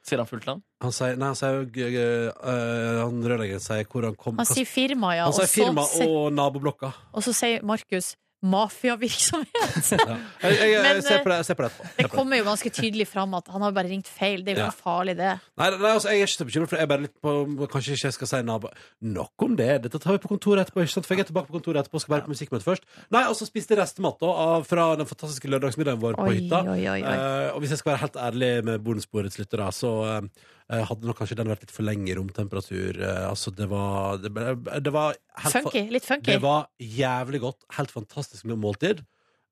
Speaker 4: Sier han fullt navn?
Speaker 2: Han sier Nei, han sier jo, eh, eh, Han rørleggeren sier hvor han kom
Speaker 3: Han sier firma, ja.
Speaker 2: han sier firma
Speaker 3: og, så, se-
Speaker 2: og naboblokka.
Speaker 3: og så sier Markus mafiavirksomhet.
Speaker 2: Ja. Jeg, jeg, jeg,
Speaker 3: [laughs] Men,
Speaker 2: ser
Speaker 3: eh,
Speaker 2: på det, jeg ser på det etterpå.
Speaker 3: Det kommer jo ganske tydelig fram at han har bare ringt feil. Det er jo
Speaker 2: Ja.
Speaker 3: ikke farlig, det.
Speaker 2: Nei, nei, altså, jeg er ikke så bekymret, for jeg er bare litt på Kanskje ikke jeg skal si nabo Nok om det. Dette tar vi på kontoret etterpå. ikke sant? For jeg er tilbake på kontoret etterpå og skal være på musikkmøte først. Nei, og så spiste jeg restemat da, av, fra den fantastiske lørdagsmiddagen vår på
Speaker 3: Oi,
Speaker 2: hytta.
Speaker 3: oi, oi, oi.
Speaker 2: Eh, og hvis jeg skal være helt ærlig med bonusbordets lyttere, så eh, hadde nok kanskje den vært litt for lenge i romtemperatur. Eh, altså, det var Det, ble, det var helt fa-
Speaker 3: Funky. Litt funky.
Speaker 2: Det var jævlig godt. Helt fantastisk med måltid.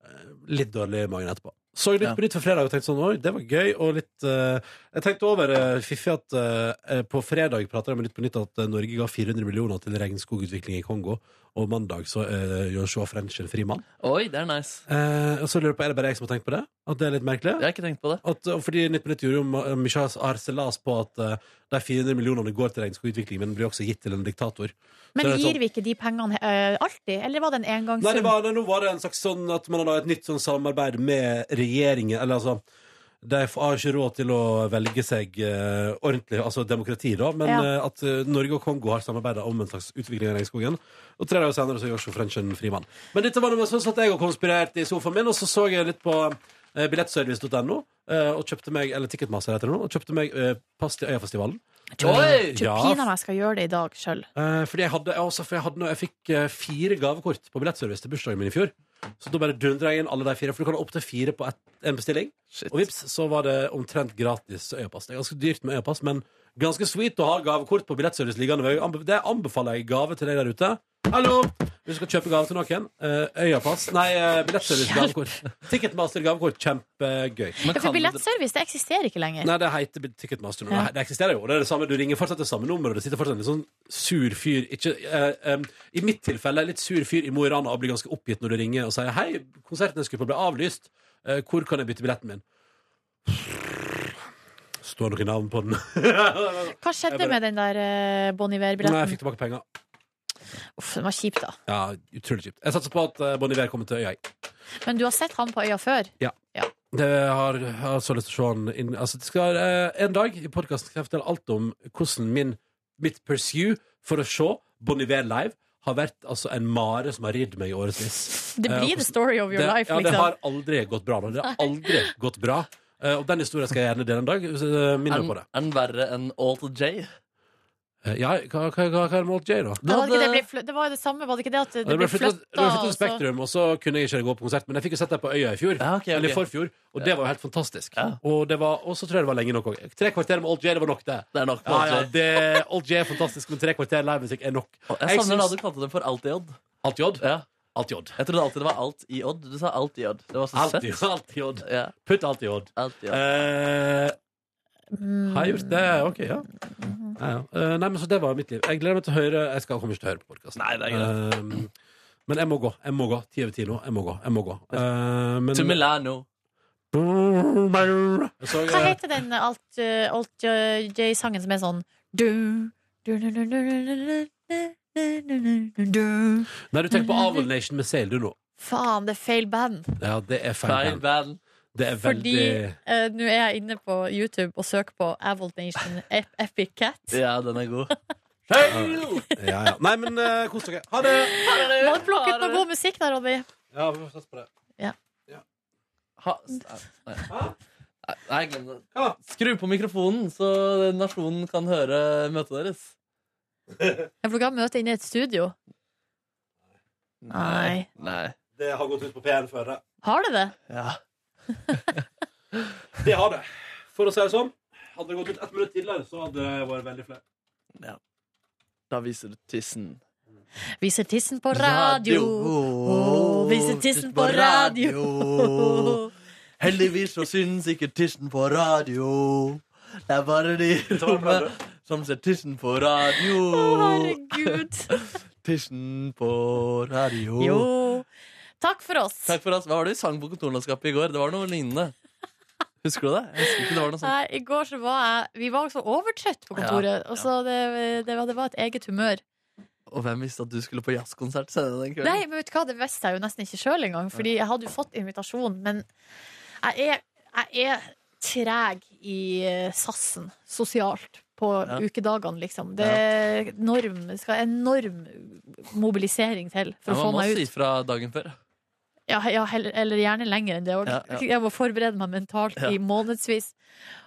Speaker 2: Eh, Litt dårlig i magen etterpå. Så jeg litt
Speaker 8: Ja.
Speaker 2: på nytt for fredag og tenkte sånn, oi, det var gøy. Og litt eh, Jeg tenkte over eh, fiffig at eh, eh, på fredag prater jeg med Nytt på Nytt at eh, Norge ga 400 millioner til regnskogutvikling i Kongo. Og mandag så eh, gjør Shaw French en frimann.
Speaker 4: Oi, det er nice.
Speaker 2: Eh, og så lurer jeg på, er det bare jeg som har tenkt på det? At det er litt merkelig?
Speaker 4: Jeg har ikke tenkt på det.
Speaker 2: At, og fordi Nytt på Nytt gjorde jo ma- mye harselas på at eh, de 400 millionene går til regnskogutvikling, men blir også gitt til en diktator.
Speaker 3: Men
Speaker 2: Så er det sånn-
Speaker 3: gir vi ikke de pengene eh, alltid? Eller var det en engangssum?
Speaker 2: Nei, det var, nei, nå var det en slags sånn at man hadde et nytt sånn samarbeid med regjeringen. Eller altså De f- har ikke råd til å velge seg eh, ordentlig, altså demokrati, da. Men
Speaker 3: Ja.
Speaker 2: eh, at eh, Norge og Kongo har samarbeida om en slags utvikling av regnskogen. Og tre dager senere så gjør Joe French en frimann. Men dette var noe sånn at jeg og konspirerte i sofaen min, og så så jeg litt på eh, billettservice.no. eh, Og kjøpte meg eller Ticketmaster heter det nå, og kjøpte meg eh, pass til Øyafestivalen. Eh,
Speaker 4: Oi!
Speaker 3: Tror
Speaker 2: Ja.
Speaker 3: pinadø jeg skal gjøre det i dag sjøl.
Speaker 2: Eh, fordi jeg hadde, også, for jeg, hadde noe, jeg fikk eh, fire gavekort på billettservice til bursdagen min i fjor. Så da bare dundra jeg inn alle de fire. For du kan ha opptil fire på ett- en bestilling.
Speaker 4: Shit.
Speaker 2: Og vips, så var det omtrent gratis øyepass. Det er ganske dyrt med øyepass, men ganske sweet å ha gavekort på billettservice liggende. ved øyet. Anbe- Det anbefaler jeg i gave til deg der ute. Hallo! Hvis du skal kjøpe gave til noen. eh, Øyapass Nei, eh, billettservice gavekort. Ticketmaster gavekort. Kjempegøy.
Speaker 4: Men
Speaker 3: For
Speaker 4: kan du
Speaker 3: billettservice det eksisterer ikke lenger.
Speaker 2: Nei, det heter Bill Ticketmaster nå.
Speaker 3: Ja.
Speaker 2: Nei, Det eksisterer jo. Det er det samme. Du ringer fortsatt det samme nummeret. Det sitter fortsatt en litt sånn sur fyr ikke, eh, em, I mitt tilfelle litt sur fyr i Mo i Rana og blir ganske oppgitt når du ringer og sier 'Hei, konserten jeg skulle på, ble avlyst. Eh, hvor kan jeg bytte billetten min?' Står noen navn på den?
Speaker 3: Hva skjedde
Speaker 2: Jeg bare-
Speaker 3: med den der eh, Bon
Speaker 2: Nei, jeg
Speaker 3: Iver-billetten?
Speaker 2: fikk tilbake penger.
Speaker 3: Uff, den var kjip, da.
Speaker 2: Ja, utrolig kjipt. Jeg satser på at eh, Bon Iver kommer til øya. jeg.
Speaker 3: Men du har sett han på øya før?
Speaker 2: Det har, jeg har så lyst til å se han inn altså, det skal, eh, En dag i podkasten skal jeg fortelle alt om hvordan min, mitt pursue for å se Bon Iver live har vært altså, en mare som har ridd meg i årevis.
Speaker 3: Det
Speaker 2: Eh, og
Speaker 3: blir
Speaker 2: hvordan-
Speaker 3: the story of your
Speaker 2: det,
Speaker 3: life,
Speaker 2: ja, det
Speaker 3: liksom.
Speaker 2: har aldri gått bra. Da. Det har aldri gått bra. Eh, og den historien skal jeg gjerne dele en dag. hvis, eh, Minne
Speaker 4: Er
Speaker 2: meg på
Speaker 4: den,
Speaker 2: det.
Speaker 4: er den verre enn All to J?
Speaker 2: Eh, ja, hva, hva, hva, hva er målt J, da?
Speaker 4: Du
Speaker 3: Ja, var det, ikke det,
Speaker 4: hadde-
Speaker 3: ble fly- det var det samme, var det ikke det? At det,
Speaker 2: Det ble
Speaker 3: ble altså?
Speaker 2: flytta
Speaker 3: flytta?
Speaker 2: til
Speaker 3: og så-
Speaker 2: Spektrum, og så kunne jeg ikke gå på konsert. Men jeg fikk jo sett deg på Øya i fjor.
Speaker 4: altså. Ja, ok, ok.
Speaker 2: Eller i forfjor. Og det var jo helt fantastisk.
Speaker 4: Ja.
Speaker 2: Og, det var, og så tror jeg det var lenge nok òg. Tre kvarter med Old J, det var nok, det.
Speaker 4: Det er nok på
Speaker 2: Ja,
Speaker 4: All
Speaker 2: ja,
Speaker 4: J.
Speaker 2: det, Old J er fantastisk, men tre kvarter livemusikk er nok.
Speaker 4: Og
Speaker 2: Jeg
Speaker 4: Jeg savner
Speaker 2: syns-
Speaker 4: da du kalte det for Alt i Odd.
Speaker 2: Alt J?
Speaker 4: Ja.
Speaker 2: Alt J.
Speaker 4: Jeg trodde alltid det var Alt i Odd. Du sa Alt i Odd. Det var så
Speaker 2: Alt
Speaker 4: søtt.
Speaker 2: J. Alt J.
Speaker 4: Ja,
Speaker 2: Putt alt i J.
Speaker 4: alt i Odd.
Speaker 2: Eh,
Speaker 3: Mm.
Speaker 2: har jeg gjort det? Ok, ja. ja, ja. Eh, nei, men så det var mitt liv. Jeg gleder meg til å høre Jeg skal kommer ikke til å høre på podkasten.
Speaker 4: Nei, det er
Speaker 2: men jeg må gå. Jeg må gå. Ti over ti nå. Jeg må gå. Jeg må gå. Eh, men-
Speaker 4: To Milano.
Speaker 2: Så,
Speaker 3: Hva
Speaker 2: eh,
Speaker 3: heter den alt, eh, alt eh, J-sangen som er sånn du, du, du, du, du, du, du, du, du, du, du.
Speaker 2: Nei, du tenker på Aval Nation med Sail, du nå.
Speaker 3: Faen, det er feil band.
Speaker 2: Ja, det er feil.
Speaker 4: Feil band.
Speaker 2: Det er veldig
Speaker 3: Fordi eh, nå er jeg inne på YouTube og søker på Avolt Nation Ep Epic Cat.
Speaker 4: Ja, den er god.
Speaker 2: ja, ja. Nei, men eh, kos dere. Ha det!
Speaker 3: Må du plukke ut noe god musikk der, Ronny.
Speaker 2: Ja, vi får satse på det.
Speaker 4: Ha,
Speaker 3: [laughs]
Speaker 4: nei. Nei, Nei, glem det.
Speaker 2: Ja.
Speaker 4: Skru på mikrofonen, så nasjonen kan høre møtet deres.
Speaker 3: Jeg plukka møte inne i et studio. Nei.
Speaker 4: Nei.
Speaker 2: Det har gått ut på P1 før det.
Speaker 3: Har det det?
Speaker 8: Ja.
Speaker 2: Det har det. For å si det sånn. Hadde det gått ut ett minutt tidligere, så hadde det vært veldig flaut.
Speaker 4: Da viser du tissen.
Speaker 3: Viser tissen på radio. Å, viser tissen på radio.
Speaker 8: Heldigvis så syns ikke tissen på radio. Det er bare de i rommet som ser tissen på
Speaker 3: [laughs] Å,
Speaker 8: radio.
Speaker 3: herregud.
Speaker 8: Tissen på radio.
Speaker 3: Jo. Oh. Takk for oss.
Speaker 4: Takk for oss. Hva var det vi sang på kontorlandskapet i går? Det var noe lignende. Husker du det? Jeg husker ikke det var noe sånn- sånt.
Speaker 3: Nei, I går så var jeg Vi var så overtrøtt på kontoret. Og så det, det, var, det var et eget humør.
Speaker 4: Og hvem visste at du skulle på jazzkonsert senere den kvelden?
Speaker 3: Nei, men vet du hva, det visste jeg jo nesten ikke sjøl engang, Fordi jeg hadde jo fått invitasjon. Men jeg er, jeg er treg i eh, sassen sosialt på
Speaker 4: Ja.
Speaker 3: ukedagene, liksom. Det er enorm, det skal enorm mobilisering til for
Speaker 4: Ja,
Speaker 3: å få
Speaker 4: man må
Speaker 3: meg ut.
Speaker 4: si fra dagen før.
Speaker 3: Ja, ja heller, eller gjerne lenger enn det òg.
Speaker 4: Ja, ja.
Speaker 3: Jeg må forberede meg mentalt
Speaker 4: Ja.
Speaker 3: i månedsvis.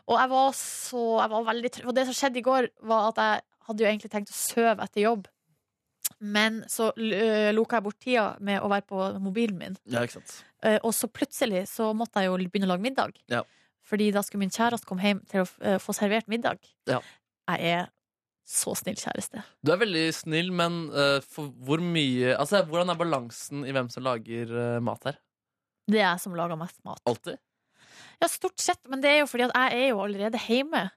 Speaker 3: Og jeg var så jeg var veldig trøtt. Og det som skjedde i går, var at jeg hadde jo egentlig tenkt å sove etter jobb. Men så øh, loka jeg bort tida med å være på mobilen min.
Speaker 4: Ja, ikke sant.
Speaker 3: Eh, Og så plutselig så måtte jeg jo begynne å lage middag.
Speaker 4: Ja.
Speaker 3: Fordi da skulle min kjæreste komme hjem til å f- eh, få servert middag.
Speaker 4: Ja.
Speaker 3: Jeg er så snill kjæreste.
Speaker 4: Du er veldig snill, men eh, for hvor mye Altså, hvordan er balansen i hvem som lager eh, mat her?
Speaker 3: Det er jeg som lager mest mat.
Speaker 4: Alltid?
Speaker 3: Ja, stort sett, men det er jo fordi at jeg er jo allerede hjemme.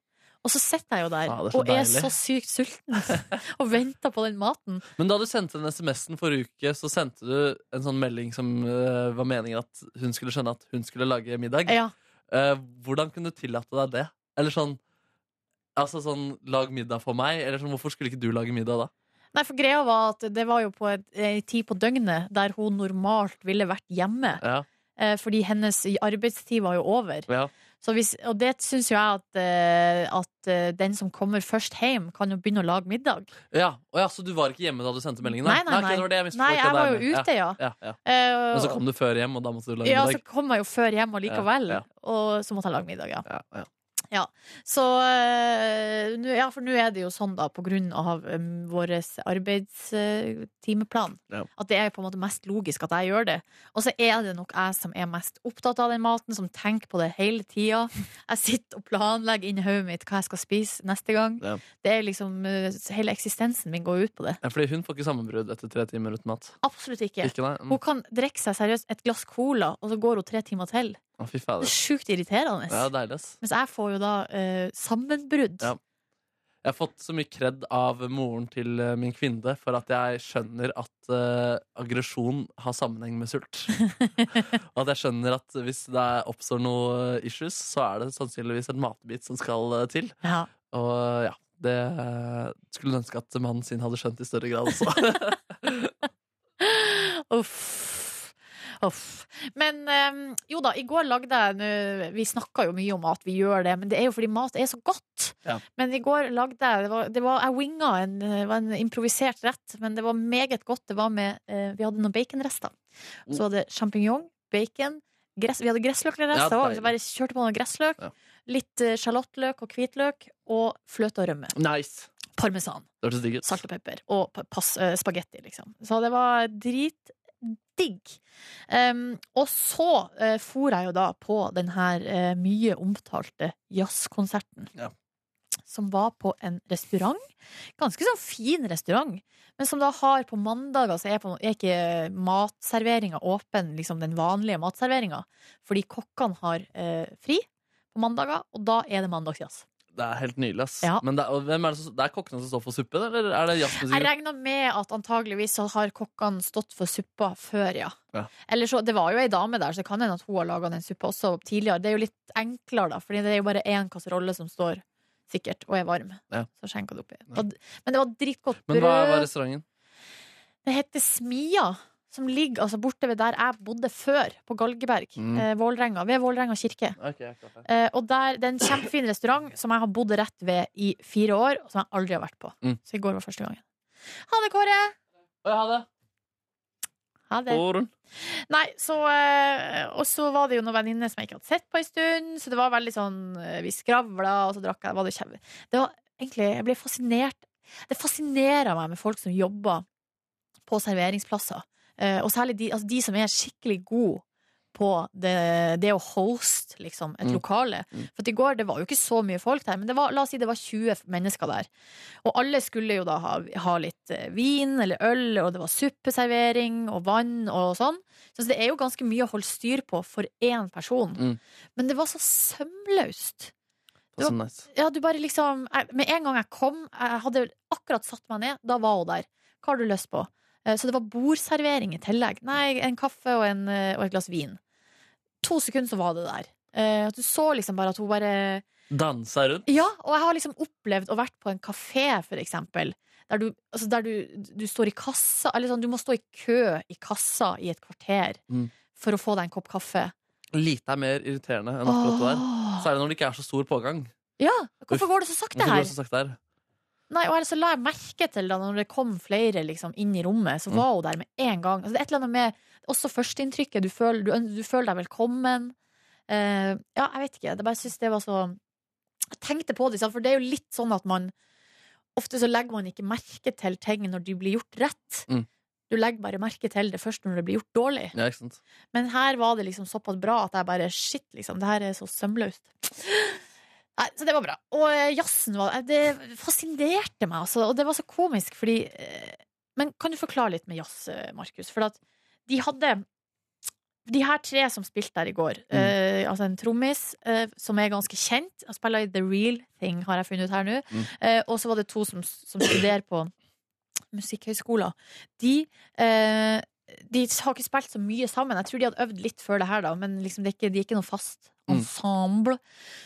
Speaker 3: Og så sitter jeg jo der
Speaker 4: Ah, det er så
Speaker 3: og er
Speaker 4: deilig.
Speaker 3: så sykt
Speaker 4: [laughs]
Speaker 3: sulten og venter på den maten.
Speaker 4: Men da du sendte den SMS-en forrige uke, så sendte du en sånn melding som eh, var meningen at hun skulle skjønne at hun skulle lage middag.
Speaker 3: Ja,
Speaker 4: Eh, hvordan kunne du tillate deg det? Eller sånn Altså sånn, lag middag for meg? Eller sånn, hvorfor skulle ikke du lage middag da?
Speaker 3: Nei, for greia var at det var jo på et- ei tid på døgnet der hun normalt ville vært hjemme.
Speaker 4: Ja,
Speaker 3: eh, Fordi hennes arbeidstid var jo over.
Speaker 4: ja.
Speaker 3: Så hvis, og det syns jo jeg at, eh, at eh, den som kommer først hjem, kan jo begynne å lage middag.
Speaker 4: Ja, og ja, Så du var ikke hjemme da du sendte meldingen? da?
Speaker 3: Nei, nei,
Speaker 4: ok,
Speaker 3: nei.
Speaker 4: det var det jeg misforstod,
Speaker 3: Nei,
Speaker 4: ok,
Speaker 3: jeg
Speaker 4: da er
Speaker 3: var jo
Speaker 4: med.
Speaker 3: ute, ja.
Speaker 4: Ja, ja, ja.
Speaker 3: Eh,
Speaker 4: Men så kom du før hjem, og da måtte du lage
Speaker 3: Ja, så
Speaker 4: middag?
Speaker 3: kom jeg jo før hjem allikevel,
Speaker 4: Ja, ja.
Speaker 3: og så måtte jeg lage middag, ja.
Speaker 4: Ja, ja.
Speaker 3: Så eh, nå- Ja, for nå er det jo sånn, da, på grunn av um, vår arbeidstimeplan,
Speaker 4: Ja.
Speaker 3: eh, at det er på en måte mest logisk at jeg gjør det. Og så er det nok jeg som er mest opptatt av den maten, som tenker på det hele
Speaker 4: [laughs]
Speaker 3: tida. Jeg sitter og planlegger inni hodet mitt hva jeg skal spise neste gang.
Speaker 4: Ja.
Speaker 3: Det er liksom eh, Hele eksistensen min går ut på det.
Speaker 4: Ja, fordi hun får ikke sammenbrudd etter tre timer uten mat.
Speaker 3: Absolutt ikke.
Speaker 4: Ikke nei? Mm.
Speaker 3: Hun kan drikke seg seriøst et glass cola, og så går hun tre timer til.
Speaker 4: Å, fy
Speaker 3: Det
Speaker 4: fader.
Speaker 3: er sjukt irriterende.
Speaker 4: Ja, deilig, ass.
Speaker 3: Mens jeg får jo da eh, sammenbrudd.
Speaker 4: Ja. Jeg har fått så mye kred av moren til eh, min kvinne for at jeg skjønner at eh, aggresjon har sammenheng med [laughs] sult. og at jeg skjønner at hvis det oppstår noe eh, issues, så er det sannsynligvis en matbit som skal eh, til.
Speaker 3: Ja.
Speaker 4: Og ja, det eh, skulle ønske at mannen sin hadde skjønt i større grad også.
Speaker 3: Uff. Uff. Men eh, jo da, i går lagde jeg nå- Vi snakka jo mye om mat, vi gjør det, men det er jo fordi mat er så godt.
Speaker 8: Ja.
Speaker 3: Men i går lagde jeg det var, det var, Jeg winga en, eh, det var en improvisert rett, men det var meget godt. Det var med, eh, vi hadde noen baconrester. Og Så var det sjampinjong, bacon gress, Vi hadde
Speaker 4: Ja,
Speaker 3: gressløkrester òg.
Speaker 4: deilig.
Speaker 3: så bare kjørte på noe gressløk.
Speaker 4: Ja.
Speaker 3: Litt eh, sjalottløk og hvitløk. Og fløte og rømme.
Speaker 4: [laughs] nice.
Speaker 3: Parmesan
Speaker 4: Det hørtes digg ut.
Speaker 3: salt og pepper og pa- pass- eh, spagetti, liksom. Så det var dritdigg. Um, og så eh, for jeg jo da på den her eh, mye omtalte jazzkonserten.
Speaker 8: Ja.
Speaker 3: Som var på en restaurant. Ganske sånn fin restaurant. Men som da har på mandager så er, på, er ikke eh, matserveringa åpen, liksom den vanlige matserveringa. Fordi kokkene har eh, fri på mandager, og da er det mandagsjazz.
Speaker 4: Det er helt nydelig, ass.
Speaker 3: Ja.
Speaker 4: Men det, er- og hvem er det, som, det er kokkene som står for suppen, eller er det
Speaker 3: Jeg
Speaker 4: jazzmusikere?
Speaker 3: regner med at antageligvis så har kokkene stått for suppa før, ja.
Speaker 4: Ja.
Speaker 3: Eller så, Det var jo ei dame der, så det kan hende at hun har laga den suppa også tidligere. Det er jo litt enklere, da, Fordi det er jo bare én kasserolle som står, sikkert, og er varm.
Speaker 4: Ja.
Speaker 3: Så skjenka det oppi. Og, men det var dritgodt
Speaker 4: Men hva var
Speaker 3: brød.
Speaker 4: restauranten?
Speaker 3: Det heter Smia. Som ligger altså, borte ved der jeg bodde før, på Galgeberg.
Speaker 4: Mm.
Speaker 3: Eh, Vålrenga, ved Vålrenga kirke.
Speaker 4: Okay, jeg er klar for det.
Speaker 3: Eh, og der, Det er en kjempefin restaurant som jeg har bodd rett ved i fire år, og som jeg aldri har vært på.
Speaker 4: Mm.
Speaker 3: Så i går var første gangen. Ha det, Kåre!
Speaker 4: Å, ja, det.
Speaker 3: Ha det.
Speaker 4: Orun.
Speaker 3: Nei, så eh, Og så var det jo noen venninner som jeg ikke hadde sett på en stund, så det var veldig sånn eh, Vi skravla, og så drakk jeg var det, kjem- det var egentlig Jeg ble fascinert. Det fascinerer meg med folk som jobber på serveringsplasser, eh, og særlig de, altså de som er skikkelig gode på det, det å hoste liksom, et
Speaker 4: Mm.
Speaker 3: lokale. For at i går det var jo ikke så mye folk der, men det var, la oss si det var 20 mennesker der. Og alle skulle jo da ha, ha litt eh, vin eller øl, og det var suppeservering og vann og sånn. Så det er jo ganske mye å holde styr på for én person.
Speaker 4: Mm.
Speaker 3: Men det var så sømløst.
Speaker 4: Det var så nice.
Speaker 3: Ja, du bare liksom jeg, Med en gang jeg kom, jeg hadde akkurat satt meg ned, da var hun der. Hva har du lyst på? Eh, Så det var bordservering i tillegg. Nei, en kaffe og, en, eh, og et glass vin. To sekunder, så var det der. Eh, Du så liksom bare at hun bare
Speaker 4: Dansa rundt.
Speaker 3: ja, og jeg har liksom opplevd å vært på en kafé, for eksempel. Der du, altså der du, du står i kassa Eller sånn, du må stå i kø i kassa i et kvarter
Speaker 4: Mm.
Speaker 3: for å få deg en kopp kaffe.
Speaker 4: Lite er mer irriterende enn akkurat det der.
Speaker 3: Åh.
Speaker 4: Særlig når det ikke er så stor pågang.
Speaker 3: Ja,
Speaker 4: Uff.
Speaker 3: hvorfor går det så sakte
Speaker 4: Hvorfor går
Speaker 3: her?
Speaker 4: det så sakte her?
Speaker 3: Nei, og så la jeg merke til da når det kom flere liksom, inn i rommet,
Speaker 4: Mm.
Speaker 3: så var hun der med en gang. Altså, det er et eller annet med også førsteinntrykket. Du, føler- du, øn- du føler deg velkommen. Eh, ja, jeg vet ikke. Det bare synes det var så Jeg tenkte på det, sant, for det er jo litt sånn at man Ofte så legger man ikke merke til ting når de blir gjort rett.
Speaker 4: Mm.
Speaker 3: Du legger bare merke til det først når det blir gjort dårlig.
Speaker 4: Ja, ikke sant?
Speaker 3: Men her var det liksom såpass bra at jeg bare Shit, liksom. Det her er så sømløst. [gasps] Nei, så det var bra. Og eh, jazzen var Det fascinerte meg, altså. Og det var så komisk, fordi eh, Men kan du forklare litt med jazz, eh, Markus? For at de hadde de her tre som spilte der i går, eh, altså en trommis eh, som er ganske kjent Han spiller i The Real Thing, har jeg funnet ut her nå. Eh, og så var det to som, som studerer på musikkhøyskoler. De eh, de har ikke spilt så mye sammen. Jeg tror de hadde øvd litt før det her, da, men liksom det er ikke, de er ikke noe fast
Speaker 4: Mm.
Speaker 3: ensemble.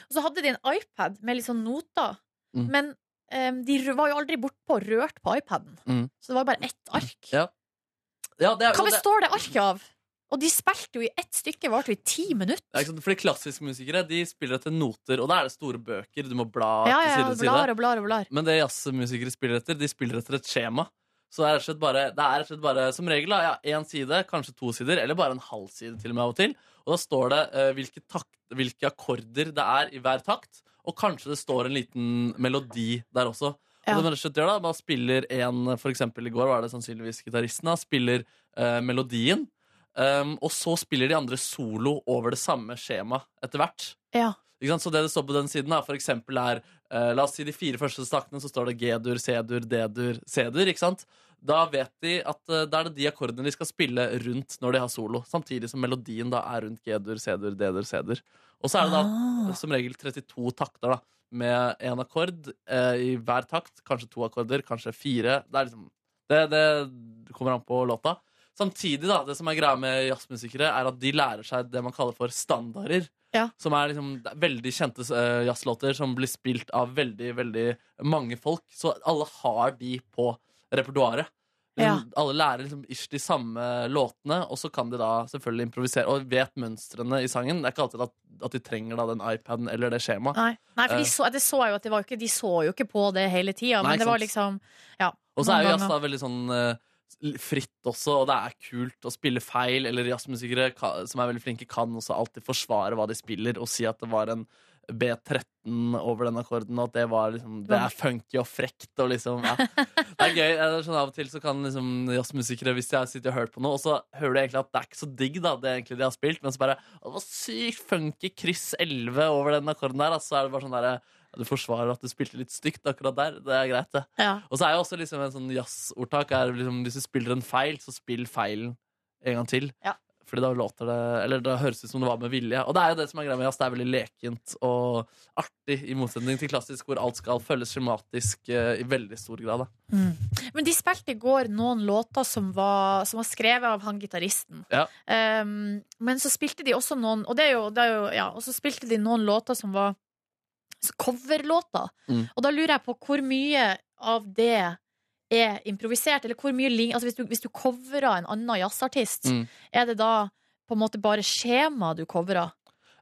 Speaker 3: Og så hadde de en iPad med litt sånn noter,
Speaker 4: Mm.
Speaker 3: men em, de rø- var jo aldri bortpå og rørt på iPaden.
Speaker 4: Mm.
Speaker 3: Så det var bare ett ark.
Speaker 4: Ja. Ja, det er,
Speaker 3: Hva
Speaker 4: jo det,
Speaker 3: består det arket av? Og de spilte jo i ett stykke, varte jo i ti
Speaker 4: ja,
Speaker 3: minutter.
Speaker 4: ikke sant? Fordi klassiske musikere de spiller etter noter, og da er det store bøker. Du må
Speaker 3: Ja,
Speaker 4: bla
Speaker 3: ja, ja,
Speaker 4: til side til side.
Speaker 3: blar og blar og blar.
Speaker 4: Men det jazzmusikere spiller etter, de spiller etter et skjema. Så det er rett og slett bare, det er rett og slett bare som regel da, ja, én side, kanskje to sider, eller bare en halv side til og med av og til. Og da står det eh, hvilke, takt, hvilke akkorder det er i hver takt, og kanskje det står en liten melodi der også. Og
Speaker 3: Ja.
Speaker 4: det man rett og slett gjør da, man spiller en, for eksempel i går var det sannsynligvis gitaristen, da, spiller eh, melodien, ehm, og så spiller de andre solo over det samme skjema etter hvert.
Speaker 3: Ja.
Speaker 4: Ikke sant? Så det det står på den siden, da, for eksempel er eh, La oss si de fire første stakkene, så står det G-dur, C-dur, D-dur, C-dur. ikke sant? Da vet de at eh, da er det de akkordene de skal spille rundt når de har solo. Samtidig som melodien da er rundt G-dur, C-dur, D-dur, C-dur. Og så er det da
Speaker 3: Ah.
Speaker 4: som regel 32 takter da med én akkord eh, i hver takt. Kanskje to akkorder, kanskje fire. Det, er liksom, det, det kommer an på låta. Samtidig, da, det som er greia med jazzmusikere, er at de lærer seg det man kaller for standarder.
Speaker 3: Ja.
Speaker 4: Som er liksom det er veldig kjente eh, jazzlåter som blir spilt av veldig, veldig mange folk. Så alle har de på repertoaret. Liksom, Alle lærer liksom ish de samme låtene, og så kan de da selvfølgelig improvisere. Og vet mønstrene i sangen. Det er ikke alltid at, at de trenger da den iPaden eller det skjemaet.
Speaker 3: Nei, Nei for
Speaker 4: Eh.
Speaker 3: de så, det så jeg jo at det var jo ikke, de så jo ikke på det hele tida,
Speaker 4: Nei,
Speaker 3: men det var
Speaker 4: ikke
Speaker 3: liksom Ja.
Speaker 4: Og så er jo
Speaker 3: noen
Speaker 4: jazz
Speaker 3: ganger.
Speaker 4: da veldig sånn eh, fritt også, og det er kult å spille feil. Eller jazzmusikere ka- som er veldig flinke, kan også alltid forsvare hva de spiller, og si at det var en B13 over den akkorden, og at det var liksom Det er funky og frekt, og liksom ja. Det er gøy. eh, Sånn av og til så kan liksom jazzmusikere, hvis de har sittet og hørt på noe, og så hører du egentlig at det er ikke så digg, da, det egentlig de har spilt, men så bare Å, det var sykt funky kryss 11 over den akkorden der, altså, så er det bare sånn derre Du forsvarer at du spilte litt stygt akkurat der. Det er greit, det.
Speaker 3: Ja.
Speaker 4: Og så er jo også liksom en sånn jazzordtak er liksom, Hvis du spiller en feil, så spill feilen en gang til.
Speaker 3: Ja.
Speaker 4: Fordi da låter det Eller da høres det ut som det var med vilje. Og det er jo det som er greia med jazz. Det er veldig lekent og artig, i motsetning til klassisk, hvor alt skal følges skjematisk eh, i veldig stor grad. Da.
Speaker 3: Mm. Men de spilte i går noen låter som var, som var skrevet av han gitaristen.
Speaker 4: Ja.
Speaker 3: Um, men så spilte de også noen Og det er jo, det er jo ja, og så spilte de noen låter som var så coverlåter.
Speaker 4: Mm.
Speaker 3: Og da lurer jeg på hvor mye av det er improvisert, eller hvor mye lign- altså hvis, du, hvis du coverer en annen jazzartist,
Speaker 4: Mm.
Speaker 3: er det da på en måte bare skjema du coverer?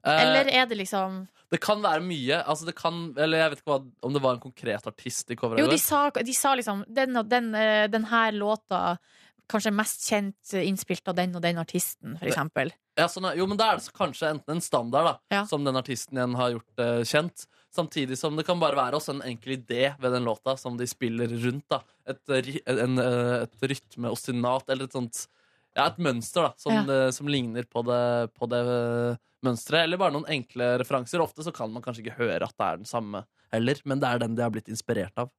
Speaker 4: Eh,
Speaker 3: Eller er det liksom
Speaker 4: Det kan være mye. Altså, det kan, eller jeg vet ikke hva, om det var en konkret artist de covra.
Speaker 3: Jo, de sa, de sa liksom den, og den, eh, den her låta Kanskje mest kjent eh, innspilt av den og den artisten, for eksempel.
Speaker 4: Ja, sånn, er- jo, men da er det så kanskje enten en standard da,
Speaker 3: Ja.
Speaker 4: som den artisten igjen har gjort eh, kjent, samtidig som det kan bare være også en enkel idé ved den låta som de spiller rundt. da. Et, eh, ry- en, eh, et rytme og synat, eller et sånt Ja, et mønster da, som,
Speaker 3: Ja.
Speaker 4: det- som ligner på det, på det øh, mønsteret. Eller bare noen enkle referanser. Ofte så kan man kanskje ikke høre at det er den samme heller, men det er den de har blitt inspirert av.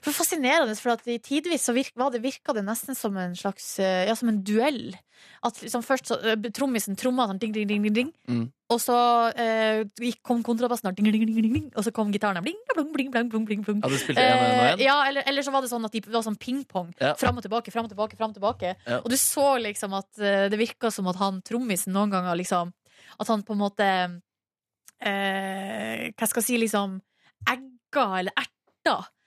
Speaker 3: For fascinerende, for at i tidvis så virk, var det, virka det nesten som en slags eh, Ja, som en duell. At liksom først så eh, trommisen tromma sånn ding, ding, ding, ding, ding.
Speaker 4: Mm.
Speaker 3: Og så eh, gikk- kom kontrabassen og ding, ding, ding, ding, ding. Og så kom gitaren og bling, bling, bling, bling, bling, bling, bling.
Speaker 4: Ja, du spilte en og en og
Speaker 3: Eh,
Speaker 4: en.
Speaker 3: ja, eller, eller så var det sånn at de, det var sånn pingpong.
Speaker 4: Ja.
Speaker 3: Fram og tilbake, fram og tilbake. Frem og tilbake
Speaker 4: Ja.
Speaker 3: Og du så liksom at eh, det virka som at han trommisen noen ganger liksom At han på en måte eh, Hva skal jeg si, liksom egga eller erta.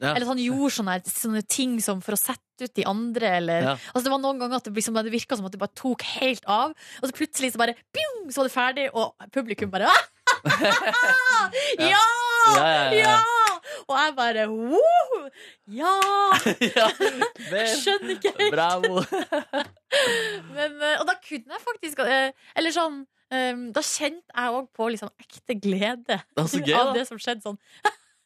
Speaker 4: Ja.
Speaker 3: Eller at han gjorde sånne, sånne ting som for å sette ut de andre, eller
Speaker 4: Ja. [laughs]
Speaker 3: Altså, det var noen ganger at det, liksom, det virka som at det bare tok helt av, og så plutselig så bare pjong, så var det ferdig, og publikum bare [laughs] ah! ja! Ja,
Speaker 4: Ja, ja, ja, ja.
Speaker 3: Og jeg bare Woo! Ja!
Speaker 4: ja. Vel,
Speaker 3: Skjønner
Speaker 4: [laughs]
Speaker 3: ikke helt.
Speaker 4: Bravo!
Speaker 3: Men, eh, og da kunne jeg faktisk eh, Eller sånn eh, Da kjente jeg òg på liksom ekte glede [laughs]
Speaker 4: Det var så gøy,
Speaker 3: av
Speaker 4: da.
Speaker 3: det som skjedde sånn.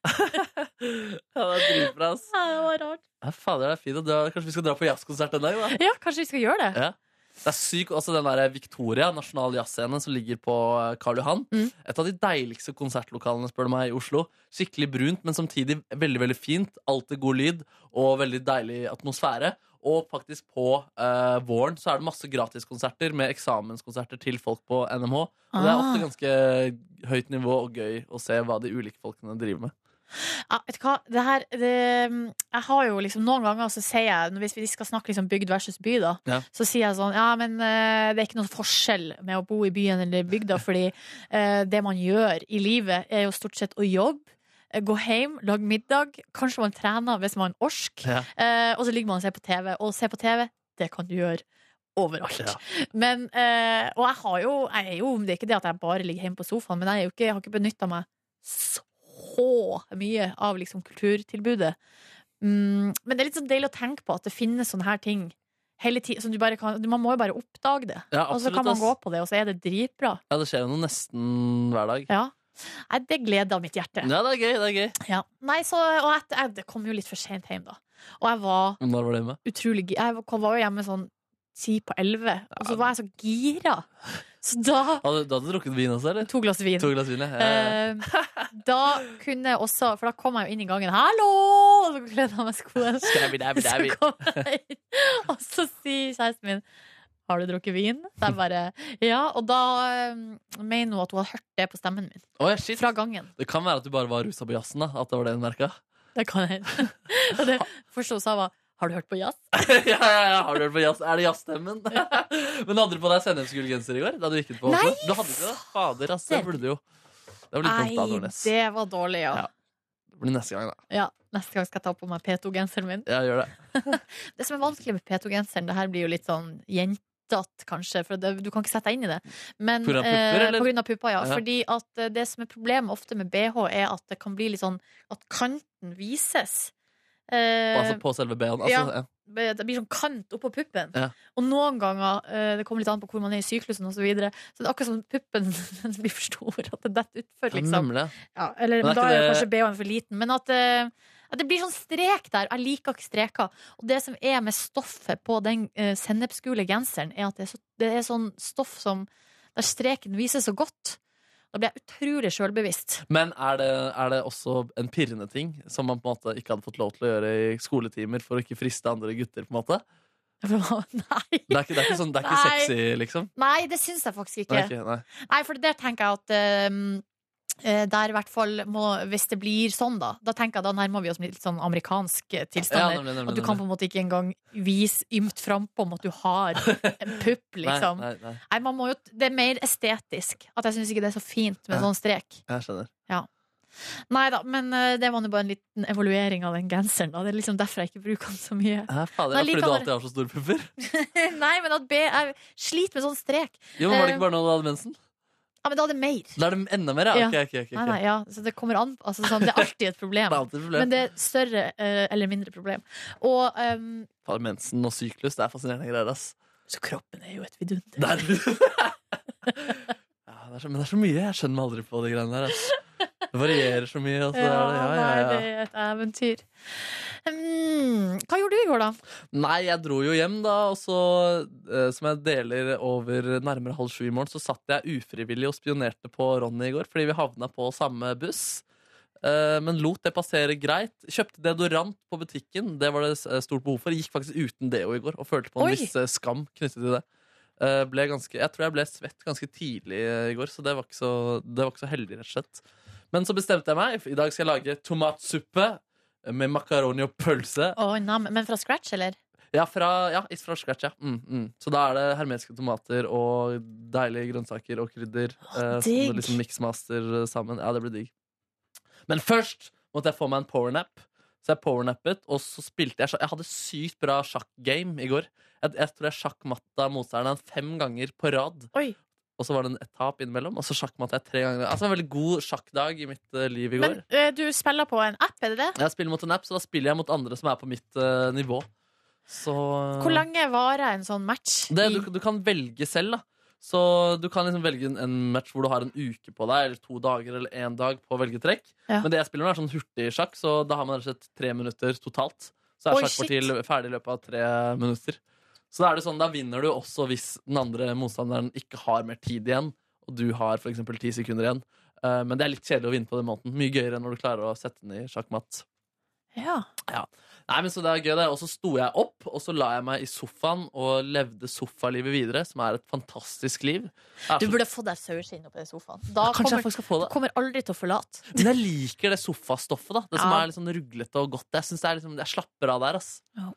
Speaker 4: Ja, det er dritbra, ass.
Speaker 3: Ja, det var rart.
Speaker 4: Ja, fader, det er fint. å dra- Kanskje vi skal dra på jazzkonsert en dag, da?
Speaker 3: Ja, kanskje vi skal gjøre det?
Speaker 4: Ja. Det er syk, altså Den der Victoria, nasjonal jazzscene som ligger på eh, Karl Johan.
Speaker 3: Mm.
Speaker 4: Et av de deiligste konsertlokalene spør du meg i Oslo. Skikkelig brunt, men samtidig veldig veldig fint. Alltid god lyd og veldig deilig atmosfære. Og faktisk på eh, våren så er det masse gratiskonserter med eksamenskonserter til folk på NMH. Og det er
Speaker 3: Ah.
Speaker 4: ofte ganske høyt nivå og gøy å se hva de ulike folkene driver med.
Speaker 3: Ja, vet du hva? Det her, det, ehm, jeg har jo liksom noen ganger så sier jeg, når- hvis vi skal snakke liksom bygd versus by, da,
Speaker 4: Ja.
Speaker 3: så sier jeg sånn Ja, men eh, det er ikke noen forskjell med å bo i byen eller bygda, fordi eh, det man gjør i livet, er jo stort sett å jobbe. eh, Gå hjem, lage middag. Kanskje man trener hvis man orsker.
Speaker 4: Ja.
Speaker 3: Eh, og så ligger man og ser på TV. Og å se på TV, det kan du gjøre overalt. Men, eh, og jeg har jo, jeg er jo Det er ikke det at jeg bare ligger hjemme på sofaen, men jeg, er jo ikke, jeg har ikke benytta meg så mye av liksom, kulturtilbudet. Mm, men det er litt sånn deilig å tenke på at det finnes sånne her ting hele tiden. Som du bare kan, man må jo bare oppdage det.
Speaker 4: Ja,
Speaker 3: og så
Speaker 4: absolutt,
Speaker 3: kan man
Speaker 4: ass.
Speaker 3: gå på det, og så er det dritbra.
Speaker 4: Ja, Det skjer jo noe nesten hver dag.
Speaker 3: Ja. Nei, det gleder mitt hjerte.
Speaker 4: Ja, det er gøy. det er gøy
Speaker 3: Ja. Nei, så, og jeg, jeg, det kom jo litt for sent hjem, da. Og jeg var
Speaker 4: Når var det med?
Speaker 3: utrolig gi- Jeg kom- var jo hjemme sånn ti på elleve, og så var jeg så gira. Så da
Speaker 4: Hadde, du hadde drukket vin også, eller?
Speaker 3: To glass vin.
Speaker 4: To glass vin, ja. ja. ja.
Speaker 3: Eh, da kunne jeg også For da kom jeg jo inn i gangen. 'Hallo!' Og så kledde jeg av meg skoene.
Speaker 4: Dabbi, dabbi, dabbi.
Speaker 3: Så kom jeg inn, og så sier kjæresten min har du drukket vin? Så jeg bare, ja, Og da eh, mener hun at hun har hørt det på stemmen min.
Speaker 4: Å, ja, shit.
Speaker 3: Fra gangen.
Speaker 4: Det kan være at du bare var rusa på jazzen. da At det var det hun
Speaker 3: [laughs]
Speaker 4: merka.
Speaker 3: Det kan jeg. Og det første hun sa, var 'Har du hørt på jazz?'
Speaker 4: ja, ja, ja, har du hørt på jazz? Er det jazzstemmen? [laughs] Men hadde du på deg sennepsgullgenser i går? Da du gikk ut på
Speaker 3: Nei,
Speaker 4: Åsne? Du hadde ikke det? Fader, ass. Det burde du jo. Det blir dumt, da,
Speaker 3: Nei,
Speaker 4: Nordnes. Det...
Speaker 3: det var dårlig, ja.
Speaker 4: Ja. blir neste gang, da.
Speaker 3: ja. Neste gang skal jeg ta på meg P2-genseren min.
Speaker 4: Ja, gjør det.
Speaker 3: Det som er vanskelig med P2-genseren, det her blir jo litt sånn jentatt, kanskje, for det, du kan ikke sette deg inn i det. Men,
Speaker 4: På grunn av pupper,
Speaker 3: eh,
Speaker 4: eller?
Speaker 3: På grunn av pupper, ja.
Speaker 4: Ja.
Speaker 3: Fordi at eh, det som er problemet ofte med BH, er at det kan bli litt sånn at kanten vises. Eh,
Speaker 4: Altså på selve BH-en.
Speaker 3: ja.
Speaker 4: Altså, ja.
Speaker 3: det blir sånn kant oppå puppen.
Speaker 4: Ja.
Speaker 3: Og noen ganger, eh, det kommer litt an på hvor man er i syklusen osv., så, videre, så det er akkurat som puppen [laughs] den blir for stor, at den detter utfor, liksom.
Speaker 4: Nemlig.
Speaker 3: Ja, eller,
Speaker 4: Men er
Speaker 3: men da
Speaker 4: ikke
Speaker 3: er jo
Speaker 4: det-
Speaker 3: kanskje BH-en for liten. Men at, eh, at det blir sånn strek der. Jeg liker ikke streker. Og det som er med stoffet på den uh, sennepsgule genseren, er at det er, så, det er sånn stoff som Der streken vises så godt. Da blir jeg utrolig sjølbevisst. [laughs]
Speaker 4: Men er det, er det også en pirrende ting som man på en måte ikke hadde fått lov til å gjøre i skoletimer for å ikke friste andre gutter? på en måte
Speaker 3: Nei.
Speaker 4: Det er ikke, det er ikke, sånn, det er
Speaker 3: Nei.
Speaker 4: ikke sexy, liksom?
Speaker 3: Nei, det syns jeg faktisk ikke.
Speaker 4: Nei, ikke, nei.
Speaker 3: Nei, for der tenker jeg at eh, eh, der i hvert fall må, Hvis det blir sånn, da, da tenker jeg da nærmer vi oss litt sånn amerikansk eh,
Speaker 4: Ja,
Speaker 3: tilstander.
Speaker 4: nemlig, nemlig,
Speaker 3: at du kan
Speaker 4: nemlig.
Speaker 3: på en måte ikke engang vise ymt frampå om at du har en pupp, liksom.
Speaker 4: [laughs] Nei, nei, nei.
Speaker 3: Nei, man må jo, det er mer estetisk. At jeg syns ikke det er så fint med
Speaker 4: Ja.
Speaker 3: sånn strek.
Speaker 4: Jeg skjønner.
Speaker 3: Nei da, men eh, det var nå bare en liten evaluering av den genseren. Da. Det er liksom derfor jeg ikke bruker den så mye. [laughs]
Speaker 4: Ja, fader,
Speaker 3: Nei,
Speaker 4: ja, fordi du
Speaker 3: likevel-
Speaker 4: alltid har så store pupper? [laughs]
Speaker 3: Nei, men at B, jeg sliter med sånn strek.
Speaker 4: Jo, men Var det ikke bare nå du hadde mensen?
Speaker 3: Ja, men da er det mer.
Speaker 4: Da er det enda mer, ja.
Speaker 3: Ja.
Speaker 4: Ok, ok, ok, ok.
Speaker 3: Nei, nei, ja. Så det kommer an altså, sånn, Det er alltid et
Speaker 4: [laughs] Det er
Speaker 3: problem.
Speaker 4: alltid et problem.
Speaker 3: Men det er større eh, eller mindre problem. Og ehm,
Speaker 4: Faen, mensen og syklus, det er fascinerende greier, ass. [laughs]
Speaker 3: Så kroppen er jo et vidunder.
Speaker 4: Det er... ja, det er så, men det er så mye. Jeg skjønner meg aldri på de greiene der. Ass. Det varierer så mye. Altså,
Speaker 3: Ja,
Speaker 4: ja, ja,
Speaker 3: nei,
Speaker 4: ja,
Speaker 3: det er et eventyr. Mm, hva gjorde du i går, da?
Speaker 4: Nei, jeg dro jo hjem, da. Og så, eh, som jeg deler over nærmere halv sju i morgen, så satt jeg ufrivillig og spionerte på Ronny i går, fordi vi havna på samme buss. Eh, men lot det passere greit. Kjøpte deodorant på butikken. Det var det s- eh, stort behov for. Gikk faktisk uten deo i går og følte på en
Speaker 3: Oi.
Speaker 4: viss eh, skam knyttet til det. Eh, ble ganske, jeg tror jeg ble svett ganske tidlig eh, i går, så det var ikke så, det var ikke så heldig, rett og slett. Men så bestemte jeg meg. I dag skal jeg lage tomatsuppe med makaroni og pølse.
Speaker 3: Å, nam, men fra scratch, eller?
Speaker 4: Ja, fra, ja, is fra scratch, ja. Mm, mm. Så da er det hermetiske tomater og deilige grønnsaker og krydder. eh, som
Speaker 3: digg.
Speaker 4: du liksom miksmaster eh, sammen. Ja, det blir digg. Men først måtte jeg få meg en powernap. Så jeg powernappet, og så spilte jeg sjakk. Jeg hadde sykt bra sjakkgame i går. Jeg, jeg tror jeg sjakkmatta motstanderen fem ganger på rad.
Speaker 3: Oi.
Speaker 4: Og så var det en etap innimellom, og så sjakkmatta jeg tre ganger. Altså en veldig god sjakkdag i mitt eh, liv i
Speaker 3: Men
Speaker 4: går.
Speaker 3: eh, du spiller på en app, er det det?
Speaker 4: Jeg spiller mot en app, så da spiller jeg mot andre som er på mitt eh, nivå. Så
Speaker 3: Hvor lenge varer en sånn match?
Speaker 4: det,
Speaker 3: i-
Speaker 4: du, du kan velge selv, da. Så du kan liksom velge en, en match hvor du har en uke på deg, eller to dager eller én dag på å velge trekk.
Speaker 3: Ja.
Speaker 4: Men det jeg spiller nå, er sånn hurtigsjakk, så da har man rett og slett tre minutter totalt. Så
Speaker 3: Oi,
Speaker 4: er sjakkpartiet lø- ferdig i løpet av tre minutter. Så da er det sånn, da vinner du også hvis den andre motstanderen ikke har mer tid igjen, og du har f.eks. ti sekunder igjen. Eh, Men det er litt kjedelig å vinne på den måten. Mye gøyere enn når du klarer å sette den i sjakkmatt.
Speaker 3: Ja.
Speaker 4: Nei, men så det er gøy det. Og så sto jeg opp, og så la jeg meg i sofaen og levde sofalivet videre, som er et fantastisk liv. Jeg er
Speaker 3: Du
Speaker 4: så-
Speaker 3: burde få deg saueskinn oppi den sofaen. Da
Speaker 4: Kanskje jeg
Speaker 3: kommer,
Speaker 4: faktisk skal få det.
Speaker 3: kommer aldri til å forlate.
Speaker 4: Men jeg liker det sofastoffet, da. Det som
Speaker 3: Ja.
Speaker 4: er litt sånn ruglete og godt. Jeg synes det er liksom, jeg slapper av der, ass.
Speaker 3: Ja.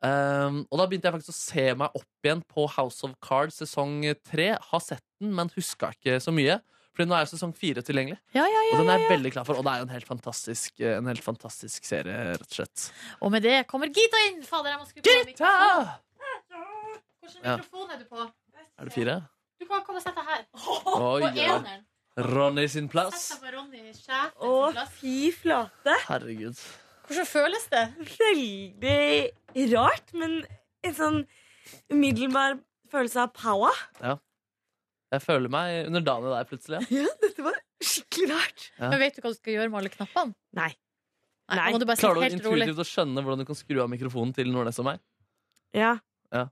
Speaker 4: Um, og da begynte jeg faktisk å se meg opp igjen på House of Cards sesong tre. Har sett den, men huska ikke så mye. Fordi nå er jo sesong fire tilgjengelig.
Speaker 3: Ja, ja,
Speaker 4: Og
Speaker 3: ja.
Speaker 4: den er jeg veldig klar for, og det er jo en helt fantastisk, en helt fantastisk serie, rett og slett.
Speaker 3: Og med det kommer Gita inn! Fader, jeg må skru på mikrofonen. Hvilken
Speaker 4: Ja.
Speaker 3: mikrofon er du på?
Speaker 4: Er det fire?
Speaker 3: Du kan komme og sette deg her.
Speaker 4: Oi,
Speaker 3: På
Speaker 4: ja.
Speaker 3: eneren.
Speaker 4: Ronny sin
Speaker 3: Sett
Speaker 4: plass.
Speaker 3: deg på Ronny Skjæfens
Speaker 10: Å,
Speaker 3: plass.
Speaker 10: fy flate.
Speaker 4: Herregud.
Speaker 3: Hvordan føles det?
Speaker 10: Veldig rart, men en sånn umiddelbar følelse av power.
Speaker 4: Jeg føler meg underdanig deg plutselig. Ja.
Speaker 10: Dette var skikkelig rart.
Speaker 4: Ja.
Speaker 3: Men Vet du hva du skal gjøre med alle knappene?
Speaker 10: Nei.
Speaker 3: Nei,
Speaker 10: Nei.
Speaker 3: nå må du bare sitte
Speaker 4: Klarer du
Speaker 3: helt rolig.
Speaker 4: intuitivt å skjønne hvordan du kan skru av mikrofonen til Nordnes og meg?
Speaker 10: Ja.
Speaker 4: Ja.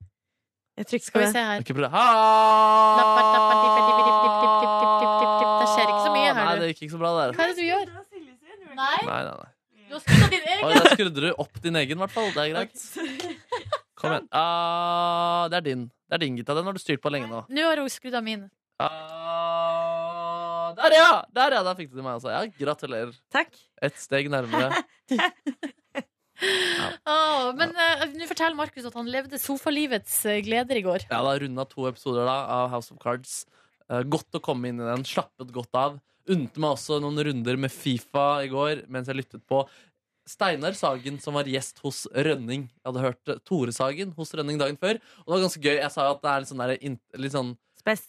Speaker 10: Jeg trykker
Speaker 3: Skal vi
Speaker 10: på det.
Speaker 3: se her.
Speaker 4: Ikke prøv det.
Speaker 3: Lappa, lappa, dippa, dippa, dippa, dippa, dippa, dippa, dippa, dippa. Det skjer ikke så mye her,
Speaker 4: Nei,
Speaker 3: du.
Speaker 4: det gikk ikke så bra der.
Speaker 3: Hva er det du gjør? Nei,
Speaker 4: Nei, nei, nei.
Speaker 3: du har skrudd av din
Speaker 4: Oi,
Speaker 3: egen.
Speaker 4: der skrudde du opp din egen, i hvert fall. Det er greit. Kom igjen. Ah, det er din. Det er din, Gita. Den har du styrt på lenge nå.
Speaker 3: Nå har hun skrudd av min.
Speaker 4: Ah, der, ja! Der, ja! Der fikk du til meg, altså. Ja, gratulerer.
Speaker 10: Takk.
Speaker 4: Ett steg nærmere.
Speaker 3: Åh, men eh, nå forteller Markus at han levde sofalivets eh, gleder i går.
Speaker 4: Ja, da runda to episoder da av House of Cards. Eh, godt å komme inn i den. Slappet godt av. Unte meg også noen runder med Fifa i går mens jeg lyttet på Steinar Sagen, som var gjest hos Rønning. Jeg hadde hørt eh, Tore Sagen hos Rønning dagen før. Og det var ganske gøy. Jeg sa jo at det er litt sånn, der, in- litt sånn
Speaker 10: Spes.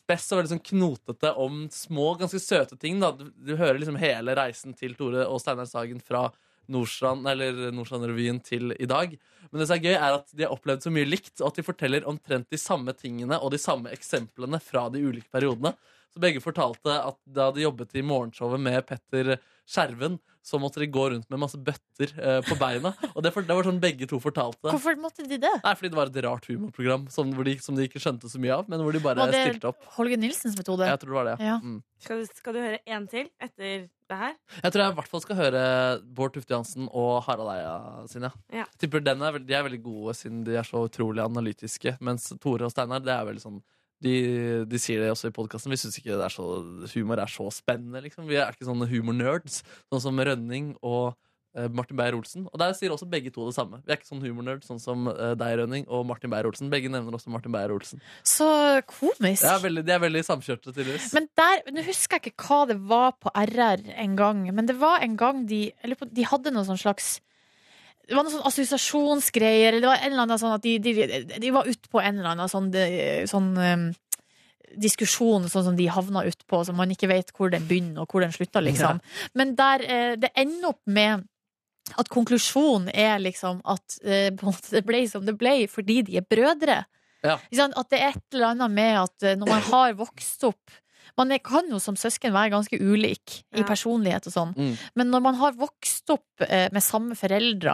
Speaker 4: spess og veldig sånn knotete om små, ganske søte ting. Da. Du, du hører liksom hele reisen til Tore og Steinar Sagen fra Nordstrand, eller Nordstrand-revyen til i dag. Men det som er gøy, er at de har opplevd så mye likt, og at de forteller omtrent de samme tingene og de samme eksemplene fra de ulike periodene. Så begge fortalte at da de jobbet i morgenshowet med Petter Skjerven, så måtte de gå rundt med masse bøtter eh, på beina. Og det, for, det var sånn begge to fortalte.
Speaker 3: Hvorfor måtte de det?
Speaker 4: Nei, fordi det var et rart humorprogram som, hvor de, som de ikke skjønte så mye av, men hvor de bare
Speaker 3: Var det-
Speaker 4: stilte opp.
Speaker 3: Holger Nilsens metode.
Speaker 4: Jeg tror det var det. ja.
Speaker 3: Ja.
Speaker 4: Mm.
Speaker 10: Skal du, skal du høre en til etter det her?
Speaker 4: Jeg tror jeg i hvert fall skal høre Bård Tufte Johansen og Harald Eia sine.
Speaker 10: Ja.
Speaker 4: Tipper den er, veld- De er veldig gode, siden de er så utrolig analytiske. Mens Tore og Steinar det er veldig sånn de, de sier det også i podkasten. Vi syns ikke det er så, humor er så spennende. liksom Vi er ikke sånne humornerds, sånn som Rønning og eh, Martin Beyer-Olsen. Og der sier også begge to det samme. Vi er ikke sånn humornerd sånn som eh, deg, Rønning, og Martin Beyer-Olsen. Begge nevner også Martin Beyer-Olsen.
Speaker 3: Så komisk.
Speaker 4: De er veldig, de er veldig samkjørte, tydeligvis.
Speaker 3: Men der, nå husker jeg ikke hva det var på RR en gang, men det var en gang de, jeg lurer på- de hadde noe sånn slags det var noen sånn assosiasjonsgreier, eller det var en eller annen sånn at de, de, de var ute på en eller annen sånn, de, sånn um, diskusjon, sånn som de havna ut på, så man ikke vet hvor den begynner og hvor den slutter, liksom. Men der eh, det ender opp med at konklusjonen er liksom at eh, på en måte det ble som det ble fordi de er brødre.
Speaker 4: Ja.
Speaker 3: Ikke sant? At det er et eller annet med at eh, når man har vokst opp Man er- kan jo som søsken være ganske ulik i personlighet og sånn.
Speaker 4: Mm.
Speaker 3: Men når man har vokst opp eh, med samme foreldre,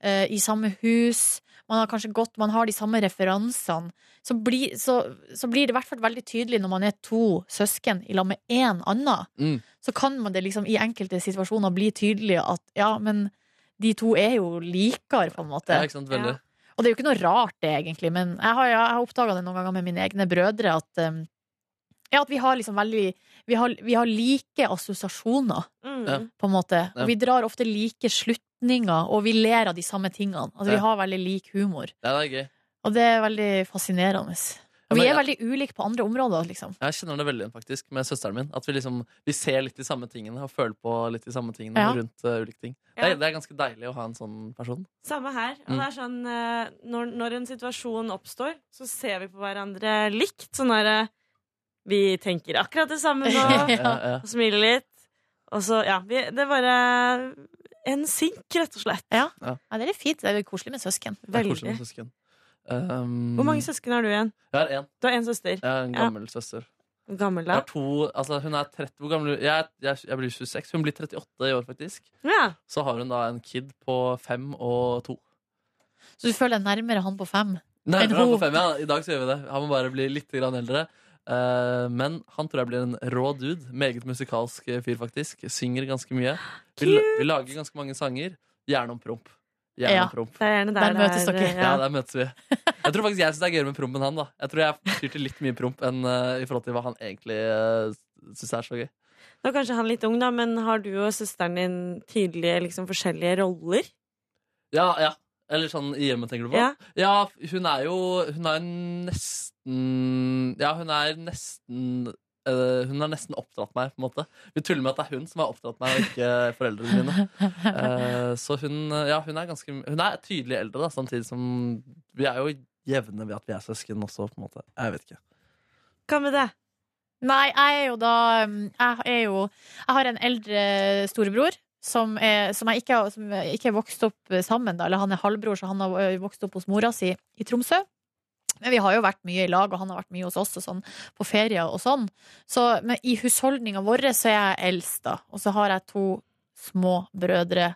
Speaker 3: eh, i samme hus, man har kanskje gått, man har de samme referansene, så blir, så, så blir det i hvert fall veldig tydelig når man er to søsken i lag med én annen.
Speaker 4: Mm.
Speaker 3: Så kan man det liksom i enkelte situasjoner bli tydelig at ja, men de to er jo likere, på en måte.
Speaker 4: Ja, ikke sant, veldig. Ja.
Speaker 3: Og det er jo ikke noe rart, det, egentlig, men jeg har, jeg har oppdaga det noen ganger med mine egne brødre at um, ja, at vi har liksom veldig Vi har, vi har like assosiasjoner,
Speaker 10: Mm. Ja.
Speaker 3: på en måte.
Speaker 4: Ja.
Speaker 3: Og vi drar ofte like slutninger, og vi ler av de samme tingene. Altså,
Speaker 4: Ja.
Speaker 3: Vi har veldig lik humor.
Speaker 4: Ja, det er gøy.
Speaker 3: Og det er veldig fascinerende. Og
Speaker 4: men
Speaker 3: vi er
Speaker 4: jeg-
Speaker 3: veldig ulike på andre områder, liksom.
Speaker 4: Jeg kjenner det veldig igjen faktisk med søsteren min. At vi liksom, vi ser litt de samme tingene og føler på litt de samme tingene
Speaker 3: Ja.
Speaker 4: rundt eh, ulike ting. Det,
Speaker 10: Ja.
Speaker 4: er, det er ganske deilig å ha en sånn
Speaker 10: [laughs]
Speaker 4: person.
Speaker 10: Samme her. Og
Speaker 4: Mm.
Speaker 10: det er sånn, eh, når, når en situasjon oppstår, så ser vi på hverandre likt. Sånn derre Vi tenker akkurat
Speaker 4: [laughs]
Speaker 10: det samme nå,
Speaker 4: Ja, ja.
Speaker 10: og smiler litt. Og så, ja vi, Det er bare en sink, rett og slett.
Speaker 3: Ja.
Speaker 4: Ja.
Speaker 3: Ja, det er litt fint. Det er jo koselig med søsken.
Speaker 4: Det er
Speaker 10: Veldig.
Speaker 4: koselig med søsken. Um,
Speaker 10: Hvor mange søsken har du igjen?
Speaker 4: Jeg har én.
Speaker 10: Du har én søster.
Speaker 4: Jeg har en
Speaker 10: Ja.
Speaker 4: gammel søster.
Speaker 10: Hvor Gammel,
Speaker 4: Jeg
Speaker 10: da?
Speaker 4: har to, altså Hun er 30 Hvor gammel jeg, jeg, jeg blir 26. Hun blir 38 i år, faktisk.
Speaker 10: Ja.
Speaker 4: Så har hun da en kid på fem og to.
Speaker 3: Så du føler deg nærmere han på fem.
Speaker 4: Nei,
Speaker 3: Men
Speaker 4: men han
Speaker 3: hun-
Speaker 4: på fem, ja. I dag så gjør vi det. Han må bare bli litt grann eldre. Eh, men han tror jeg blir en rå dude. Meget musikalsk eh, fyr, faktisk. Synger ganske mye. Vi, la- vi lager ganske mange sanger. Gjerne om promp. Gjerne
Speaker 3: Ja.
Speaker 4: om promp.
Speaker 10: Det er gjerne
Speaker 3: Der
Speaker 10: der, det
Speaker 3: møtes
Speaker 10: er,
Speaker 3: dere.
Speaker 10: eh,
Speaker 4: Ja, der møtes vi. Jeg tror faktisk jeg syns det er gøyere med promp enn han. da Jeg tror jeg fyr til litt mye promp enn eh, i forhold til hva han egentlig uh, syns er så gøy.
Speaker 10: Nå er kanskje han litt ung, da, men har du og søsteren din tydelige liksom, forskjellige roller?
Speaker 4: Ja, ja. Eller sånn i hjemmet, tenker du på?
Speaker 10: Ja.
Speaker 4: Ja, hun er jo Hun er nesten Ja, hun er nesten eh, Hun har nesten oppdratt meg, på en måte. Vi tuller med at det er hun som har oppdratt meg, og ikke foreldrene mine. Eh, så hun Ja, hun er ganske Hun er tydelig eldre, da, samtidig som Vi er jo jevne ved at vi er søsken også, på en måte. Jeg vet ikke.
Speaker 10: Hva med det?
Speaker 3: Nei, jeg er jo da um, Jeg er jo Jeg har en eldre storebror. Som, er, som jeg ikke, har- som jeg ikke er vokst opp sammen, da. Eller han er halvbror, så han har ø, vokst opp hos mora si i Tromsø. Men vi har jo vært mye i lag, og han har vært mye hos oss og sånn, på ferie og sånn. Så men i husholdninga vår så er jeg eldst, da. Og så har jeg to små brødre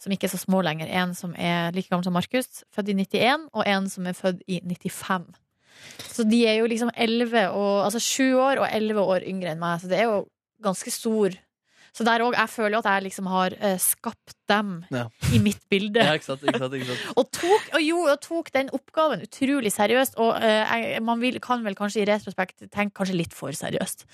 Speaker 3: som ikke er så små lenger. En som er like gammel som Markus, født i 91, og en som er født i 95. Så de er jo liksom 11 og, altså 7 år og 11 år yngre enn meg, så det er jo ganske stor. Så der òg, jeg føler jo at jeg liksom har eh, skapt dem
Speaker 4: Ja.
Speaker 3: i mitt
Speaker 4: [laughs]
Speaker 3: bilde.
Speaker 4: Ja, ikke sant, ikke sant, ikke sant.
Speaker 3: Og tok, og jo, og tok den oppgaven utrolig seriøst. Og eh, jeg, man vil, kan vel kanskje i retrospekt tenke kanskje litt for seriøst.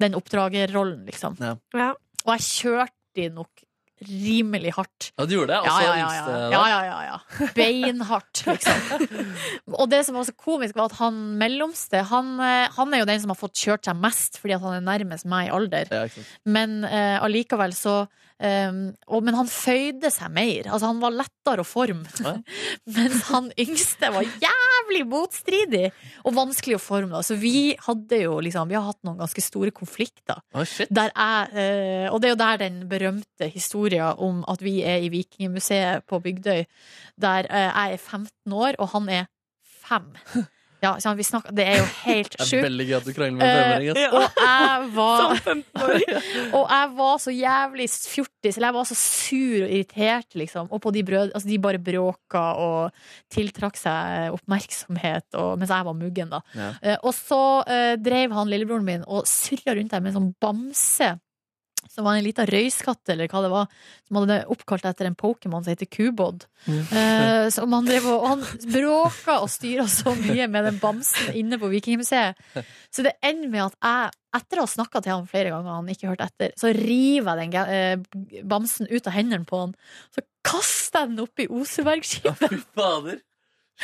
Speaker 3: Den oppdragerrollen, liksom.
Speaker 10: Ja.
Speaker 3: Og jeg kjørte de nok rimelig hardt.
Speaker 4: Ja, du gjorde det?
Speaker 3: Ja,
Speaker 4: Også
Speaker 3: ja, ja. ja.
Speaker 4: yngste, da.
Speaker 3: ja, ja, ja, ja. Beinhardt, liksom. [laughs] Og det som var så komisk, var at han mellomste, han, eh, han er jo den som har fått kjørt seg mest, fordi at han er nærmest meg i alder.
Speaker 4: Ja, ikke sant.
Speaker 3: Men eh, allikevel så eh, og, Men han føyde seg mer. Altså, han var lettere å forme.
Speaker 4: Ja.
Speaker 3: [laughs] Mens han yngste var jævlig motstridig og vanskelig å forme. Da. Så vi hadde jo liksom Vi har hatt noen ganske store konflikter.
Speaker 4: Å, shit.
Speaker 3: Der jeg, eh, og det er jo der den berømte historia om at vi er i Vikingmuseet på Bygdøy, der eh, jeg er 15 år, og han er 5. Ja, så vi snakker, det er jo helt
Speaker 4: Det er Eh,
Speaker 3: sjukt.
Speaker 4: veldig gøy at du krangler med en altså. femåring. ass.
Speaker 3: Og jeg var
Speaker 10: Som 15-åring.
Speaker 3: og jeg var så jævlig fjortis, eller jeg var så sur og irritert, liksom. Og på de brød, altså de bare bråka og tiltrakk seg oppmerksomhet, og, mens jeg var muggen, da.
Speaker 4: Ja.
Speaker 3: Eh, og så eh, dreiv han lillebroren min og surra rundt der med en sånn bamse. Som var en liten røyskatt, eller hva det var, som hadde det oppkalt etter en Pokémon som heter Kubod. Eh, som han drev og, og han bråka og styra så mye med den bamsen inne på Vikingmuseet. Så det ender med at jeg, etter å ha snakka til ham flere ganger, og han ikke hørte etter, så river jeg den ga- eh, bamsen ut av hendene på han. Så kaster jeg den oppi Osebergskipet,
Speaker 4: Fy fader.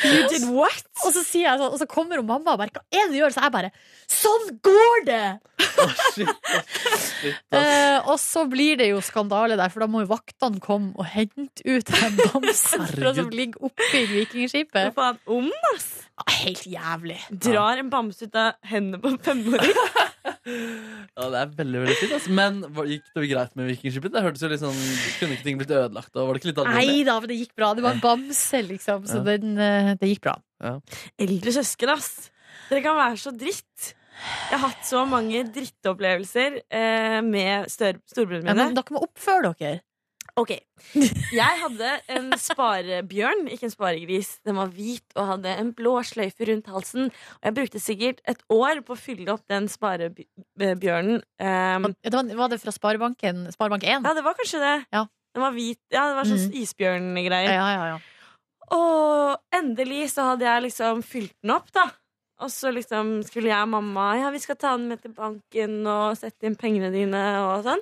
Speaker 10: You did what?
Speaker 3: og så sier jeg sånn, og så kommer hun mamma og bare 'Hva er det du gjør?' Så jeg bare 'Sånn går det!'
Speaker 4: Å, shit. Å, shit, ass.
Speaker 3: Eh, og så blir det jo skandale der, for da må jo vaktene komme og hente ut den bamsen fra som
Speaker 4: Herregud.
Speaker 3: ligger oppi
Speaker 10: Hva
Speaker 3: Vikingskipet.
Speaker 10: faen? Om?
Speaker 3: Ja, Helt jævlig.
Speaker 10: Drar en bamse ut av hendene på en
Speaker 3: [laughs]
Speaker 10: femåring?
Speaker 4: Ja, det er veldig, veldig fint ass. Men hva- gikk det greit med vikingskipet? Det hørtes jo litt sånn Kunne ikke ting blitt ødelagt? Og var det ikke litt alvorlig?
Speaker 3: Nei da, men det gikk bra. Det var en bamse, liksom. Så den, eh, det gikk bra.
Speaker 10: Eldre søsken, ass. Dere kan være så dritt. Jeg har hatt så mange drittopplevelser eh, med stør- storebrødrene
Speaker 3: Ja,
Speaker 10: mine.
Speaker 3: men dere må oppføre dere.
Speaker 10: Ok. Jeg hadde en sparebjørn, ikke en sparegris. Den var hvit og hadde en blå sløyfe rundt halsen. Og jeg brukte sikkert et år på å fylle opp den sparebjørnen. Um,
Speaker 3: Det var, var det fra Sparebanken Sparebank 1?
Speaker 10: ja, det var kanskje det.
Speaker 3: Ja.
Speaker 10: Den var hvit. Ja, det var sånn isbjørngreier.
Speaker 3: Ja, ja, ja.
Speaker 10: Og endelig så hadde jeg liksom fylt den opp, da. Og så liksom skulle jeg og mamma Ja, vi skal ta den med til banken og sette inn pengene dine og sånn.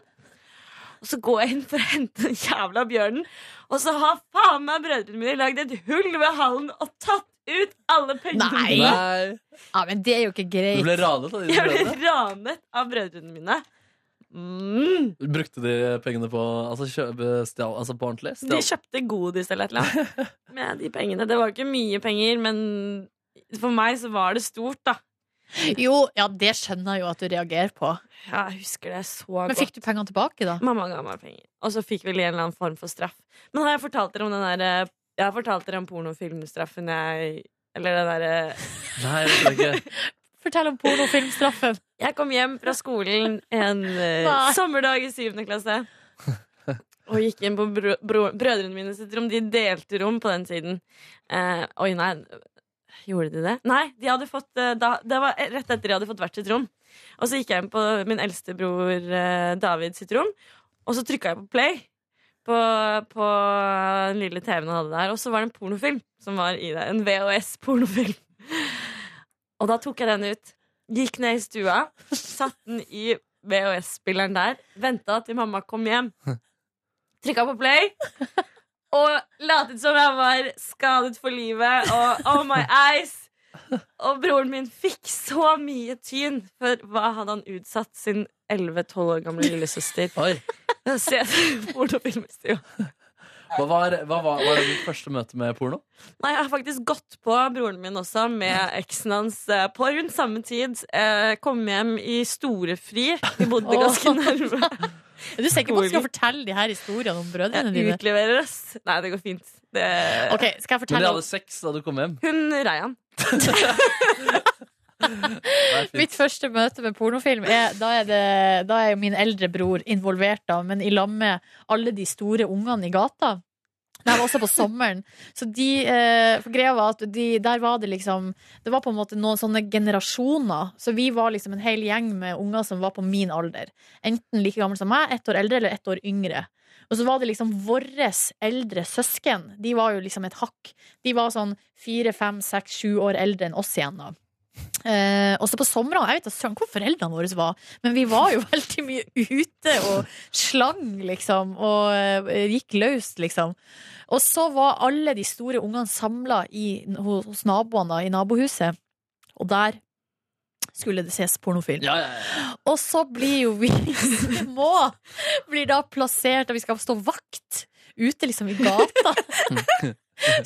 Speaker 10: Og så går jeg inn for å hente den jævla bjørnen, og så har faen meg brødrene mine lagd et hull ved hallen og tatt ut alle pengene
Speaker 3: Nei.
Speaker 10: mine.
Speaker 4: Nei.
Speaker 3: Ja, men det er jo ikke greit.
Speaker 4: Du ble ranet av dine
Speaker 10: [laughs] Jeg ble
Speaker 4: brødre.
Speaker 10: ranet av brødrene mine. Mm.
Speaker 4: Brukte de pengene på altså, kjøpe, stjal, altså på ordentlig?
Speaker 10: De
Speaker 4: Stjal.
Speaker 10: kjøpte godis eller et eller annet med de pengene. Det var ikke mye penger, men for meg så var det stort, da.
Speaker 3: Jo, ja, det skjønner jeg jo at du reagerer på.
Speaker 10: Ja, jeg husker det så
Speaker 3: Men
Speaker 10: godt.
Speaker 3: fikk du pengene tilbake, da?
Speaker 10: Mamma ga meg penger. Og så fikk vi en eller annen form for straff. Men har jeg fortalt dere om den der eh, Jeg har fortalt dere om pornofilmstraffen jeg Eller den eh, derre
Speaker 4: Nei, jeg vet ikke.
Speaker 3: Fortell om pornofilmstraffen.
Speaker 10: Jeg kom hjem fra skolen en eh,
Speaker 3: Nei.
Speaker 10: sommerdag i syvende klasse. Og gikk inn på bro bro brødrene mine sitt rom. De delte rom på den tiden. Eh, oi, nei. Gjorde de det? Nei, de hadde fått, eh, da, det var rett etter de hadde fått hvert sitt rom. Og så gikk jeg inn på min eldste bror eh, David sitt rom, og så trykka jeg på play. På, på den lille TV-en han hadde der. Og så var det en pornofilm som var i det. En VHS-pornofilm. Og da tok jeg den ut. Gikk ned i stua, satt den i VHS-spilleren der, venta til mamma kom hjem. Trykka på play og latet som jeg var skadet for livet og oh my eyes. Og broren min fikk så mye tyn for hva hadde han utsatt sin 11-12 år gamle lillesøster.
Speaker 4: Oi.
Speaker 10: Se [laughs] pornofilm i stua.
Speaker 4: Hva var, hva var, var det ditt første møte med porno?
Speaker 10: Nei, jeg har faktisk gått på broren min også, med eksen hans eh, på rundt samme tid. Eh, kom hjem i storefri. Vi bodde ganske
Speaker 3: [laughs]
Speaker 10: nærme.
Speaker 3: Er du sikker på at du skal fortelle de her historiene om brødrene
Speaker 10: Jeg
Speaker 3: dine?
Speaker 10: utleverer oss. Nei, det går fint. Det...
Speaker 3: Ok, skal jeg
Speaker 4: Men de
Speaker 3: fortelle
Speaker 4: hadde sex da du kom hjem.
Speaker 10: Hun rei han.
Speaker 4: Det er fint.
Speaker 3: Mitt første møte med pornofilm er, da, er det, da er jo min eldre bror involvert, da, men i lag med alle de store ungene i gata. Det her var også på sommeren. Så de, eh, for greia var at de, der var det liksom Det var på en måte noen sånne generasjoner. Så vi var liksom en hel gjeng med unger som var på min alder. Enten like gammel som meg, ett år eldre eller ett år yngre. Og så var det liksom våre eldre søsken. De var jo liksom et hakk. De var sånn fire, fem, seks, sju år eldre enn oss igjen, da. Eh, også på somrene. Jeg vet da søren hvor foreldrene våre var, men vi var jo [laughs] veldig mye ute og slang, liksom. Og eh, gikk løst, liksom. Og så var alle de store ungene samla hos naboene da, i nabohuset, og der skulle det ses pornofilm.
Speaker 4: Ja, ja, ja.
Speaker 3: Og så blir jo vi små Blir da plassert Og vi skal stå vakt Ute liksom i gata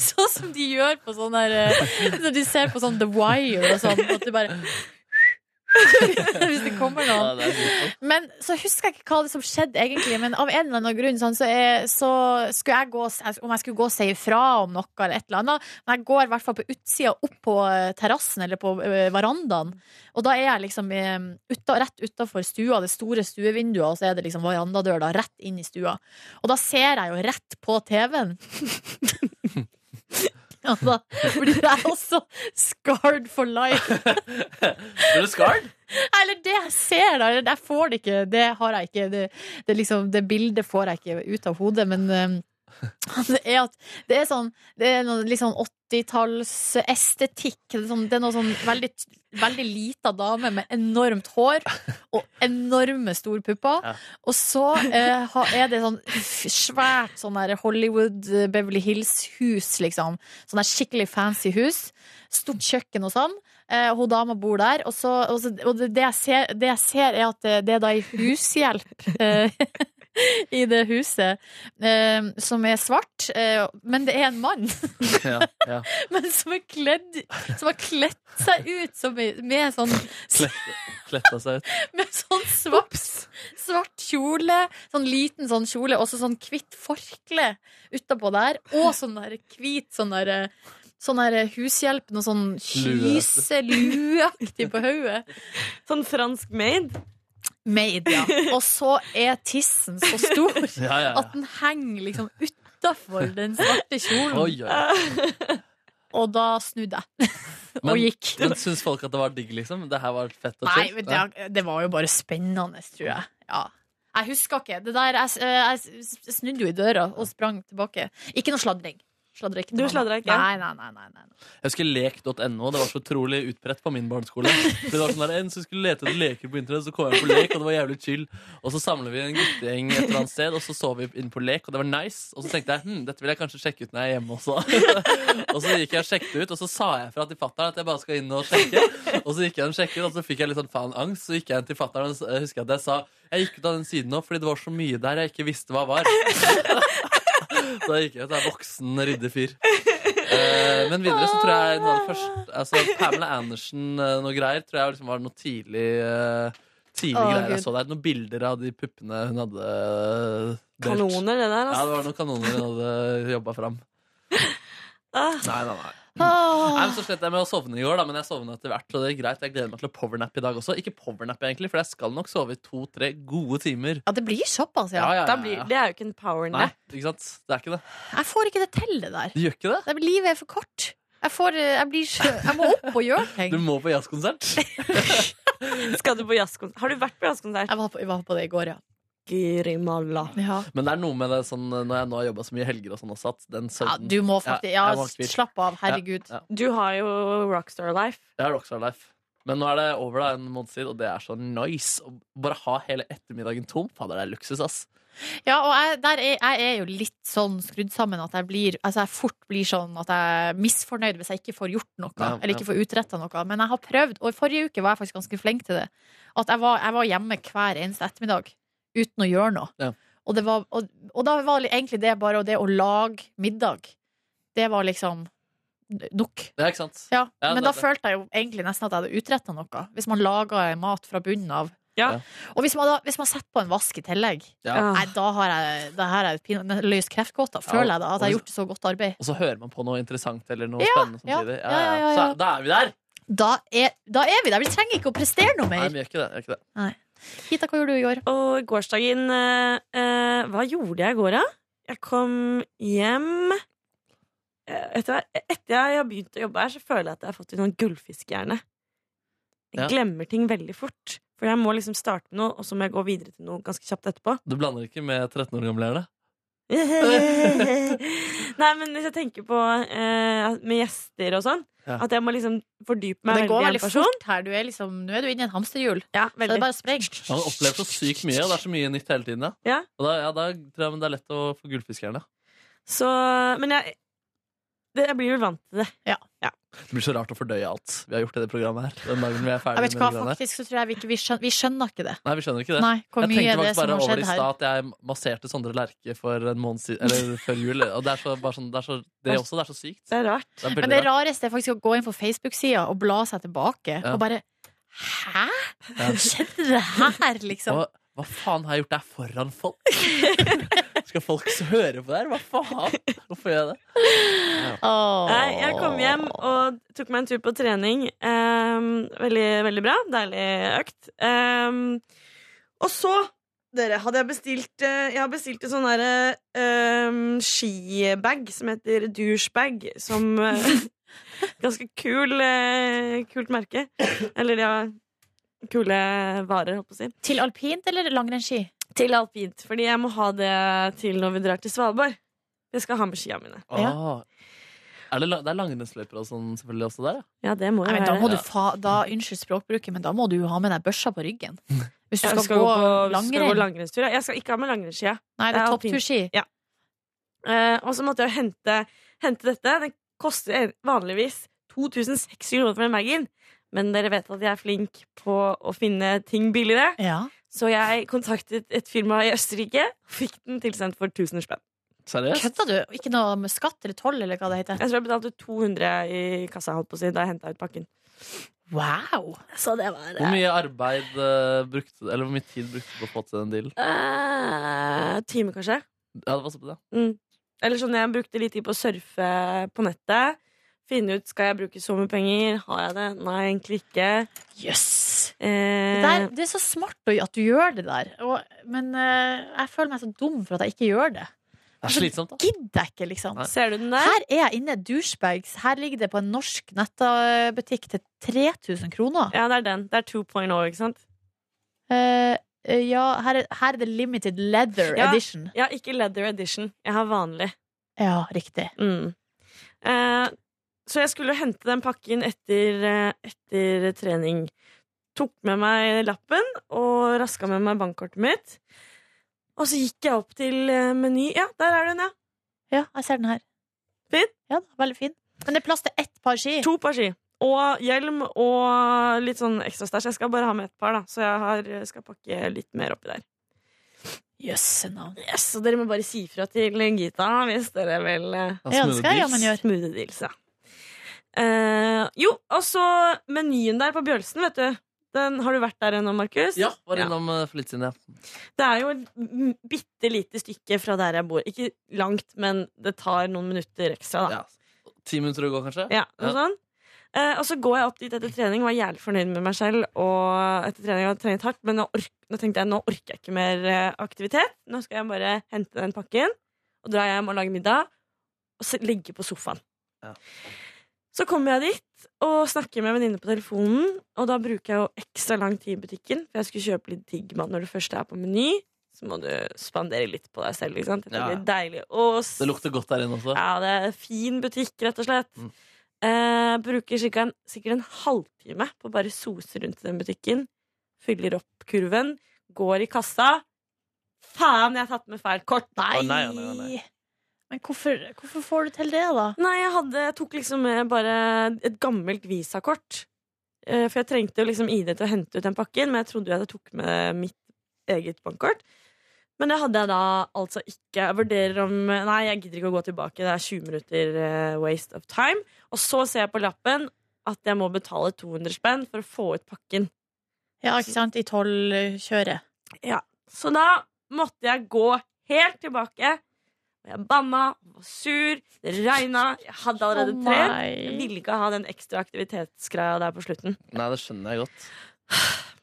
Speaker 3: Sånn som de gjør på sånn der eh, Når de ser på sånn The Wire og sånn At du bare [laughs] Hvis det kommer
Speaker 4: ja,
Speaker 3: noen
Speaker 4: det er grusomt.
Speaker 3: men så husker jeg ikke hva det som skjedde egentlig, men av en eller annen grunn sånn, så, er, så skulle jeg gå, om jeg skulle gå og si ifra om noe eller et eller annet, men jeg går i hvert fall på utsida opp på eh, terrassen eller på eh, verandaen, og da er jeg liksom eh, uta, rett utenfor stua, det store stuevinduet, og så er det liksom verandadør da, rett inn i stua. Og da ser jeg jo rett på TV-en. [laughs] Ja, da blir jeg også scarred for life.
Speaker 4: Ble du scarred?
Speaker 3: Eller det jeg ser, da. eller Jeg får det ikke. Det har jeg ikke. Det, det, er liksom, det bildet får jeg ikke ut av hodet, men eh, det er at det er sånn Det er noe litt sånn 80-tallsestetikk. Det, er sånn, det er noe sånn veldig, veldig lita dame med enormt hår og enorme store pupper.
Speaker 4: Ja.
Speaker 3: Og så eh, ha- er det sånn f- svært sånn der Hollywood, eh, Beverly Hills-hus, liksom. Sånn der skikkelig fancy hus. Stort kjøkken og sånn. Eh, og hun dama bor der. Og, så, og, så, og det, det, jeg ser, det jeg ser, er at eh, det, det er da ei hushjelp eh, [laughs] i det huset eh, som er svart. Eh, men det er en mann [laughs]
Speaker 4: Ja, ja.
Speaker 3: men som, er kledd, som har kledd seg ut som, i- med sånn
Speaker 4: Kletta seg ut.
Speaker 3: med sånn svart, svart kjole, sånn liten sånn kjole, og så sånn hvitt forkle utapå der, og sånn der hvit sånn der eh, Sånn her eh, hushjelp, noe sånn
Speaker 10: Lue.
Speaker 3: kyselueaktig på hodet.
Speaker 10: Sånn fransk maid?
Speaker 3: Maid, ja. Og så er tissen så stor
Speaker 4: [laughs]
Speaker 10: Ja, ja, ja.
Speaker 3: at den henger liksom utafor den svarte kjolen.
Speaker 4: Oi, oi,
Speaker 3: Og da snudde jeg. [laughs]
Speaker 4: Men,
Speaker 3: Eh, og gikk.
Speaker 4: men syns folk at det var digg, liksom? Det her var fett og
Speaker 3: Nei,
Speaker 4: chill?
Speaker 3: men det, det var jo bare spennende, tror jeg. Ja. Jeg husker ikke. Det der, jeg, eh, jeg snudde jo i døra og sprang tilbake. Ikke noe sladring. Sladrer ikke til
Speaker 10: Du
Speaker 3: mamma.
Speaker 10: sladrer ikke?
Speaker 3: Nei, nei, nei, nei, nei.
Speaker 4: Jeg husker lek.no. Det var så utrolig utbredt på min barneskole. For det var sånn der, En som skulle lete etter leker på internett, så kom jeg på lek, og det var jævlig chill. Og så samler vi en guttegjeng et eller annet sted, og så så vi inn på lek, og det var nice. Og så tenkte jeg hm, dette vil jeg kanskje sjekke ut når jeg er hjemme også. [laughs] og så gikk jeg og sjekket ut, og så sa jeg fra til fatter'n at jeg bare skal inn og sjekke. Og så gikk jeg og sjekket, og så fikk jeg litt sånn faen angst, så gikk jeg inn til fatter'n og jeg husker at jeg sa jeg gikk ut av den siden nå fordi det var så mye der jeg ikke visste hva var. Da gikk jeg ut. Jeg er voksen, ryddig fyr. Eh, men videre så tror jeg noe av det første altså, Pamela Andersen eh, noe greier tror jeg liksom var noe tidlig eh, Tidlig
Speaker 10: Å,
Speaker 4: greier jeg
Speaker 10: Gud.
Speaker 4: så der. Noen bilder av de puppene hun hadde eh, delt.
Speaker 10: Kanoner, det der.
Speaker 4: Ja,
Speaker 10: Altså.
Speaker 4: det var noen kanoner hun hadde jobba fram.
Speaker 10: Ah.
Speaker 4: Nei, nei, nei.
Speaker 10: Ah.
Speaker 4: Nei, men så slet jeg med å sovne i går, da, men jeg sovna etter hvert. Og det er greit, Jeg gleder meg til å powernap i dag også. Ikke powernap, egentlig, for jeg skal nok sove i to-tre gode timer.
Speaker 3: Ja, det blir såpass, ja.
Speaker 4: ja, ja, ja.
Speaker 10: Da blir, det er jo ikke en
Speaker 4: Nei,
Speaker 10: powernap.
Speaker 4: ikke sant? Det er ikke det.
Speaker 3: Jeg får ikke det til, det der.
Speaker 4: Du gjør ikke det?
Speaker 3: Det- Livet er for kort. Jeg, får, eh, jeg, blir, så- jeg må opp og gjøre ting.
Speaker 4: Du må på jazzkonsert.
Speaker 3: [laughs]
Speaker 10: Skal du på jazzkonsert? Har du vært på jazzkonsert?
Speaker 3: Jeg var på, det i går, ja.
Speaker 10: Grimalla.
Speaker 3: Ja.
Speaker 4: Men det er noe med det sånn når jeg nå har jobba så mye helger og sånn også, at den søvnen
Speaker 3: Du må faktisk Ja,
Speaker 4: jeg må ikke hvile.
Speaker 3: slapp av. Herregud.
Speaker 4: Ja,
Speaker 10: Du har jo rockstar life.
Speaker 4: Det er Rockstar Life. Men nå er det over da en måned siden, og det er så nice. Å bare ha hele ettermiddagen tom. Fader, det er luksus, ass.
Speaker 3: Ja, og jeg, der er, jeg er jo litt sånn skrudd sammen at jeg blir Altså jeg fort blir sånn at jeg er misfornøyd hvis jeg ikke får gjort noe.
Speaker 10: Ja,
Speaker 3: Eller
Speaker 10: ja.
Speaker 3: ikke får utretta noe. Men jeg har prøvd, og i forrige uke var jeg faktisk ganske flink til det. At jeg var, jeg var hjemme hver eneste ettermiddag uten å gjøre noe.
Speaker 4: Ja.
Speaker 3: Og, det var, og, og da var egentlig det bare det å lage middag. Det var liksom nok.
Speaker 4: Ja, ikke sant?
Speaker 3: Ja,
Speaker 4: Ja,
Speaker 3: men
Speaker 4: det-
Speaker 3: da
Speaker 4: det-
Speaker 3: følte jeg jo egentlig nesten at jeg hadde utretta noe. Hvis man laga mat fra bunnen av.
Speaker 4: Ja. Ah.
Speaker 3: Og hvis man, da, hvis man setter på en vask i tillegg,
Speaker 4: Ja.
Speaker 3: nei, da har jeg, da har jeg pin- løst kreftgåta. Føler jeg da at jeg har gjort så godt arbeid.
Speaker 4: Og så hører man på noe interessant eller noe
Speaker 3: Ja,
Speaker 4: spennende
Speaker 3: ja,
Speaker 4: samtidig.
Speaker 3: ja, ja, ja.
Speaker 4: Så da er vi der!
Speaker 3: Da er, da er vi der. Vi trenger ikke å prestere noe
Speaker 4: Nei,
Speaker 3: mer.
Speaker 4: vi gjør ikke det. vi Gjør ikke det.
Speaker 3: Nei. Hita, hva gjorde du i går?
Speaker 10: Og gårsdagen eh, eh, Hva gjorde jeg i går, da? Jeg kom hjem Eh, Vet du hva? Etter jeg har begynt å jobbe her, så føler jeg at jeg har fått en sånn gullfiskehjerne. Jeg
Speaker 4: Ja.
Speaker 10: glemmer ting veldig fort. For jeg må liksom starte med noe, og så må jeg gå videre til noe ganske kjapt etterpå.
Speaker 3: [laughs]
Speaker 4: Du blander ikke med 13 år gamle gjerne?
Speaker 10: Nei, men hvis jeg tenker på eh, med gjester og sånn,
Speaker 4: Ja.
Speaker 10: at jeg må liksom fordype meg
Speaker 3: Det går
Speaker 10: i en
Speaker 3: veldig
Speaker 10: person.
Speaker 3: fort her. Du er liksom, nå er du inne i en hamsterhjul.
Speaker 10: så
Speaker 3: det er bare å springe.
Speaker 4: Man opplever så sykt mye, og det er så mye nytt hele tiden. Ja.
Speaker 10: Ja.
Speaker 4: Og da, ja, da tror jeg men det er lett å få gullfiskerne.
Speaker 10: Så, men jeg, det, jeg blir jo vant til det.
Speaker 4: Det blir så rart å fordøye alt vi har gjort i det programmet her. Den dagen vi er
Speaker 3: Jeg
Speaker 4: ferdig
Speaker 3: vet
Speaker 4: med
Speaker 3: hva,
Speaker 4: det greiene her.
Speaker 3: faktisk så tror jeg vi ikke vi skjønner, vi skjønner ikke det.
Speaker 4: Nei, vi skjønner ikke det.
Speaker 3: Nei, hvor mye er
Speaker 4: jeg tenkte
Speaker 3: det
Speaker 4: faktisk
Speaker 3: som
Speaker 4: bare
Speaker 3: har
Speaker 4: over
Speaker 3: skjedd
Speaker 4: i
Speaker 3: her?
Speaker 4: stad at jeg masserte Sondre Lerche for en måned siden, eller før jul. Og det er så, bare sånn, det, er så, det er også, det er så sykt.
Speaker 10: Det er rart.
Speaker 4: Det er
Speaker 3: Men
Speaker 4: veldig
Speaker 3: det
Speaker 4: rart.
Speaker 3: rareste er faktisk å gå inn på Facebook-sida og bla seg tilbake
Speaker 4: Ja.
Speaker 3: og bare Hæ? Skjedde det her, liksom?
Speaker 4: Og, hva faen har jeg gjort der foran
Speaker 3: [laughs]
Speaker 4: folk? Skal folk så høre på det her? Hva faen? Hvorfor gjør jeg det?
Speaker 10: Nei, jeg kom hjem og tok meg en tur på trening. Ehm, veldig, veldig bra. Deilig økt. Ehm, og så, dere, hadde jeg bestilt eh, Jeg har bestilt en sånn derre ehm, skibag som heter douchebag, som eh, [laughs] Ganske kul, eh, kult merke. Eller ja, kule varer, holdt på å si.
Speaker 3: Til alpint eller langrennsski?
Speaker 10: Til alpint, fordi jeg må ha det til når vi drar til Svalbard. Jeg skal ha med skia mine.
Speaker 4: Ah. Er det, la- det er langrennsløyper og sånn selvfølgelig også der, ja.
Speaker 10: Ja, det må jo
Speaker 3: Nei, men
Speaker 10: være
Speaker 3: da må
Speaker 10: det.
Speaker 3: du fa da, Unnskyld språkbruket, men da må du jo ha med deg børsa på ryggen. Hvis du
Speaker 10: Jeg
Speaker 3: skal,
Speaker 10: skal
Speaker 3: gå,
Speaker 10: gå på- skal gå
Speaker 3: langrenn.
Speaker 10: langrennstur. ja. Jeg skal ikke ha med langrennsskia.
Speaker 3: Nei, det er
Speaker 10: alpint.
Speaker 3: toppturski.
Speaker 10: Ja. Eh, og så måtte jeg jo hente, hente dette. Den koster en- vanligvis 2600 kroner for den bagen. Men dere vet at jeg er flink på å finne ting billigere.
Speaker 3: Ja.
Speaker 10: Så jeg kontaktet et firma i Østerrike og fikk den tilsendt for 1000 spenn.
Speaker 4: Seriøst?
Speaker 3: Kødda du? Ikke noe med skatt eller toll eller hva det heter?
Speaker 10: Jeg tror jeg betalte 200 i kassa holdt på å si, da jeg henta ut pakken.
Speaker 3: Wow!
Speaker 10: Så det var
Speaker 4: Hvor mye arbeid eh, brukte Eller hvor mye tid brukte du på å få til den dealen?
Speaker 10: eh, time, kanskje.
Speaker 4: Ja, det var sånn på det.
Speaker 10: Mm. Eller sånn, jeg brukte litt tid på å surfe på nettet. Finne ut skal jeg bruke så mye penger. Har jeg det? Nei, egentlig ikke.
Speaker 3: Yes.
Speaker 10: Eh,
Speaker 3: Det, der, det er så smart å- at du gjør det der, og, men eh, jeg føler meg så dum for at jeg ikke gjør det.
Speaker 4: Det er
Speaker 3: Altså,
Speaker 4: slitsomt, da.
Speaker 3: Gidder jeg ikke, liksom.
Speaker 4: Nei.
Speaker 10: Ser du den der?
Speaker 3: Her er jeg inne, douchebags. Her ligger det på en norsk nettabutikk til 3000 kroner.
Speaker 10: Ja, det er den. Det er 2.0, ikke sant?
Speaker 3: Eh, eh, ja, her er, her er det limited leather
Speaker 10: Ja.
Speaker 3: edition.
Speaker 10: Jeg har ikke leather edition. Jeg har vanlig.
Speaker 3: Ja, riktig.
Speaker 10: Mm. Eh, så jeg skulle hente den pakken etter, eh, etter trening. Tok med meg lappen og raska med meg bankkortet mitt. Og så gikk jeg opp til eh, meny. Ja, der er den, ja.
Speaker 3: Ja, jeg ser den her.
Speaker 10: Fin?
Speaker 3: Ja, da, veldig fin. Men det er plass til ett par ski.
Speaker 10: To par ski. Og hjelm og litt sånn ekstra stæsj. Jeg skal bare ha med et par, da. Så jeg har, skal pakke litt mer oppi der.
Speaker 3: Jøsse navn.
Speaker 10: Yes, så dere må bare si fra til Gita hvis dere vil eh,
Speaker 3: Ja, det skal jeg jammen gjøre.
Speaker 10: Smoothie deals, ja. Eh, jo, og så menyen der på Bjølsen, vet du. Den, har du vært der ennå, Markus?
Speaker 4: Ja, var innom eh, for litt siden, ja.
Speaker 10: Det er jo et bitte lite stykke fra der jeg bor. Ikke langt, men det tar noen minutter ekstra, da.
Speaker 4: ja. Ti minutter å gå, kanskje?
Speaker 10: Ja, noe sånn. Eh, og så går jeg opp dit etter trening og var jævlig fornøyd med meg selv. Og etter trening har jeg trent hardt, men nå, ork nå tenkte jeg nå orker jeg ikke mer eh, aktivitet. Nå skal jeg bare hente den pakken og dra hjem og lage middag og se- ligge på sofaen.
Speaker 8: Ja.
Speaker 10: Så kommer jeg dit og snakker med en venninne på telefonen, og da bruker jeg jo ekstra lang tid i butikken, for jeg skulle kjøpe litt digg mat når du først er på Meny. Så må du spandere litt på deg selv. Ikke sant? Det
Speaker 4: Ja.
Speaker 10: blir deilig. Og s-
Speaker 4: Det lukter godt der inne også.
Speaker 10: ja, det er fin butikk, rett og slett.
Speaker 4: altså. Mm.
Speaker 10: Eh, bruker sikkert en, sikkert en halvtime på å bare sose rundt i den butikken. Fyller opp kurven, går i kassa. Faen, jeg har tatt med feil kort!
Speaker 3: Nei.
Speaker 4: Å, nei, ja, nei, ja, nei.
Speaker 3: Men hvorfor, hvorfor får du til det, da?
Speaker 10: Nei, jeg, hadde, jeg tok liksom med bare et gammelt visakort. Eh, For jeg trengte jo liksom ID til å hente ut den pakken, men jeg trodde jo at jeg tok med mitt eget bankkort. Men det hadde jeg da altså ikke. Jeg vurderer om Nei, jeg gidder ikke å gå tilbake. Det er 20 minutter eh, waste of time. Og så ser jeg på lappen at jeg må betale 200 spenn for å få ut pakken.
Speaker 3: Ja, ikke sant? I tolvkjøret.
Speaker 10: Så da måtte jeg gå helt tilbake. Og jeg banna, var sur, det regna, jeg hadde allerede
Speaker 3: Å,
Speaker 10: trent.
Speaker 3: nei.
Speaker 10: Jeg ville ikke ha den ekstra aktivitetsgreia der på slutten.
Speaker 4: Nei, det skjønner jeg godt.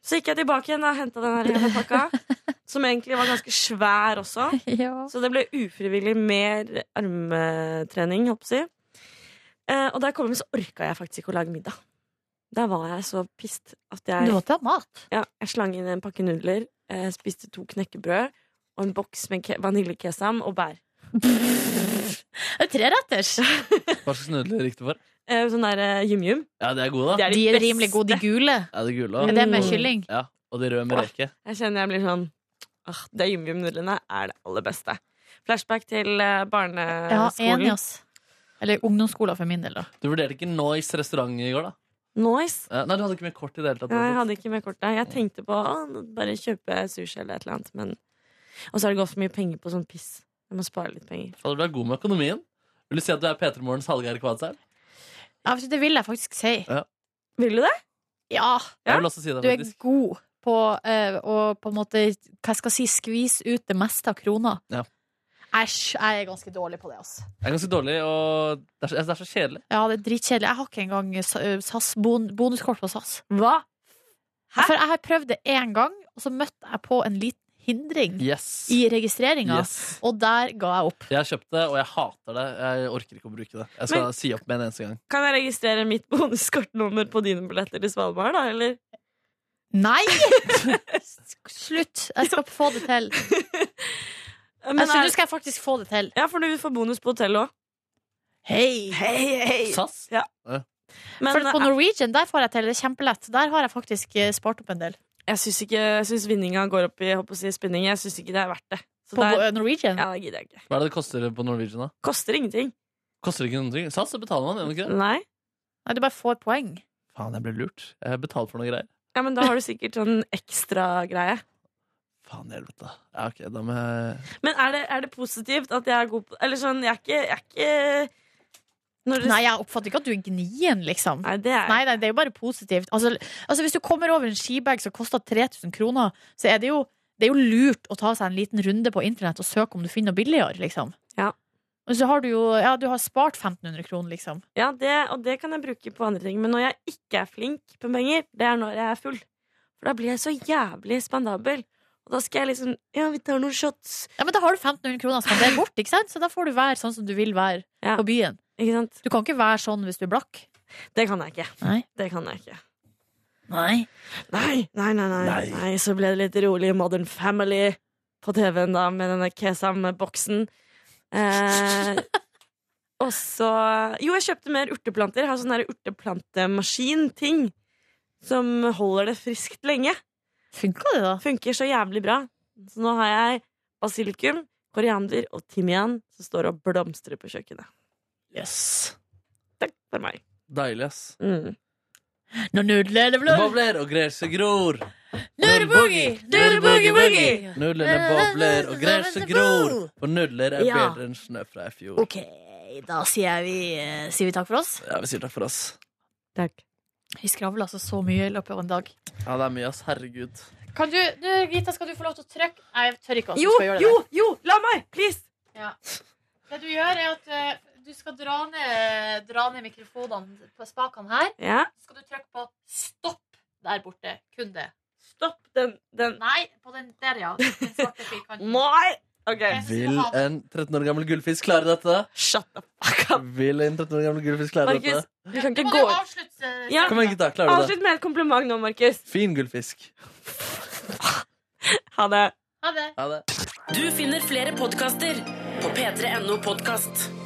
Speaker 10: Så gikk jeg tilbake igjen og henta den her jævla
Speaker 3: [laughs]
Speaker 10: pakka, som egentlig var ganske svær også.
Speaker 3: [laughs] Ja.
Speaker 10: Så det ble ufrivillig mer armtrening, holdt på å si. Eh, og da jeg kom hjem, så orka jeg faktisk ikke å lage middag. Da var jeg så pissed at jeg
Speaker 3: Du måtte ha mat.
Speaker 10: ja, jeg slang inn en pakke nudler, eh, spiste to knekkebrød og en boks med ke- vaniljekesam og bær.
Speaker 3: Det er Treretters.
Speaker 4: Hva slags nudler gikk det for?
Speaker 10: Eh, sånn der eh, yum-yum.
Speaker 4: Ja, de er gode, da.
Speaker 10: er
Speaker 3: De er rimelig gode, de gule.
Speaker 4: Ja, de gule.
Speaker 3: Er
Speaker 4: også.
Speaker 3: det med kylling?
Speaker 4: Ja, og de røde med reke.
Speaker 10: Jeg kjenner jeg blir sånn ah, Det yum-yum-nudlene er det aller beste. Flashback til eh,
Speaker 3: Ja,
Speaker 10: barneskolen.
Speaker 3: enig, ass. Eller ungdomsskolen for min del, da.
Speaker 4: Du vurderte ikke Noise restaurant i går, da?
Speaker 10: Nice.
Speaker 4: Eh, Nei, du hadde ikke med kort i det hele tatt.
Speaker 10: Nei, Jeg hadde ikke med kortet. Jeg tenkte på å, bare kjøpe sushi eller et eller annet, men Og så har det gått for mye penger på sånn piss. Jeg må spare litt penger.
Speaker 4: Fader, du er god med økonomien. Vil du si at du er P3 Morgens Hallgeir Kvadsheim?
Speaker 3: Ja, for det vil jeg faktisk si.
Speaker 10: Vil du det?
Speaker 3: Ja,
Speaker 10: Ja,
Speaker 4: Jeg vil også si det,
Speaker 3: du er
Speaker 4: faktisk.
Speaker 3: god på eh, å på en måte Hva skal jeg si, skvise ut det meste av krona.
Speaker 4: Ja.
Speaker 3: Æsj, jeg er ganske dårlig på det, altså.
Speaker 4: Jeg er ganske dårlig, og det er så, det er så kjedelig.
Speaker 3: Ja, det er dritkjedelig. Jeg har ikke engang sa- eh, SAS, bon- bonuskort på SAS.
Speaker 10: Hva? Hæ?
Speaker 3: For jeg har prøvd det én gang, og så møtte jeg på en liten hindring
Speaker 4: Yes.
Speaker 3: i registreringa,
Speaker 4: yes.
Speaker 3: og der ga jeg opp.
Speaker 4: Jeg kjøpte det, og jeg hater det. Jeg orker ikke å bruke det. Jeg skal si opp med en eneste gang.
Speaker 10: Kan jeg registrere mitt [laughs] bonuskortnummer på dine billetter til Svalbard, da, eller?
Speaker 3: Nei! [laughs] Slutt. Jeg skal få det til.
Speaker 10: Men
Speaker 3: Jeg tror
Speaker 10: er-
Speaker 3: du skal jeg faktisk få det til.
Speaker 10: Ja, for du får bonus på hotell òg.
Speaker 3: Hei!
Speaker 4: SAS?
Speaker 10: Men eh,
Speaker 3: For på Norwegian der får jeg til det er kjempelett. Der har jeg faktisk eh, spart opp en del.
Speaker 10: jeg syns ikke Jeg synes vinninga går opp i jeg holdt på å si, spinning. Jeg syns ikke det er verdt det. Så
Speaker 3: På
Speaker 10: der,
Speaker 3: eh, Norwegian?
Speaker 10: ja, det gidder jeg ikke.
Speaker 4: Hva er det det koster på Norwegian, da?
Speaker 10: Koster ingenting.
Speaker 4: Koster det ikke noen ting? SAS, så betaler man, gjør man ikke det?
Speaker 10: Nei.
Speaker 3: Nei, du bare får poeng.
Speaker 10: Mm.
Speaker 4: Faen, jeg ble lurt. Jeg betalte for noen greier.
Speaker 10: Ja, men da har du sikkert sånn ekstra greie.
Speaker 4: Faen i helvete. Ja, ok, da må jeg
Speaker 10: Men er det, er det positivt at jeg er god på Eller sånn, jeg er ikke, jeg er ikke når du,
Speaker 3: Nei, jeg oppfatter ikke at du er gnien, liksom.
Speaker 10: Nei, det er
Speaker 3: Nei, nei, det er jo bare positivt. Altså, altså Hvis du kommer over en skibag som koster 3000 kroner, så er det jo det er jo lurt å ta seg en liten runde på internett og søke om du finner noe billigere, liksom.
Speaker 10: Ja.
Speaker 3: Og så har du jo ja, du har spart 1500 kroner, liksom.
Speaker 10: Ja, det, og det kan jeg bruke på andre ting. Men når jeg ikke er flink på penger, det er når jeg er full. For da blir jeg så jævlig spandabel. Og da skal jeg liksom Ja, vi tar noen shots.
Speaker 3: Ja, Men da har du 1500 kroner å spandere bort, ikke sant? så da får du være sånn som du vil være på byen. Du kan ikke være sånn hvis du er blakk.
Speaker 10: Det kan jeg ikke.
Speaker 3: Nei.
Speaker 10: Det kan jeg ikke.
Speaker 3: Nei.
Speaker 10: Nei, nei, nei, nei.
Speaker 3: Nei.
Speaker 10: Nei, så ble det litt rolig Modern Family på TV-en da, med denne kesam-boksen. Eh, og så Jo, jeg kjøpte mer urteplanter. Jeg har sånn der urteplantemaskin-ting som holder det friskt lenge.
Speaker 3: Funka det, da?
Speaker 10: Funker så jævlig bra. Så nå har jeg basilikum, koriander og timian som står og blomstrer på kjøkkenet.
Speaker 4: Yes.
Speaker 10: Takk for meg. Mm.
Speaker 4: Deilig, ass.
Speaker 3: Når nudlene
Speaker 4: bobler og gresset gror.
Speaker 3: Nudle boogie, nudle boogie boogie.
Speaker 4: Nudlene bobler og gresset gror. For nudler er
Speaker 3: Ja.
Speaker 4: bedre enn snø fra i fjor.
Speaker 3: OK, da sier vi, eh, sier vi takk for oss.
Speaker 4: Ja, vi sier takk for oss.
Speaker 3: Vi skravler altså så mye i løpet av en dag.
Speaker 4: Ja, det er mye, ass. Herregud.
Speaker 3: Kan du, du, Gita, skal du få lov til å trykke Nei, jeg tør ikke at du
Speaker 10: Jo,
Speaker 3: skal gjøre det.
Speaker 10: jo, jo! La meg! Please!
Speaker 3: Ja. Det du gjør, er at eh, du skal dra ned, dra ned mikrofonene på spakene her.
Speaker 10: Ja.
Speaker 3: Så skal du trykke på stopp der borte. Kun det.
Speaker 10: Stopp den, den.
Speaker 3: Nei, på den der, ja. Den svarte firkanten.
Speaker 10: Nei! OK.
Speaker 4: Vil en 13 år gammel gullfisk klare dette?
Speaker 10: Shut
Speaker 4: the fuck up. Vil en 13 år gammel gullfisk klare
Speaker 10: Markus,
Speaker 4: dette?
Speaker 10: du kan
Speaker 3: Du
Speaker 10: ikke
Speaker 3: må
Speaker 10: gå
Speaker 3: jo
Speaker 10: ut.
Speaker 3: avslutte. eh,
Speaker 10: Ja.
Speaker 4: Kom igjen, gutta. Klarer du det?
Speaker 10: Avslutt med et kompliment nå, Markus.
Speaker 4: Fin gullfisk.
Speaker 10: Ha det.
Speaker 3: Ha det.
Speaker 4: Ha det.
Speaker 1: Du finner flere podkaster på p3.no podkast.